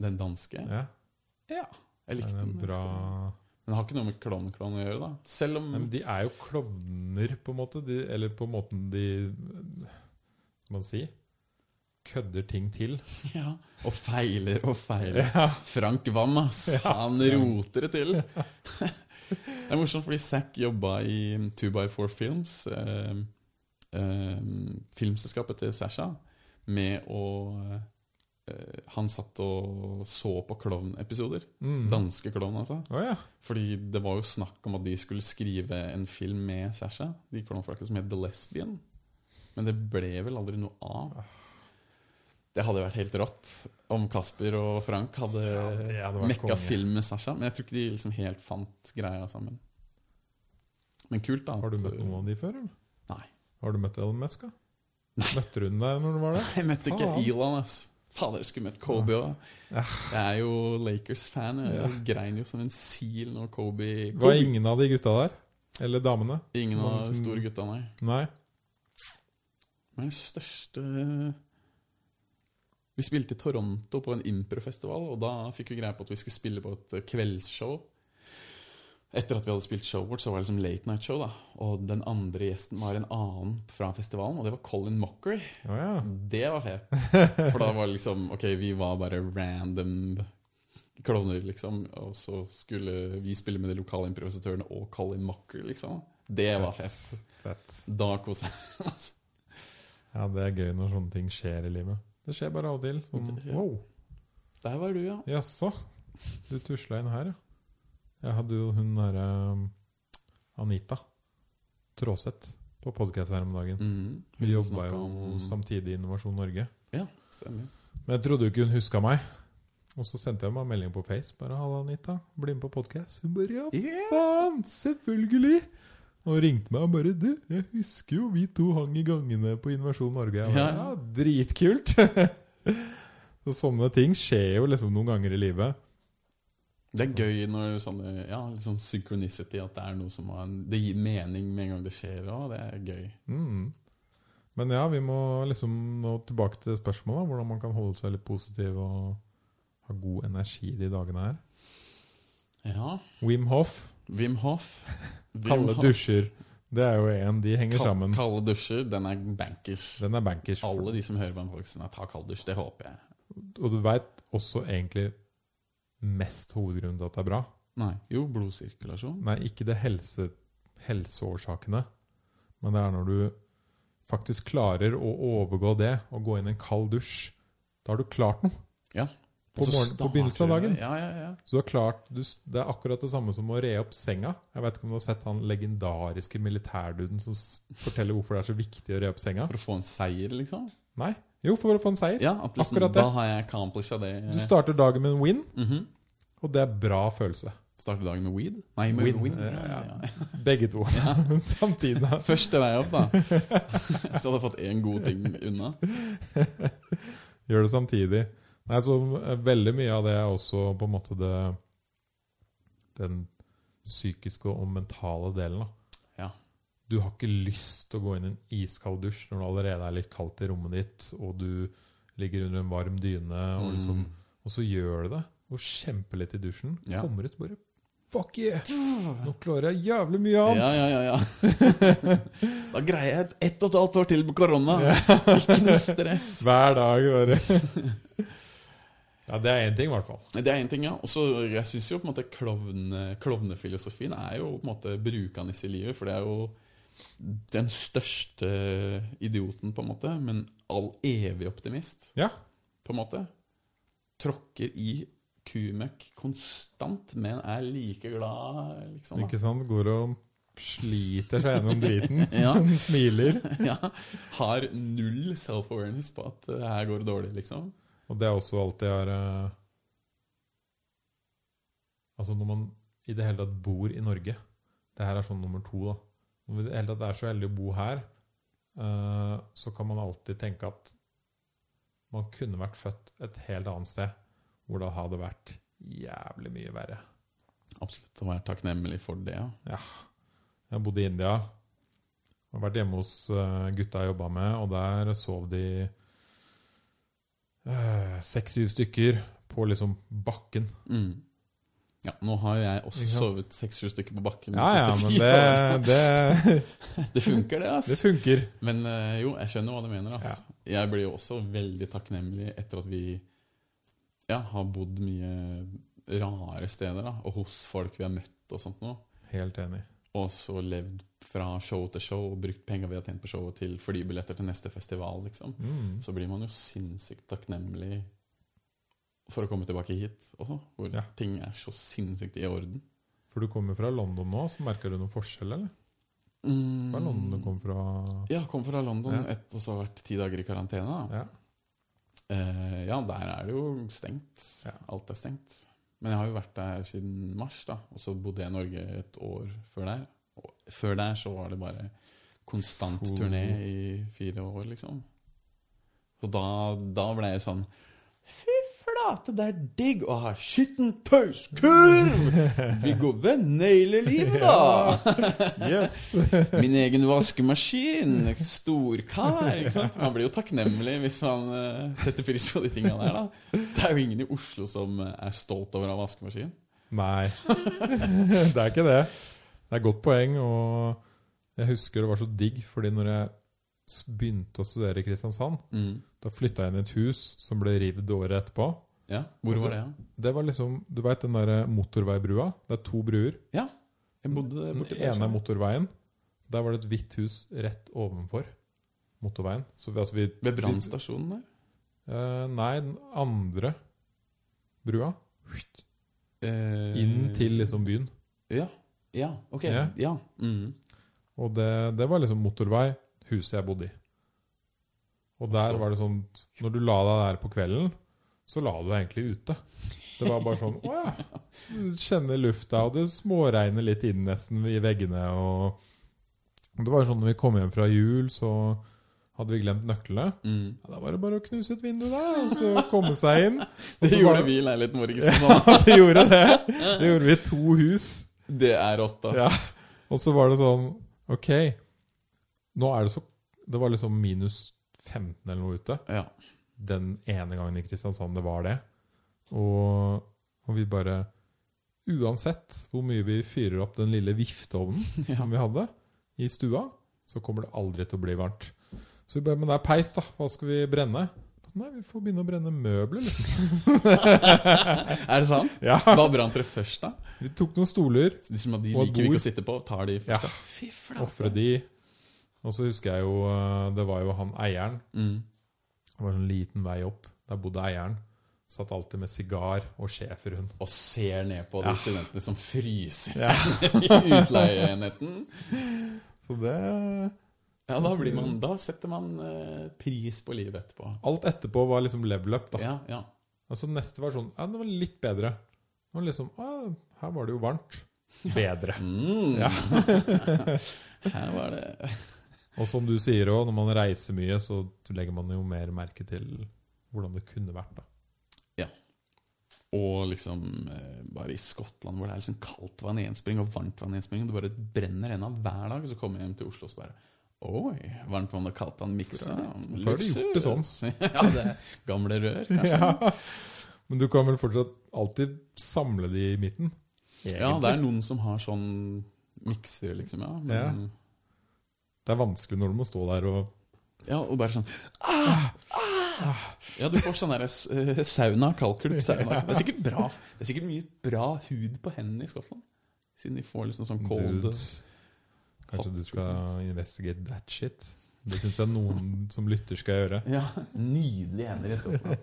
S2: Den danske.
S1: Ja.
S2: Ja,
S1: Det
S2: jeg likte
S1: er en
S2: den.
S1: bra
S2: altså. Den har ikke noe med klovn-klovn å gjøre, da. Selv om
S1: Nei, men De er jo klovner, på en måte. De, eller på måten de Skal man si kødder ting til.
S2: ja, Og feiler og feiler.
S1: Ja.
S2: Frank Wam, ass. Han roter det til. det er morsomt, fordi Zack jobba i 2x4 Films, eh, eh, filmselskapet til Sasha, med å eh, Han satt og så på klovnepisoder.
S1: Mm.
S2: Danske klovn, altså.
S1: Å ja.
S2: Fordi det var jo snakk om at de skulle skrive en film med Sasha. De klovnfolka som het The Lesbian. Men det ble vel aldri noe av.
S1: Ah.
S2: Det hadde vært helt rått om Kasper og Frank hadde,
S1: Ja, det hadde vært
S2: Eh, mekka
S1: konge.
S2: film med Sasha. Men jeg tror ikke de liksom helt fant greia sammen. Men kult, da.
S1: Har du
S2: at-
S1: møtt noen av de før, eller?
S2: altså. Nei.
S1: Har du møtt Elon Musk, da?
S2: Nei.
S1: Møtte du den der når du var der?
S2: Nei, Jeg møtte ikke
S1: Faen.
S2: Elon, ass. Fader, jeg skulle møtt Kobe òg.
S1: Ja.
S2: Jeg er jo Lakers-fan. Jeg grein jo som en sil når Kobe,
S1: Var
S2: Kobe.
S1: ingen av de gutta der? Eller damene?
S2: Ingen
S1: var
S2: av de
S1: liksom-
S2: store gutta, nei.
S1: Nei?
S2: Men den største Vi spilte i Toronto på en improfestival, og da fikk vi greie på at vi skulle spille på et kveldsshow. Etter at vi hadde spilt show vårt, så var det liksom late night show. da Og den andre gjesten var en annen fra festivalen, og det var Colin Mockery.
S1: Å ja.
S2: Det var fett. For da var det liksom Ok, vi var bare random klovner, liksom. Og så skulle vi spille med de lokale improvisatørene og Colin Mockery, liksom. Det var fett.
S1: Fett.
S2: Da kosa jeg meg.
S1: Ja, det er gøy når sånne ting skjer i livet. Det skjer bare av og til. Sånn,
S2: Det skjer.
S1: wow.
S2: Der var du, ja.
S1: Jaså? Du tusla inn her, ja. Jeg hadde jo hun derre um, Anita Tråseth på podkast her om dagen.
S2: Mm.
S1: Vi jobba
S2: snakket
S1: jo
S2: om-
S1: samtidig i Innovasjon Norge.
S2: Ja, stemmer.
S1: Men jeg trodde jo ikke hun huska meg. Og så sendte jeg meg en melding på Face. Bare 'Halla, Anita. Bli med på podkast.' Hun bare 'Ja,
S2: Yeah.
S1: faen! Selvfølgelig!' Og ringte meg og bare 'Du, jeg husker jo vi to hang i gangene på Innovasjon Norge.' Jeg bare,
S2: Ja.
S1: ja, dritkult! så sånne ting skjer jo liksom noen ganger i livet.
S2: Det er gøy når sånne, ja, litt sånn synchronicity, at det er noe som har en, Det gir mening med en gang det skjer, og det er gøy.
S1: Mm. Men ja, vi må liksom nå tilbake til spørsmålet. Hvordan man kan holde seg litt positiv og ha god energi de dagene her.
S2: Ja.
S1: Wim Hof,
S2: Wim Hof. Wim
S1: kalde
S2: Hof.
S1: dusjer. Det er jo én. De henger
S2: Kal-
S1: sammen.
S2: Kalde dusjer, den er bankers.
S1: Den er bankers.
S2: Alle de som hører på den podcasten, er ta kald dusj. Det håper jeg.
S1: Og du veit også egentlig mest hovedgrunnen til at det er bra.
S2: Nei. Jo, blodsirkulasjon.
S1: Nei, ikke det helse, helseårsakene, men det er når du faktisk klarer å overgå det og gå inn i en kald dusj. Da har du klart noe.
S2: Ja.
S1: På,
S2: Og så
S1: morgen, på
S2: starter
S1: begynnelsen av
S2: det.
S1: dagen.
S2: Ja, ja, ja.
S1: Så du har klart, du, s- Det er akkurat det samme som å re opp senga. Jeg vet ikke om du har sett han legendariske militærduden som s- forteller hvorfor det er så viktig å re opp senga?
S2: For å få en seier, liksom.
S1: Nei? Jo, for å få en seier.
S2: Ja, at liksom,
S1: Akkurat det.
S2: Da har jeg accomplisha det.
S1: Du starter dagen med en win,
S2: Mhm.
S1: og det er bra følelse.
S2: Starter dagen med weed? Nei, med
S1: Win,
S2: win.
S1: eh,
S2: ja, ja,
S1: ja.
S2: ja.
S1: Begge to. Samtidig.
S2: Første vei opp, da. Så hadde jeg fått én god ting unna.
S1: Gjør det samtidig. Nei, så eh, veldig mye av det er også på en måte det Den psykiske og mentale delen, da.
S2: Ja.
S1: Du har ikke lyst til å gå inn i en iskald dusj når det allerede er litt kaldt i rommet ditt, og du ligger under en varm dyne, og, liksom,
S2: Mm.
S1: og så gjør du det. Og kjemper litt i dusjen.
S2: Ja.
S1: Kommer ut bare Fuck yeah! Nå klarer jeg jævlig mye
S2: Ja,
S1: annet!
S2: ja, ja, ja. da greier jeg et ett og et halvt år til med korona. Ikke noe stress.
S1: Hver dag, bare. ja, det er én ting, i hvert fall.
S2: Det er én ting, ja. Og så jeg syns jo på en måte klovne, klovnefilosofien er jo på en måte brukende i livet, for det er jo den største idioten, på en måte, men all evig optimist,
S1: Ja.
S2: på en måte. Tråkker i kumøkk konstant, men er like glad, liksom. Da.
S1: Ikke sant? Går og sliter seg gjennom driten.
S2: Ja.
S1: Smiler.
S2: Ja, har null self-awareness på at det her går dårlig, liksom.
S1: Og det er også alt jeg har eh, Altså, når man i det hele tatt bor i Norge Det her er sånn nummer to, da. Når vi i det hele tatt er så heldig å bo her, eh, så kan man alltid tenke at man kunne vært født et helt annet sted, hvor det hadde vært jævlig mye verre.
S2: Absolutt. Og være takknemlig for det. ja.
S1: Jeg bodde i India. Jeg har vært hjemme hos eh, gutta jeg jobba med, og der sov de eh, seks-syv stykker på liksom bakken.
S2: Mm. Ja, nå har jo jeg også
S1: Ikke sant?
S2: sovet seks-sju stykker på bakken de
S1: Ja, ja,
S2: siste
S1: men
S2: fire årene.
S1: det, det,
S2: Det funker, det.
S1: det
S2: ass.
S1: funker.
S2: Men eh, jo, jeg skjønner hva du mener. ass. Jeg blir jo også veldig takknemlig etter at vi ja, har bodd mye rare steder, da, og hos folk vi har møtt og sånt noe.
S1: Helt enig.
S2: Og så levd fra show til show og brukt penger vi har tjent på showet til flybilletter til neste festival, liksom.
S1: Mm.
S2: Så blir man jo sinnssykt takknemlig for å komme tilbake hit også, hvor
S1: Ja.
S2: ting er så sinnssykt i orden.
S1: For du kommer fra London nå, så merker du noen forskjell, eller?
S2: Mm.
S1: Hva er London du kom fra?
S2: Ja, kom fra London
S1: Ja.
S2: et, og så har vært ti dager i karantene. Da.
S1: Ja.
S2: Eh, ja, der er det jo stengt.
S1: Ja.
S2: Alt er stengt. Men jeg har jo vært der siden mars, da. Og så bodde jeg i Norge et år før der. Og før der så var det bare konstant
S1: Oh.
S2: turné i fire år, liksom. Så da, da ble jeg sånn Fy flate, det er digg å ha skitten tauskurv! Viggo Venneile livet, da!
S1: Yes!
S2: Min egen vaskemaskin! Storkar! ikke sant? Man blir jo takknemlig hvis man eh, setter pris på de tinga der. da. Det er jo ingen i Oslo som eh, er stolt over å ha vaskemaskin.
S1: Nei, det er ikke det. Det er et godt poeng, og jeg husker det var så digg, fordi når jeg s- begynte å studere i Kristiansand,
S2: Mm.
S1: da flytta jeg inn i et hus som ble revet året etterpå.
S2: Ja, Hvor var det? Ja?
S1: Det var liksom, du veit den derre motorveibrua? Det er to bruer.
S2: Jeg bodde
S1: Den
S2: borti
S1: ene er motorveien. Der var det et hvitt hus rett ovenfor motorveien. Så vi, altså vi
S2: Ved brannstasjonen der?
S1: Eh, nei, den andre brua.
S2: Eh,
S1: Inn til liksom byen.
S2: Ja. ja, ok. Ja.
S1: Ja.
S2: Mm.
S1: Og det, det var liksom motorvei, huset jeg bodde i. Og der
S2: Så-
S1: var det sånn Når du la deg der på kvelden, så la du deg egentlig ute. Det var bare sånn Å ja. Du kjenner lufta, og det småregner litt inn nesten i veggene. Og og det var jo sånn når vi kom hjem fra jul, så hadde vi glemt nøklene.
S2: Mm.
S1: Ja, da var det bare å knuse et vindu der, og så komme seg inn. Og
S2: Det
S1: så var
S2: gjorde
S1: det-
S2: vi i leiligheten vår. ikke sant?
S1: Ja, det gjorde det. Det gjorde vi i to hus.
S2: Det er rått, ass.
S1: Og så var det sånn Ok, nå er det så Det var liksom minus 15 eller noe ute
S2: Ja.
S1: den ene gangen i Kristiansand det var det. Og, og vi bare Uansett hvor mye vi fyrer opp den lille vifteovnen som vi hadde i stua, så kommer det aldri til å bli varmt. Så vi bare Men det er peis, da. Hva skal vi brenne? Nei, vi får begynne å brenne møbler, liksom.
S2: Er det sant?
S1: Ja.
S2: Hva brant dere først, da?
S1: Vi tok noen stoler,
S2: De som de
S1: Og et
S2: liker vi
S1: bord.
S2: ikke å sitte på, tar de
S1: Ja.
S2: først. da. Fy
S1: ofre de. Og så husker jeg jo eh, Det var jo han eieren
S2: Mm.
S1: Det var en liten vei opp. Der bodde eieren. Satt alltid med sigar og schæferhund.
S2: og ser ned på de
S1: Ja.
S2: studentene som fryser
S1: Ja.
S2: i utleieenheten.
S1: Så det
S2: Ja, da, blir man, da setter man eh, pris på livet etterpå.
S1: Alt etterpå var liksom level up, da.
S2: Ja, ja.
S1: Altså neste versjon Ja, den var litt bedre. Den var liksom Ja, her var det jo varmt. Bedre.
S2: Mm.
S1: Ja.
S2: Her var det
S1: Og som du sier òg, når man reiser mye, så legger man jo mer merke til hvordan det kunne vært, da.
S2: Og liksom eh, bare i Skottland, hvor det er liksom kaldt vann i en spring og varmt vann i en spring, og det bare brenner enda hver dag, og så kommer jeg hjem til Oslo og så bare Oi, varmt vann og kaldt vann miksa.
S1: Hvorfor har du gjort det sånn.
S2: sånn.» ja, det er gamle rør, kanskje.
S1: Ja. Men du kan vel fortsatt alltid samle de i midten?
S2: Ja, det er noen som har sånn mikser, liksom. Ja, men,
S1: Det er vanskelig når du må stå der og
S2: ja og bare sånn ah, ah. Ja, du får sånn der eh, sauna, kalkulup, sauna. Det er sikkert bra Det er sikkert mye bra hud på hendene i Skottland. Siden de får liksom sånn cold
S1: Dudes, Kanskje du skal investigate that shit? Det syns jeg noen som lytter skal gjøre.
S2: Ja, Nydelige hender i Skottland.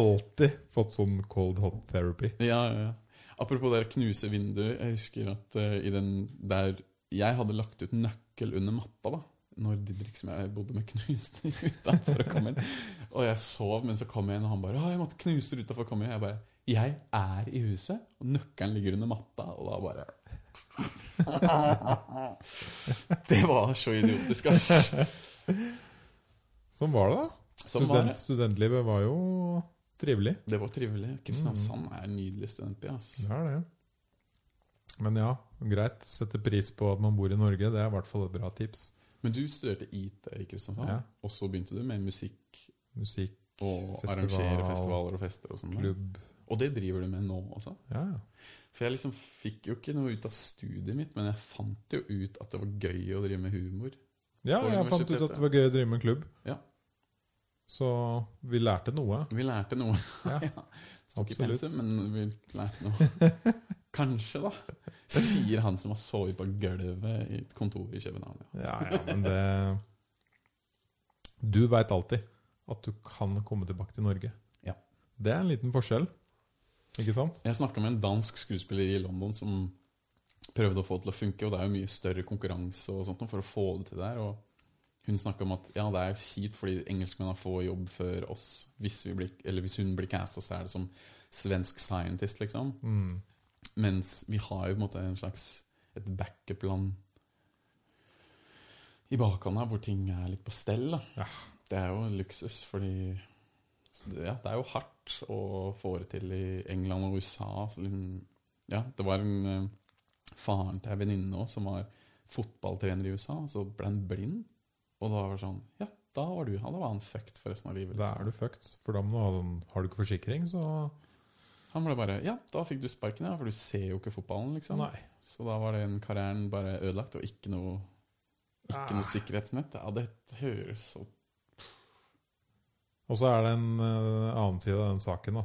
S1: Alltid fått sånn cold hot therapy.
S2: Ja, ja, ja. Apropos det der knuse vinduet. Jeg husker at eh, i den der Jeg hadde lagt ut nøkkel under matta da Når Didrik, som jeg bodde med, knuste ruta for å komme inn. Og jeg sov, men så kom jeg inn, og han bare 'Å, jeg måtte knuse ruta for å komme inn'. Jeg bare 'Jeg er i huset, og nøkkelen ligger under matta', og da bare Det var så idiotisk, ass.
S1: Sånn var det, da.
S2: Sånn var
S1: Student,
S2: det.
S1: Studentlivet var jo trivelig.
S2: Det var trivelig. Kristiansand er en nydelig studentby, ass.
S1: Det er det. Men ja, greit. Sette pris på at man bor i Norge. Det er i hvert fall et bra tips.
S2: Men du studerte IT i Kristiansand,
S1: Ja.
S2: og så begynte du med musikk
S1: Musikk,
S2: og
S1: Festival.
S2: arrangere festivaler og fester og sånn. da.
S1: klubb
S2: Og det driver du med nå også?
S1: Ja, ja.
S2: For jeg liksom fikk jo ikke noe ut av studiet mitt, men jeg fant jo ut at det var gøy å drive med humor.
S1: ja
S2: På
S1: jeg fant ut at det var gøy å drive med klubb.
S2: Ja.
S1: Så vi lærte noe.
S2: Vi lærte noe.
S1: Ja,
S2: Sto ikke i
S1: absolutt.
S2: pensum, men vi lærte noe. Kanskje, da. Sier han som har sovet på gulvet i et kontor i København. Ja.
S1: Ja, ja, men det Du veit alltid at du kan komme tilbake til Norge.
S2: Ja.
S1: Det er en liten forskjell, ikke sant?
S2: Jeg snakka med en dansk skuespiller i London som prøvde å få det til å funke, og det er jo mye større konkurranse og sånt nå for å få det til der. og hun snakka om at ja, det er jo kjipt fordi engelskmennene får jobb før oss. Hvis, vi blir, eller hvis hun blir casta, så er det som svensk scientist, liksom.
S1: Mm.
S2: Mens vi har jo på en måte en slags et backup-land i bakhånda, hvor ting er litt på stell. Da.
S1: Ja.
S2: Det er jo en luksus, fordi så det, ja, det er jo hardt å få det til i England og USA. Så liksom, ja, det var en eh, faren til ei venninne også som var fotballtrener i USA, og så ble han blind. Og da var det sånn Ja, da var du han. Da var han fucked for resten av livet.
S1: Da
S2: liksom.
S1: er du fucked. For da må du ha sånn Har du ikke forsikring, så
S2: Han ble bare Ja, da fikk du sparken, ja, for du ser jo ikke fotballen, liksom.
S1: Nei.
S2: Så da var den karrieren bare ødelagt, og ikke noe, ikke
S1: Ah.
S2: noe sikkerhetsnett. Ja, det høres så
S1: Og så er det en eh, annen side av den saken, da.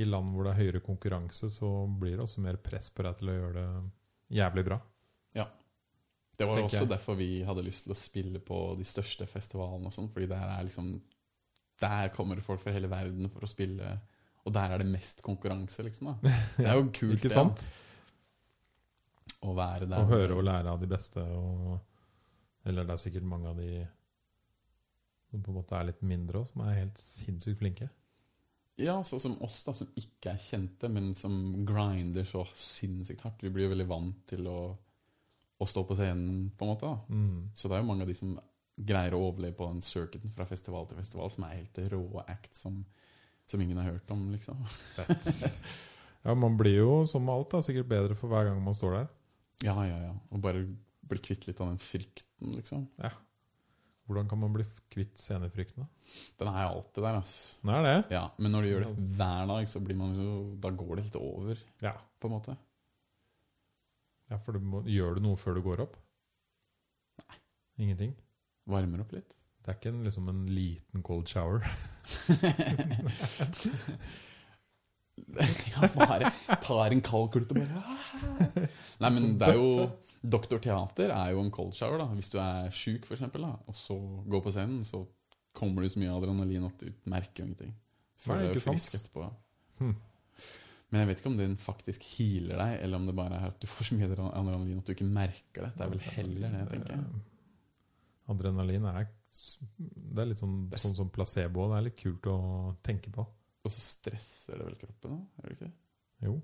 S1: I land hvor det er høyere konkurranse, så blir det også mer press på deg til å gjøre det jævlig bra.
S2: Det var jo
S1: Tenker
S2: også
S1: jeg.
S2: derfor vi hadde lyst til å spille på de største festivalene og sånn, fordi der er liksom Der kommer det folk fra hele verden for å spille, og der er det mest konkurranse, liksom. da. Det er jo kult,
S1: Ikke
S2: det,
S1: sant?
S2: da, å være der.
S1: Å høre og lære av de beste og Eller det er sikkert mange av de som på en måte er litt mindre òg, som er helt sinnssykt flinke.
S2: Ja, sånn som oss, da, som ikke er kjente, men som grinder så sinnssykt hardt. Vi blir jo veldig vant til å, å stå på scenen, på en måte. da.
S1: Mm.
S2: Så det er jo mange av de som greier å overleve på den circuiten fra festival til festival, som er helt rå act som, som ingen har hørt om, liksom.
S1: Ja, man blir jo som med alt da, sikkert bedre for hver gang man står der.
S2: Ja, ja, ja. Og bare bli kvitt litt av den frykten, liksom.
S1: Hvordan kan man bli kvitt scenefrykten? da?
S2: Den er jo alltid der, ass.
S1: Den er det.
S2: Ja, men når du gjør det hver dag, så blir man jo, da går det litt over,
S1: Ja,
S2: på en måte.
S1: ja for du må, gjør du noe før du går opp? Nei. Ingenting?
S2: Varmer opp litt.
S1: Det er ikke en, liksom en liten cold shower.
S2: ja, bare tar en kald klut og bare «Ah!» Nei, men det er jo Doktorteater er jo en cold shower, da. Hvis du er sjuk, for eksempel, da, og så går på scenen, så kommer det så mye adrenalin at du merker jo ingenting.
S1: Nei,
S2: Føler deg
S1: ikke sant?
S2: frisk etterpå.
S1: Hmm.
S2: Men jeg vet ikke om den faktisk healer deg, eller om det bare er at du får så mye adre- adrenalin at du ikke merker det. Det er vel heller det, tenker jeg.
S1: Adrenalin er, det er litt sånn,
S2: Det er
S1: sånn som placebo. Det er litt kult å tenke på.
S2: Og så stresser det vel kroppen òg, gjør det ikke? det?
S1: Jo.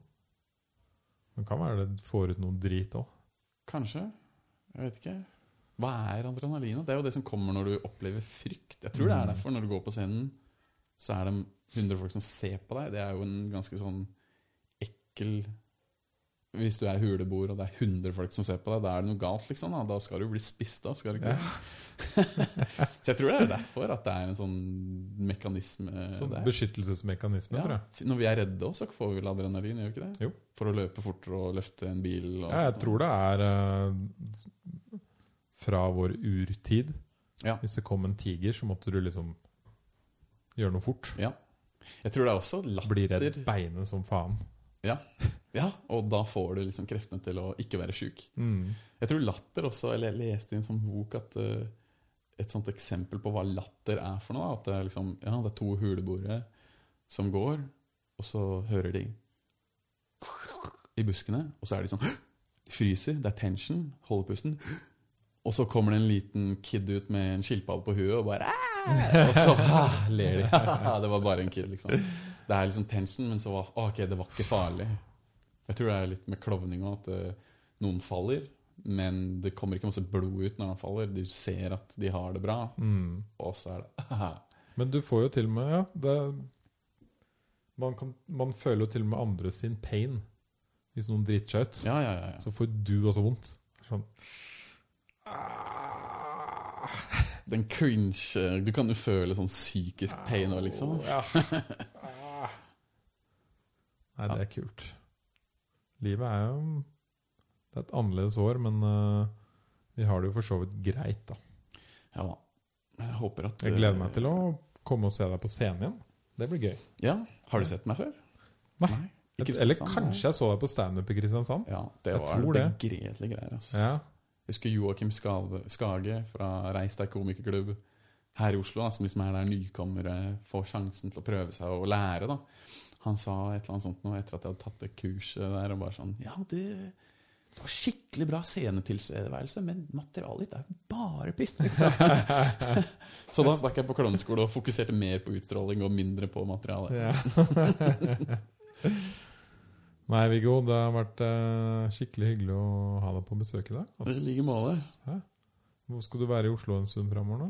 S1: Men kan være det får ut noe drit òg.
S2: Kanskje. Jeg vet ikke. Hva er adrenalinet? Det er jo det som kommer når du opplever frykt. Jeg tror det er
S1: Mm.
S2: derfor når du går på scenen, så er det 100 folk som ser på deg. Det er jo en ganske sånn ekkel Hvis du er huleboer og det er 100 folk som ser på deg, da er det noe galt, liksom. Da, da skal du bli spist av, skal du ikke? Så jeg tror det er derfor at det er en sånn mekanisme
S1: Sånn
S2: der.
S1: beskyttelsesmekanisme, tror
S2: Ja.
S1: jeg.
S2: Når vi er redde også, så får vi vel adrenalin, gjør vi ikke det?
S1: Jo.
S2: For å løpe fortere og løfte en bil. Og
S1: Ja, jeg
S2: sånt.
S1: tror det er eh, fra vår urtid.
S2: Ja.
S1: Hvis det kom en tiger, så måtte du liksom gjøre noe fort.
S2: jeg tror det er også latter.
S1: Bli redd beinet som faen.
S2: Ja, og da får du liksom kreftene til å ikke være sjuk.
S1: Mm.
S2: Jeg tror latter også, eller jeg leste i en sånn bok at eh, et sånt eksempel på hva latter er for noe, da, at det er liksom, ja, det er to huleboere som går, og så hører de i buskene, og så er de sånn, de fryser, det er tension, holder pusten, og så kommer det en liten kid ut med en skilpadde på huet, og bare, «Ah!» og så ah, ler de. det var bare en kid, liksom. Det er liksom tension, men så var, «Ah, ok, det var ikke farlig. Jeg tror det er litt med klovning også, at eh, noen faller, men det kommer ikke masse blod ut når han faller. De ser at de har det bra,
S1: Mm.
S2: og så er det «Haha».
S1: Men du får jo til og med ja, det, man, kan, man føler jo til og med andre sin pain hvis noen driter seg ut.
S2: Ja, ja, ja. ja.
S1: Så får du også vondt. Sånn.
S2: Ah. Den cringe eh, Du kan jo føle sånn psykisk pain òg, liksom.
S1: Ja. Ah. Nei, det er kult. Livet er jo Det er et annerledes år, men øh, vi har det jo for så vidt greit, da.
S2: Ja da. Jeg håper at
S1: Jeg gleder meg til å komme og se deg på scenen igjen. Det blir gøy.
S2: Ja. Har du sett meg før?
S1: Nei.
S2: I Kristiansand,
S1: Eller
S2: nei.
S1: kanskje jeg så deg på standup i Kristiansand.
S2: Ja, det
S1: Jeg
S2: var
S1: tror det.
S2: begredelige greier. ass.
S1: Ja.
S2: Jeg husker Joakim Skave- Skage fra Reis deg komikerklubb her i Oslo, da, som liksom er der nykommere får sjansen til å prøve seg og lære. da. Han sa et eller annet sånt nå etter at jeg hadde tatt det kurset der, og bare sånn Ja, det, det var skikkelig bra scenetilstedeværelse, men materialet ditt er jo bare piss, liksom. Så da stakk jeg på klovneskole og fokuserte mer på utstråling og mindre på materialet.
S1: Ja. Nei, Viggo, det har vært eh, skikkelig hyggelig å ha deg på besøk i dag. Altså,
S2: I like måte.
S1: Hvor skal du være i Oslo en stund framover nå?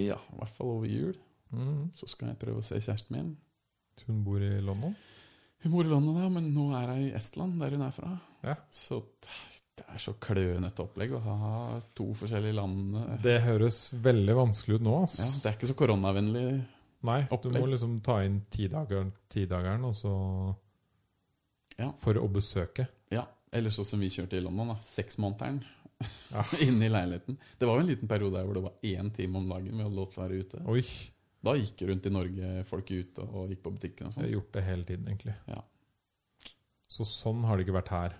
S2: Ja, i hvert fall over jul.
S1: Mhm.
S2: Så skal jeg prøve å se kjæresten min.
S1: Hun bor i London.
S2: Hun bor i London, da, men nå er hun i Estland, der hun er fra.
S1: Ja.
S2: Så det er så klønete opplegg å ha to forskjellige land det,
S1: Det høres veldig vanskelig ut nå. Ass.
S2: ja, det er ikke så koronavennlig.
S1: Nei, du
S2: opplegg.
S1: må liksom ta inn tidageren, tidageren og så
S2: Ja.
S1: For å besøke.
S2: Ja, Eller sånn som vi kjørte i London, da. Seksmånederen
S1: Ja.
S2: inne i leiligheten. Det var jo en liten periode der hvor det var én time om dagen vi hadde lov til å være ute.
S1: Oi!
S2: Da gikk rundt i Norge folk ut og gikk på butikken og
S1: Jeg har
S2: sånn.
S1: gjort det hele tiden, egentlig.
S2: Ja.
S1: Så sånn har det ikke vært her.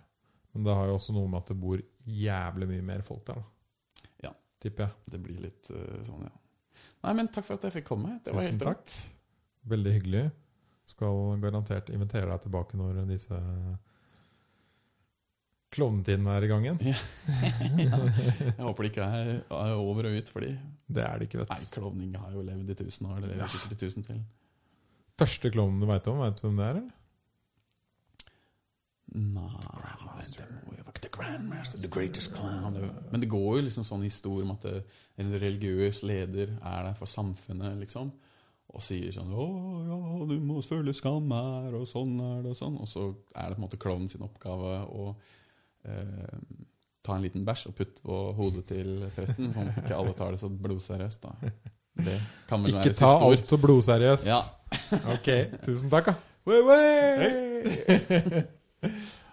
S1: Men det har jo også noe med at det bor jævlig mye mer folk der, da.
S2: Ja.
S1: Tipper jeg.
S2: Det blir litt eh, sånn, ja. Nei, men takk for at jeg fikk komme. Det var
S1: Tusen
S2: helt
S1: takk.
S2: rått.
S1: Veldig hyggelig. Skal garantert invitere deg tilbake når disse klovnetidene er i gang igjen.
S2: Jeg håper det ikke er er over og ut, fordi
S1: Det er det ikke,
S2: Nei,
S1: vet du.
S2: klovning har jo levd i tusen år. Det lever sikkert i tusen til.
S1: Første klovnen du veit om, veit du hvem det er, eller?
S2: Nei, det må jo være The Grandmaster, the greatest clown Men det går jo liksom sånn historie om at det, en religiøs leder er der for samfunnet, liksom. Og sier sånn 'Å ja, du må føle skam her, og sånn er det', og sånn. Og så er det på en måte klovnen sin oppgave å eh, ta en liten bæsj og putte på hodet til presten, sånn at ikke alle tar det så blodseriøst, da. Det kan vel
S1: Ikke
S2: være
S1: ta
S2: siste ord.
S1: alt så blodseriøst.
S2: Ja.
S1: Ok, tusen takk, da.
S2: Wei, wei!